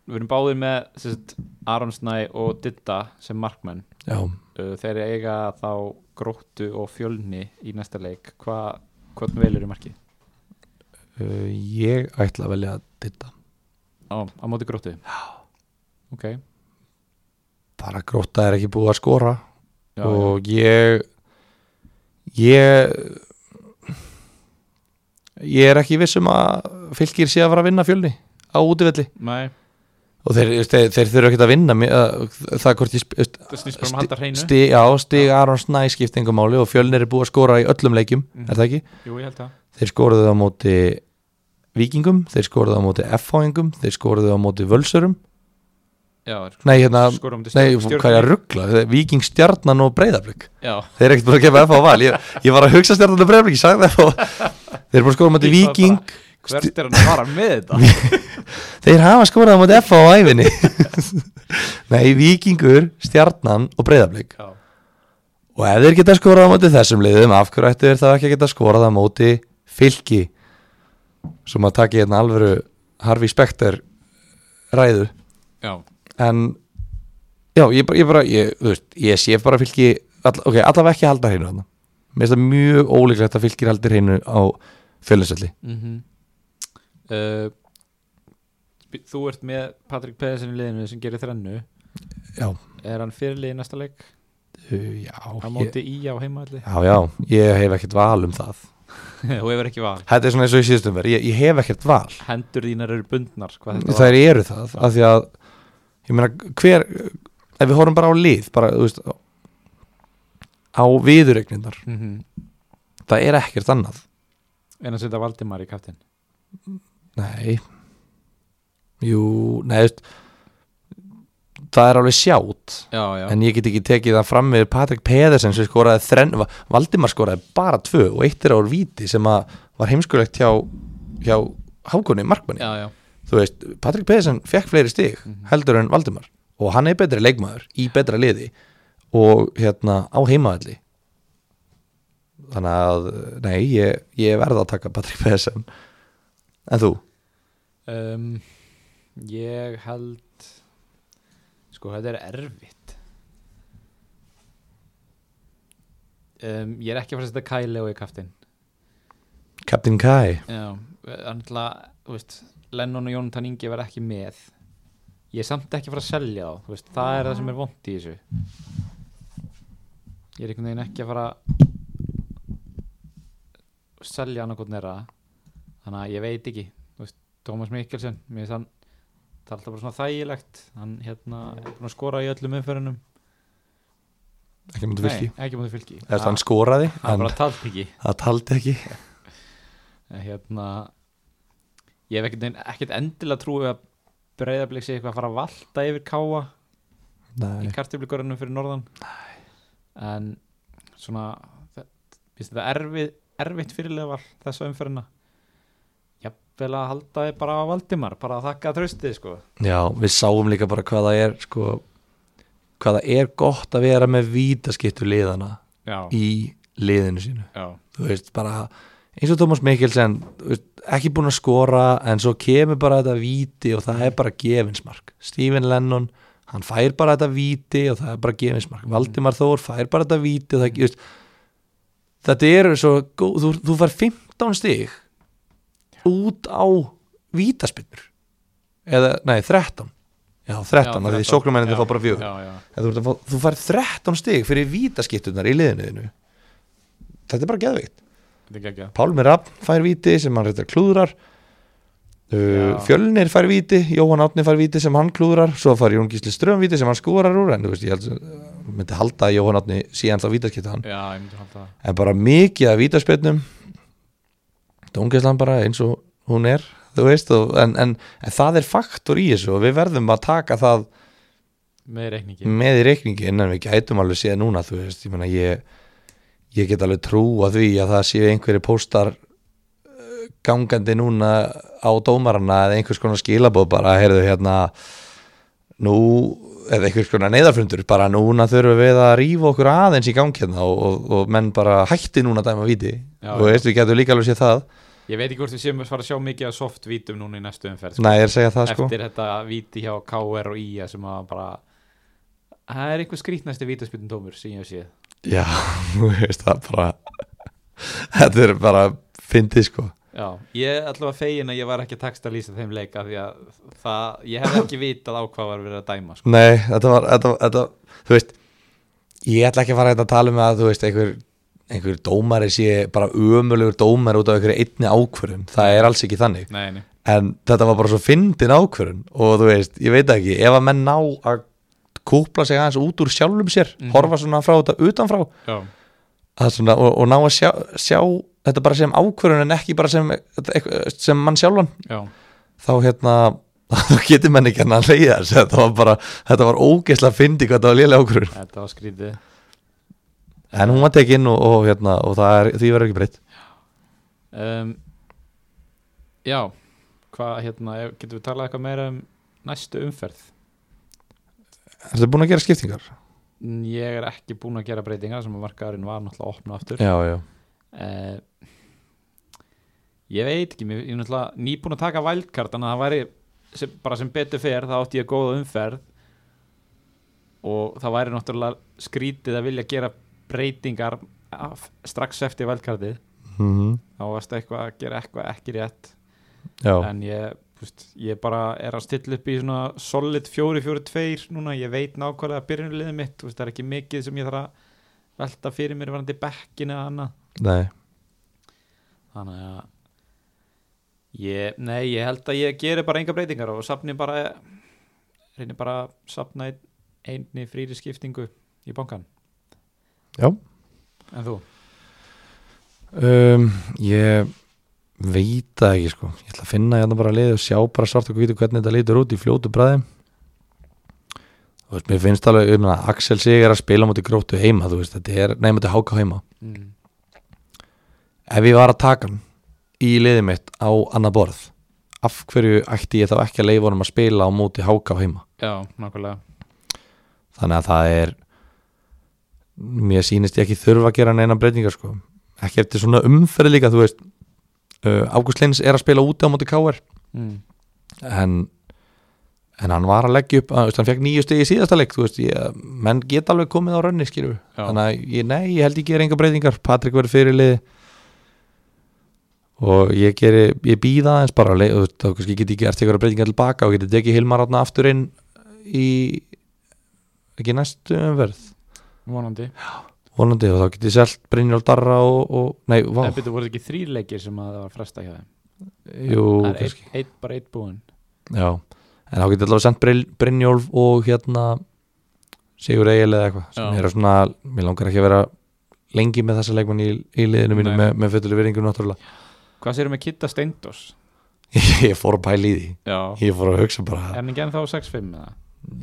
Speaker 2: við erum báðir með sem sagt, Aron Snæ og Ditta sem markmenn
Speaker 1: Já,
Speaker 2: Uh, þeir eiga þá gróttu og fjölni í næsta leik Hva, hvern velur í markið?
Speaker 1: uh, ég ætla að velja að ditta
Speaker 2: á, á móti gróttu já ok
Speaker 1: Bara gróta er ekki búið að skora
Speaker 2: já,
Speaker 1: og ég ég ég er ekki viss um að fylgir sé að fara að vinna fjölni á útivelli
Speaker 2: Nei,
Speaker 1: og þeir, þú veist, þeir, þeir þurfa ekkert að vinna mi- að- það hvort ég sp- þú veist,
Speaker 2: það snýst bara um að halda hreinu
Speaker 1: sti, já, stig Aron Snæ skipt engum máli og fjölnir er búið að skora í öllum leikjum
Speaker 2: Mhm.
Speaker 1: er það ekki?
Speaker 2: Jú, ég held það
Speaker 1: Þeir skoruðu á móti vikingum, þeir skoruðu á móti F-fáingum, þeir skoruðu á móti völsurum
Speaker 2: Já, þeir
Speaker 1: nei, hérna,
Speaker 2: skorum til
Speaker 1: nei,
Speaker 2: stjórn-
Speaker 1: hvað er að ruggla vikingstjarnan og breyðablík
Speaker 2: Já,
Speaker 1: þeir eru ekkert búin að gefa F á val ég, ég var að hugsa stjarnan og breyðablík, ég sagði F á þeir eru búin að skora á móti
Speaker 2: Ég var bara-
Speaker 1: viking
Speaker 2: hvert er hann að fara með þetta?
Speaker 1: Þeir hafa skorað á móti F á æfinni Nei, vikingur, stjarnan og breyðablík
Speaker 2: Já,
Speaker 1: Og ef þeir geta skorað á móti þessum liðum Af hverju ættu þeir þá ekki að geta skorað á móti fylki Svo maður taki hérna alvöru Harfi Spekter ræðu
Speaker 2: já,
Speaker 1: En Já, ég bara, ég, bara, ég, þú veist, ég sé bara fylki all, Ok, allavega ekki halda hreinu þarna Mér finnst það mjög ólíklegt að fylkir haldir hreinu á fjölinsalli
Speaker 2: mhm uh, Þú ert með Patrik Pedersen í liðinu sem gerir þrennu
Speaker 1: Já.
Speaker 2: Er hann fyrirlið í næsta leik?
Speaker 1: Uh, Já,
Speaker 2: Hann
Speaker 1: ég,
Speaker 2: móti í á heimaðalli
Speaker 1: já, já, ég hef ekkert val um það
Speaker 2: Þú hefur ekki val
Speaker 1: Þetta er svona eins og í síðustum verið, ég, ég hef ekkert val
Speaker 2: Hendur þínar eru bundnar hvað þetta
Speaker 1: Þær eru það, af því að ég meina, hver ef við horfum bara á lið, bara, þú veist á viðuregnindar
Speaker 2: mm -hmm.
Speaker 1: það er ekkert annað
Speaker 2: En að setja Valdimar í kaftin
Speaker 1: Nei Jú, nei, þú veist það er alveg sjátt
Speaker 2: Já, já
Speaker 1: en ég get ekki tekið það fram með Patrik Pedersen sem skoraði þrenn, Va- Valdimar skoraði bara tvö og eitt er á víti sem að var heimskulegt hjá, hjá Hákunni Markmanni
Speaker 2: Já, já,
Speaker 1: þú veist, Patrik Pedersen fekk fleiri stig
Speaker 2: Mhm.
Speaker 1: heldur en Valdimar og hann er betri leikmaður í betra liði og hérna á heimavalli þannig að nei, ég, ég verða að taka Patrik Pedersen en þú?
Speaker 2: um, Ég held Sko, þetta er erfitt um, Ég er ekki að fara að setja Kyle og í kaftin
Speaker 1: Captain Kai
Speaker 2: Já, andla, þú veist Lennon og Jónatan Ingi verð ekki með Ég er samt ekki að fara að selja þá þú veist, Það er það sem er vond í þessu Ég er einhvern veginn ekki að fara að selja hann okkur nera Þannig að ég veit ekki þú veist, Tómas Mikkelsen mér finnst hann, það er alltaf bara svona þægilegt Hann hérna, er búin að skora í öllum umferðunum
Speaker 1: ekki mútið fylki
Speaker 2: Nei, ekki mútið fylki
Speaker 1: eða hann skoraði,
Speaker 2: hann
Speaker 1: en
Speaker 2: bara talt ekki
Speaker 1: það taldi ekki
Speaker 2: En hérna ég hef ekkert, veginn- ekkert endilega trúið að breyðarblik sé eitthvað að fara að valta yfir káa í
Speaker 1: nei,
Speaker 2: kartöflugörunum fyrir norðan Nei. en svona þetta, finnst þetta erfið, erfitt fyrirlega var þessu umferðina jafnvel að halda þið bara á Valdimar bara að þakka tröstið sko
Speaker 1: já, við sáum líka bara hvað það er sko, hvað það er gott að vera með vítaskittu liðana
Speaker 2: já,
Speaker 1: í liðinu sínu
Speaker 2: já,
Speaker 1: þú veist, bara eins og Tómas Mikkelsen þú veist, ekki búin að skora en svo kemur bara þetta víti og það er bara gefinsmark Stephen Lennon, hann fær bara þetta víti og það er bara gefinsmark
Speaker 2: Mm.
Speaker 1: Valdimar Þór fær bara þetta víti og það, mm. veist, þetta eru svo góð, þú, þú fær 15 stig út á vítaspinnur eða, nei, 13 já, 13, af því sóknarmenninni fá bara fjögur
Speaker 2: já, já,
Speaker 1: Eða Þú, ert að fá- þú fær 13 stig fyrir vítaskiptunar í liðinu þínu. Þetta er bara geðveikt
Speaker 2: þetta er geggja
Speaker 1: Pálmi Rapp fær víti sem hann reyndar klúðrar uh,
Speaker 2: Já.
Speaker 1: Fjölnir fær víti Jóhann Átni fær víti sem hann klúðrar Svo fær Jón Gísli Ström víti sem hann skórar úr En þú veist, ég held, sem- myndi halda að Jóhann Átni síðan þá vítaskipta hann
Speaker 2: já, ég myndi halda það
Speaker 1: En bara mikið af vítaspirnum Dóngeslan bara eins og hún er Þú veist, og, en, en, en það er faktor í þessu og við verðum að taka það
Speaker 2: með reikningi
Speaker 1: með í reikningi innan við gætum alveg séð núna þú veist, ég meina ég ég get alveg trú að því að það séu einhverju póstar eh, gangandi núna á dómarana eða einhvers konar skilabóð bara heyrðu hérna nú, eða einhvers konar neyðarfundur bara núna þurfum við að rífa okkur aðeins í gangi hérna og, og, og menn bara hætti núna að dæma viti
Speaker 2: Já,
Speaker 1: og
Speaker 2: já.
Speaker 1: veist, við getum líka alveg séð það
Speaker 2: ég veit ekki hvort við séum að fara að sjá mikið af softvítum núna í næstu umferð sko.
Speaker 1: næ, ég er að segja það sko
Speaker 2: eftir þetta víti hjá KR og IA sem að bara það er einhver skrítnæsti vítaspilnum tómur sem ég hef séð
Speaker 1: já, þú veist það bara þetta er bara fyndið sko
Speaker 2: Já, ég er allavega fegin að ég var ekki að texta lýsa þeim leika því að það, ég hef ekki vitað á hvað var verið að dæma sko.
Speaker 1: Nei, þetta var, þetta, þetta, þú veist ég ætla ekki að fara hérna að tala um að þú veist, einhver, einhver dómari sé bara ömulegur dómar út af einhverju einni ákvörðun það er alls ekki þannig,
Speaker 2: Nei, nei,
Speaker 1: en þetta var bara svo fyndin ákvörun og þú veist, ég veit það ekki, ef að menn ná að kúpla sig aðeins út úr sjálfum sér
Speaker 2: Mhm.
Speaker 1: horfa svona frá þetta utanfrá
Speaker 2: já,
Speaker 1: að svona, og, og ná að sjá, sjá þetta bara sem ákvörun en ekki bara sem, eitthvað- sem mann sjálfan
Speaker 2: já,
Speaker 1: þá hérna þá getur menn ekki hann að leiða þessu þetta var bara, þetta var ógeðslega fyndi hvað þetta var lélega ákvörun
Speaker 2: þetta var skrítið
Speaker 1: en hún var tekinn og, og hérna og það er, því verður ekki breytt
Speaker 2: um, já, hvað hérna ef- getum við talað eitthvað meira um næstu umferð
Speaker 1: Er þetta búin að gera skiptingar?
Speaker 2: Mm, ég er ekki búinn að gera breytingar sem að markaðurinn var náttúrulega að opna aftur
Speaker 1: Já, já
Speaker 2: uh, ég veit ekki mér, ég er náttúrulega nýbúin að taka vældkart þannig að það væri sem, bara sem betur fer þá átti ég góða umferð og það væri náttúrulega skrítið að vilja gera breytingar af, strax eftir vældkartið
Speaker 1: mm
Speaker 2: þá varst eitthvað að gera eitthvað ekki rétt
Speaker 1: Já,
Speaker 2: en ég, fúst, ég bara er að stilla upp í svona solid 4-4-2 núna, ég veit nákvæmlega byrjunliðið mitt, fúst, það er ekki mikið sem ég þarf að velta fyrir mér varandi bekkinu eða annað
Speaker 1: nei
Speaker 2: þannig að ég, nei, ég held að ég geri bara enga breytingar og sapni bara reynir bara að sapna ein, einni frýri skiptingu í bankan
Speaker 1: Já.
Speaker 2: en þú?
Speaker 1: um, Ég veit það ekki sko Ég ætla að finna hérna bara liðið og sjá bara svart og hvítu hvernig þetta lítur út í fljótu bræði Þú veist, mér finnst alveg um að Axel sig er að spila múti gróttu heima, þú veist, þetta er nei, múti háka heima
Speaker 2: Mm.
Speaker 1: Ef ég var að taka hann í liðið mitt á annað borð af hverju ætti ég þá ekki að leifa honum að spila á móti háka heima
Speaker 2: já, nákvæmlega
Speaker 1: þannig að það er mér sýnist ég ekki þurfa að gera neina breytingar sko ekki eftir svona umferð líka þú veist uh, Ágúst Lins er að spila úti á móti K.R.
Speaker 2: mm.
Speaker 1: en en hann var að leggja upp, að, veist, hann fekk nýju stegi í síðasta leik, þú veist, ég, menn geta alveg komið á rönni, skilur
Speaker 2: Já.
Speaker 1: þannig að, ég, nei, ég held ég gera enga breytingar Patrik verður fyrirlið og ég geri ég býða aðeins bara, le- þú veist, þá kannski get ég gert eitthvað breytingar tilbaka og geti tekið Hilmar átna aftur inn í ekki næstu umverð
Speaker 2: vonandi
Speaker 1: vonandi og þá get ég selt Brynjól Darra og, og nei, vá,
Speaker 2: en byrju, voru þetta ekki þrýleikir sem að það var fresta hjá þeim
Speaker 1: jú,
Speaker 2: það er
Speaker 1: kannski
Speaker 2: eitt, eitt, bara eitt búinn
Speaker 1: já, en þá get ég allavega sendt Bryn- Brynjólf og hérna Sigur Egil eða eitthvað sem
Speaker 2: Já.
Speaker 1: eru svona, mér langar ekki að vera lengi með þessa leikmann í, í liðinu mínu
Speaker 2: Nei.
Speaker 1: með, með fötuleg veringu náttúrulega
Speaker 2: hvað sérum við Kitta Steindors?
Speaker 1: ég fór að pæla í því,
Speaker 2: já,
Speaker 1: ég fór að hugsa bara
Speaker 2: er hann ekki ennþá 6-5 eða?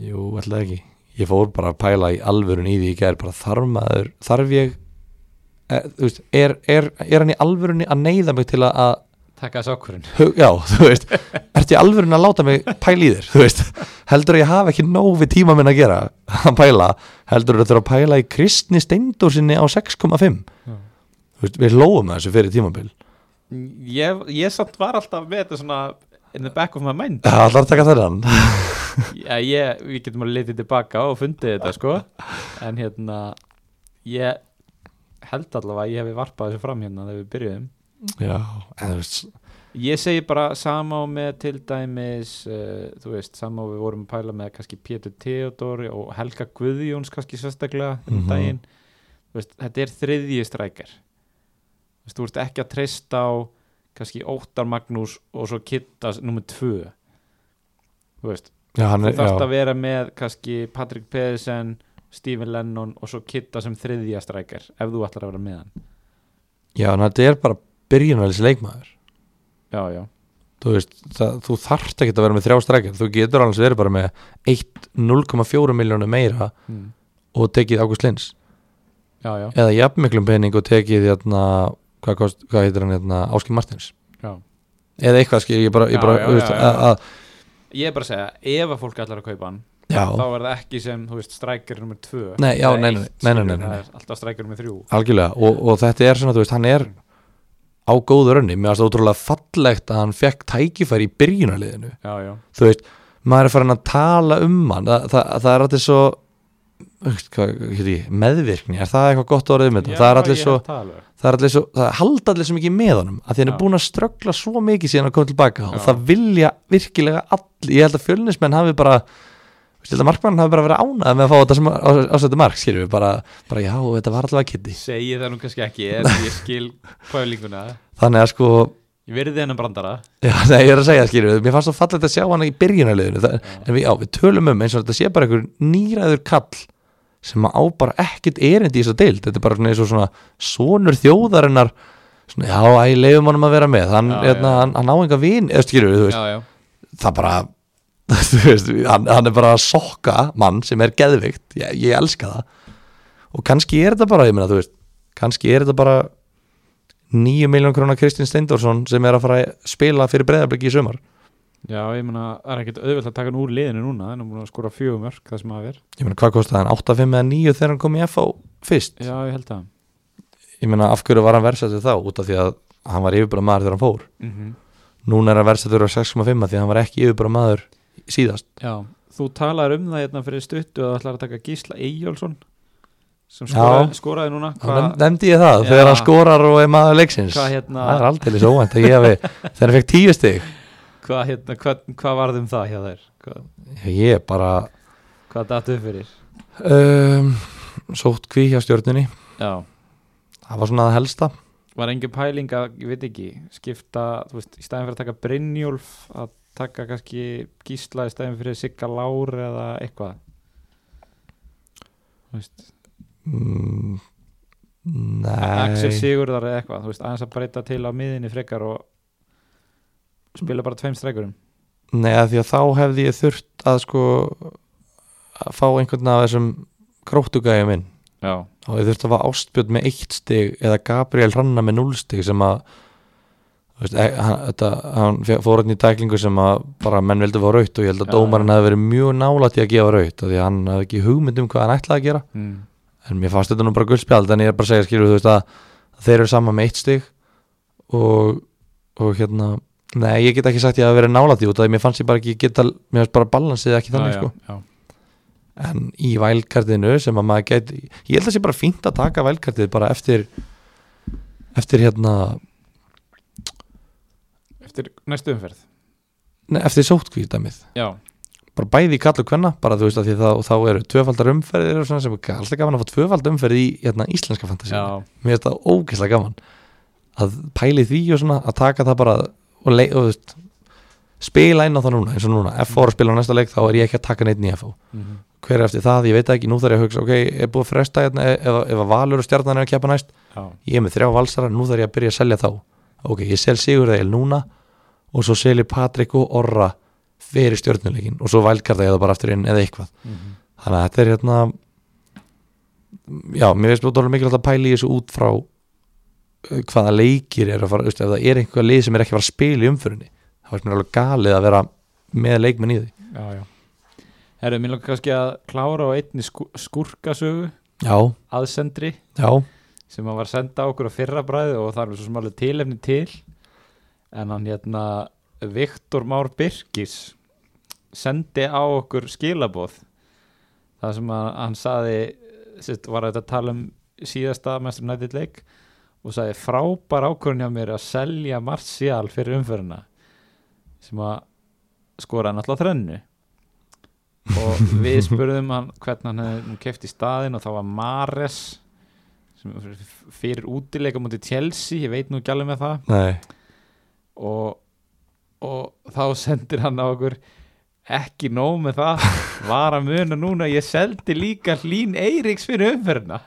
Speaker 1: jú, ætlaði ekki ég fór bara að pæla í alvörun í því ég gæri bara þarf maður, þarf ég er, veist, er, er, er hann í alvörunni að neyða mig til að- að
Speaker 2: taka þessu ákvörðin
Speaker 1: Hug- já, þú veist, ertu í alvörun að láta mig pæla í þér, þú veist heldur að ég hafa ekki nóg við tíma minn að gera að pæla, heldur að þurfa að pæla í kristni steindur sinni á 6,5
Speaker 2: Já.
Speaker 1: þú veist, við lóum að þessu fyrir tímabil
Speaker 2: ég, ég samt var alltaf með þetta svona in the back of my mind
Speaker 1: það er allar að taka þennan
Speaker 2: Já, ég, við getum að leita tilbaka og fundið þetta sko en hérna ég held allavega að ég hefði varpað þessu fram hérna þegar við byrjuðum
Speaker 1: já, en þú veist,
Speaker 2: ég segi bara sama og með til dæmis uh, þú veist, sama og við vorum að pæla með kannski Pétur Theodor og Helga Guðjóns kannski sérstaklega um
Speaker 1: Mhm.
Speaker 2: daginn Þú veist, þetta er þriðji strækar þú veist, þú ert ekki að treysta á kannski Óttar Magnús og svo Kittas nummer tvö þú veist,
Speaker 1: já, hann
Speaker 2: þú
Speaker 1: er,
Speaker 2: þarft að
Speaker 1: já,
Speaker 2: vera með kannski Patrick Pedersen Stephen Lennon og svo Kitta sem þriðja strækar ef þú ætlar að vera með hann
Speaker 1: já, en þetta er bara byrjunarleis leikmaður
Speaker 2: já, já,
Speaker 1: þú veist, það, þú þarft ekki að vera með þrjá strækjar, þú getur alveg verið bara með 1, 0,4 miljónu meira
Speaker 2: mm.
Speaker 1: og tekið Ágúst Lins
Speaker 2: já, já,
Speaker 1: eða jafnmiklum pening og tekið hérna, hvað, kost, hvað heitir hann hérna, Áskil Martins
Speaker 2: já.
Speaker 1: eða eitthvað skil, ég bara, ég
Speaker 2: Já,
Speaker 1: bara
Speaker 2: já,
Speaker 1: þú veist,
Speaker 2: já, já.
Speaker 1: að- að-
Speaker 2: ég er bara að segja ef að fólk ætlar að kaupa hann
Speaker 1: já,
Speaker 2: þá er það ekki sem, þú veist, strækar nummer tvö
Speaker 1: Nei, já,
Speaker 2: Eða
Speaker 1: nei, nei,
Speaker 2: eitt,
Speaker 1: nei, nei,
Speaker 2: skilur,
Speaker 1: nei, nei,
Speaker 2: það
Speaker 1: nei.
Speaker 2: er alltaf strækar nummer þrjú
Speaker 1: algjörlega og, og þetta er svona, þú veist, hann er á góðu rönni, mér varst það ótrúlega fallegt að hann fekk tækifæri í byrjunarliðinu
Speaker 2: já, já,
Speaker 1: þú veist, maður er farin að tala um hann, það, það, það er alltaf svo þú veist, hvað, hvað, ég, meðvirkni er það eitthvað gott orðið með
Speaker 2: já
Speaker 1: þetta það er allir
Speaker 2: ég
Speaker 1: svo,
Speaker 2: held það alveg.
Speaker 1: það er allir svo, það halda allir svo mikið með honum að því hann er
Speaker 2: Já.
Speaker 1: búin að ströggla svo mikið síðan að koma tilbaka og
Speaker 2: Já.
Speaker 1: það vilja virkilega allir, ég held að fjölnismenn hafi bara ég held að markmann hafi bara verið ánað með að fá þetta sem ásættu mark, skilur við bara, bara já, þetta var allavega kitti
Speaker 2: segi það nú kannski ekki en ég skil pælinguna
Speaker 1: þannig að sko,
Speaker 2: Ég verði hennar brandara
Speaker 1: Já, nei, ég er að segja, skilur, mér fannst svo fallegt að sjá hana í byrjunarliðinu það,
Speaker 2: Já.
Speaker 1: en við, já, við tölum um eins og þetta sé bara einhver nýræður kall sem á bara ekkert erindi í þess að deild þetta er bara svona eins og svona sonur þjóðarinnar svona, já, æ, leifum honum að vera með hann,
Speaker 2: Já,
Speaker 1: hérna,
Speaker 2: já.
Speaker 1: hann, hann á enga vin eða skilur, þú veist,
Speaker 2: Já, já
Speaker 1: það bara þú veist, hann, hann er bara að sokka mann sem er geðvikt, ég, ég elska það og kannski er þetta bara, ég meina, þú veist kannski er þetta bara 9 miljón krónar Kristinn Steindorsson sem er að fara að spila fyrir breyðarblik í sumar
Speaker 2: Já, ég meina, það er ekkert auðvelt að taka hann úr liðinu núna en hann er búin að skora fjögum örk það sem hafa verið
Speaker 1: ég meina hvað kostaði hann 8-5 eða 9 þegar hann kom í FH fyrst
Speaker 2: Já, ég held það
Speaker 1: ég meina af hverju var hann versatið þá út af því að hann var yfirbara maður þegar hann fór
Speaker 2: mm
Speaker 1: núna er hann versatið á 6,5 af því að hann var ekki yfirbara maður síðast
Speaker 2: Já, þú talar um það hérna fyrir stuttu að það ætlar að taka Gísla Eyjálsson sem
Speaker 1: Já.
Speaker 2: skoraði, skoraði núna
Speaker 1: Hva?
Speaker 2: hvað
Speaker 1: nefndi ég það,
Speaker 2: Já.
Speaker 1: þegar hann skorar og er maður leiksins
Speaker 2: hva, hérna,
Speaker 1: það er aldrei svo óvænt að ég hafi þegar hann fekk 10 stig
Speaker 2: hvað hérna, hva, hva varðum það hjá þær? Hvað,
Speaker 1: ég er bara
Speaker 2: hvað datt upp fyrir?
Speaker 1: um, sótt kví hjá stjórnunni
Speaker 2: Já,
Speaker 1: það var svona það helsta
Speaker 2: var engin pæling að, ég veit ekki, skipta, þú veist, í stæðin fyrir að taka Brynjólf, að taka kannski Gísla í stæðin fyrir Sigga Lár eða eitthvað. Þú veist,
Speaker 1: mm,
Speaker 2: Axel
Speaker 1: nei
Speaker 2: Sigurðar eða eitthvað, þú veist, aðeins að breyta til á miðinni frekar og spila bara tveim streikurum.
Speaker 1: Nei, að því að þá hefði ég þurft að sko að fá einhvern af þessum króttugæjum inn
Speaker 2: Já.
Speaker 1: og ég þurfti að fá Ástbjörn með eitt stig eða Gabriel Ranna með núll stig sem að þú veist, e- hann, þetta, hann fe- fór hann í tæklingu sem að bara menn vildi fá raut og ég held að
Speaker 2: Já.
Speaker 1: dómarinn hefði verið mjög nálætt í að gefa raut af því að hann hefði ekki hugmynd um hvað hann ætlaði að gera
Speaker 2: Mm.
Speaker 1: en mér fannst þetta nú bara guldspjald en ég er bara að segja skilur þú veist að þeir eru saman með eitt stig og, og hérna nei ég get ekki sagt ég að vera nálætti út af því mér fannst ég bara ekki geta mér fannst bara balansið ekki þannig
Speaker 2: já,
Speaker 1: sko
Speaker 2: Já,
Speaker 1: en í vælkartinu sem að maður gæti ég held að sé bara fínt að taka vælkartið bara eftir eftir hérna
Speaker 2: Eftir næstu umferð.
Speaker 1: nei, eftir sótkvítamið
Speaker 2: Já.
Speaker 1: bara bæði í kall og kvenna bara þú veist að því þá, þá eru tvöfaldar umferðir og svona sem er alltaf gaman að fá tvöfald umferð í hérna, íslenska fantasíu
Speaker 2: Já.
Speaker 1: mér finnst það ógeðslega gaman að pæli því og svona að taka það bara og, leik, og þú veist, spila inn á það núna eins og núna, F4 að spila á næsta leik þá er ég ekki að taka neitt nýja F4
Speaker 2: Mhm.
Speaker 1: hver er eftir það, ég veit það ekki, nú þarf ég að hugsa ok, er búið að fresta hérna, ef, ef- ef að Valur og Stjarnan er að kepa næst,
Speaker 2: Já.
Speaker 1: ég er með þrjá valsara nú þarf ég að byrja að selja þá ok, ég sel Sigurðeil núna og svo sel ég Patrik og Orra fyrir stjörnuleikin og svo vælkarta ég það bara aftur inn eða eitthvað
Speaker 2: Mhm.
Speaker 1: þannig að þetta er hérna já, mér veist búin mikilvægt að pæla í þessu út frá uh, hvaða leikir er að fara, veist, ef það er einhver lið sem er ekki að fara að spila í umfyrinni þá er mér alveg galið að vera með leikmenn í því
Speaker 2: Já, já. Herru, mér langar kannski að klára á einni skú- skúrkasögu
Speaker 1: já,
Speaker 2: aðsendri
Speaker 1: já,
Speaker 2: sem hann var að senda okkur á fyrra bræði og það er svo smálega tilefni til en hann hérna Viktor Már Birkis sendi á okkur skilaboð það sem að, hann saði sitt, var þetta að tala um síðasta mestur nættið leik og sagði frábær ákvörðin hjá mér að selja Martial fyrir umferðina sem að skora hann alltaf þrennu og við spurðum hann hvernig hann hefði keft í staðin og þá var Mares sem f- f- fyrir útileika múti Chelsea, ég veit nú ekki alveg með það
Speaker 1: nei
Speaker 2: og, og þá sendir hann á okkur ekki nóg með það var að muna núna að ég seldi líka Lín Eiríks fyrir umferðina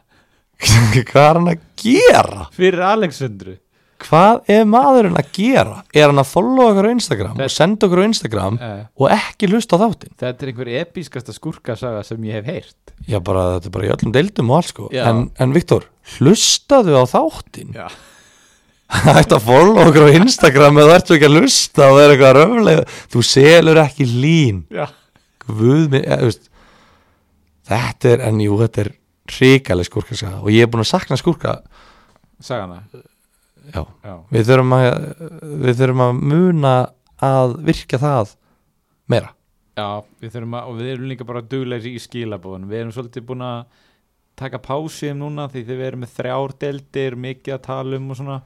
Speaker 1: hvað er hann að gera?
Speaker 2: fyrir Alexandru
Speaker 1: hvað er maðurinn að gera? er hann að followa okkur á Instagram
Speaker 2: Þetta-
Speaker 1: og senda okkur á Instagram
Speaker 2: uh,
Speaker 1: og ekki hlusta á þáttinn?
Speaker 2: þetta er einhver episkasta skúrkasaga sem ég hef heyrt
Speaker 1: já, bara, þetta er bara í öllum deildum og allt sko
Speaker 2: Já.
Speaker 1: en, en Viktor, hlustaðu á þáttinn?
Speaker 2: já,
Speaker 1: ætti að follow okkur á Instagram eða ertu ekki að lusta og er eitthvað röflega þú selur ekki lín
Speaker 2: já.
Speaker 1: Guð minn, eða, þú veist, þetta er, en jú, þetta er hrikaleg skúrka sko. og ég er búin að sakna skúrka
Speaker 2: sagana
Speaker 1: já,
Speaker 2: já.
Speaker 1: við þurfum að við þurfum að muna að virka það meira
Speaker 2: Já, við þurfum að, og við erum líka bara duglegri í skilabóðunum, við erum svolítið búin að taka pási um núna því þið við erum með þrjár deldir, mikið að tala um og svona,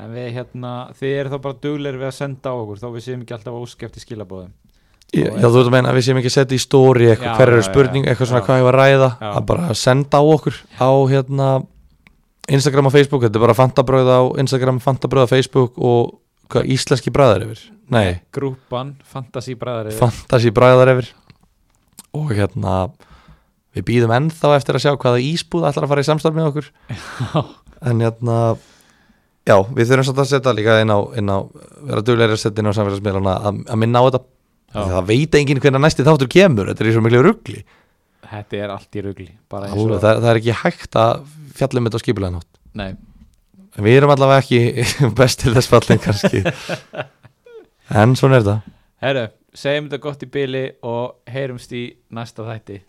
Speaker 2: en við hérna þið eru þá bara duglegri við að senda á okkur þá við séum ekki alltaf óskæft í skilabóðum
Speaker 1: já, já, þú veist að meina að við séum ekki að setja í stóri
Speaker 2: Já,
Speaker 1: eitthvað, hver
Speaker 2: já,
Speaker 1: eru
Speaker 2: já,
Speaker 1: spurning, eitthvað svona
Speaker 2: já.
Speaker 1: hvað ég var að ræða
Speaker 2: Já.
Speaker 1: að bara senda á okkur á hérna Instagram og Facebook, þetta er bara fantabröð á Instagram, fantabröð á Facebook og hvað, íslenski bræðar yfir? Nei,
Speaker 2: grúpan, fantasy bræðari
Speaker 1: fantasy bræðar yfir og hérna við býðum ennþá eftir að sjá hvaða ísbúð ætlar að fara í samstarf með okkur en hérna já, við þurfum svolítið að setja líka inn á, inn á vera duglegri að setja inn á samfélagsmiðlana að, að minna á þetta
Speaker 2: Já.
Speaker 1: Því það veit enginn hvernig næsti þáttur kemur þetta er í svo miklu rugli
Speaker 2: þetta er allt í rugli bara eins
Speaker 1: Alveg,
Speaker 2: og
Speaker 1: það, er- það er ekki hægt að fjallum þetta á skipulega nátt
Speaker 2: nei,
Speaker 1: En við erum allavega ekki best til þess fallin kannski en svona er þetta
Speaker 2: herru, segjum þetta gott í byli og heyrumst í næsta þætti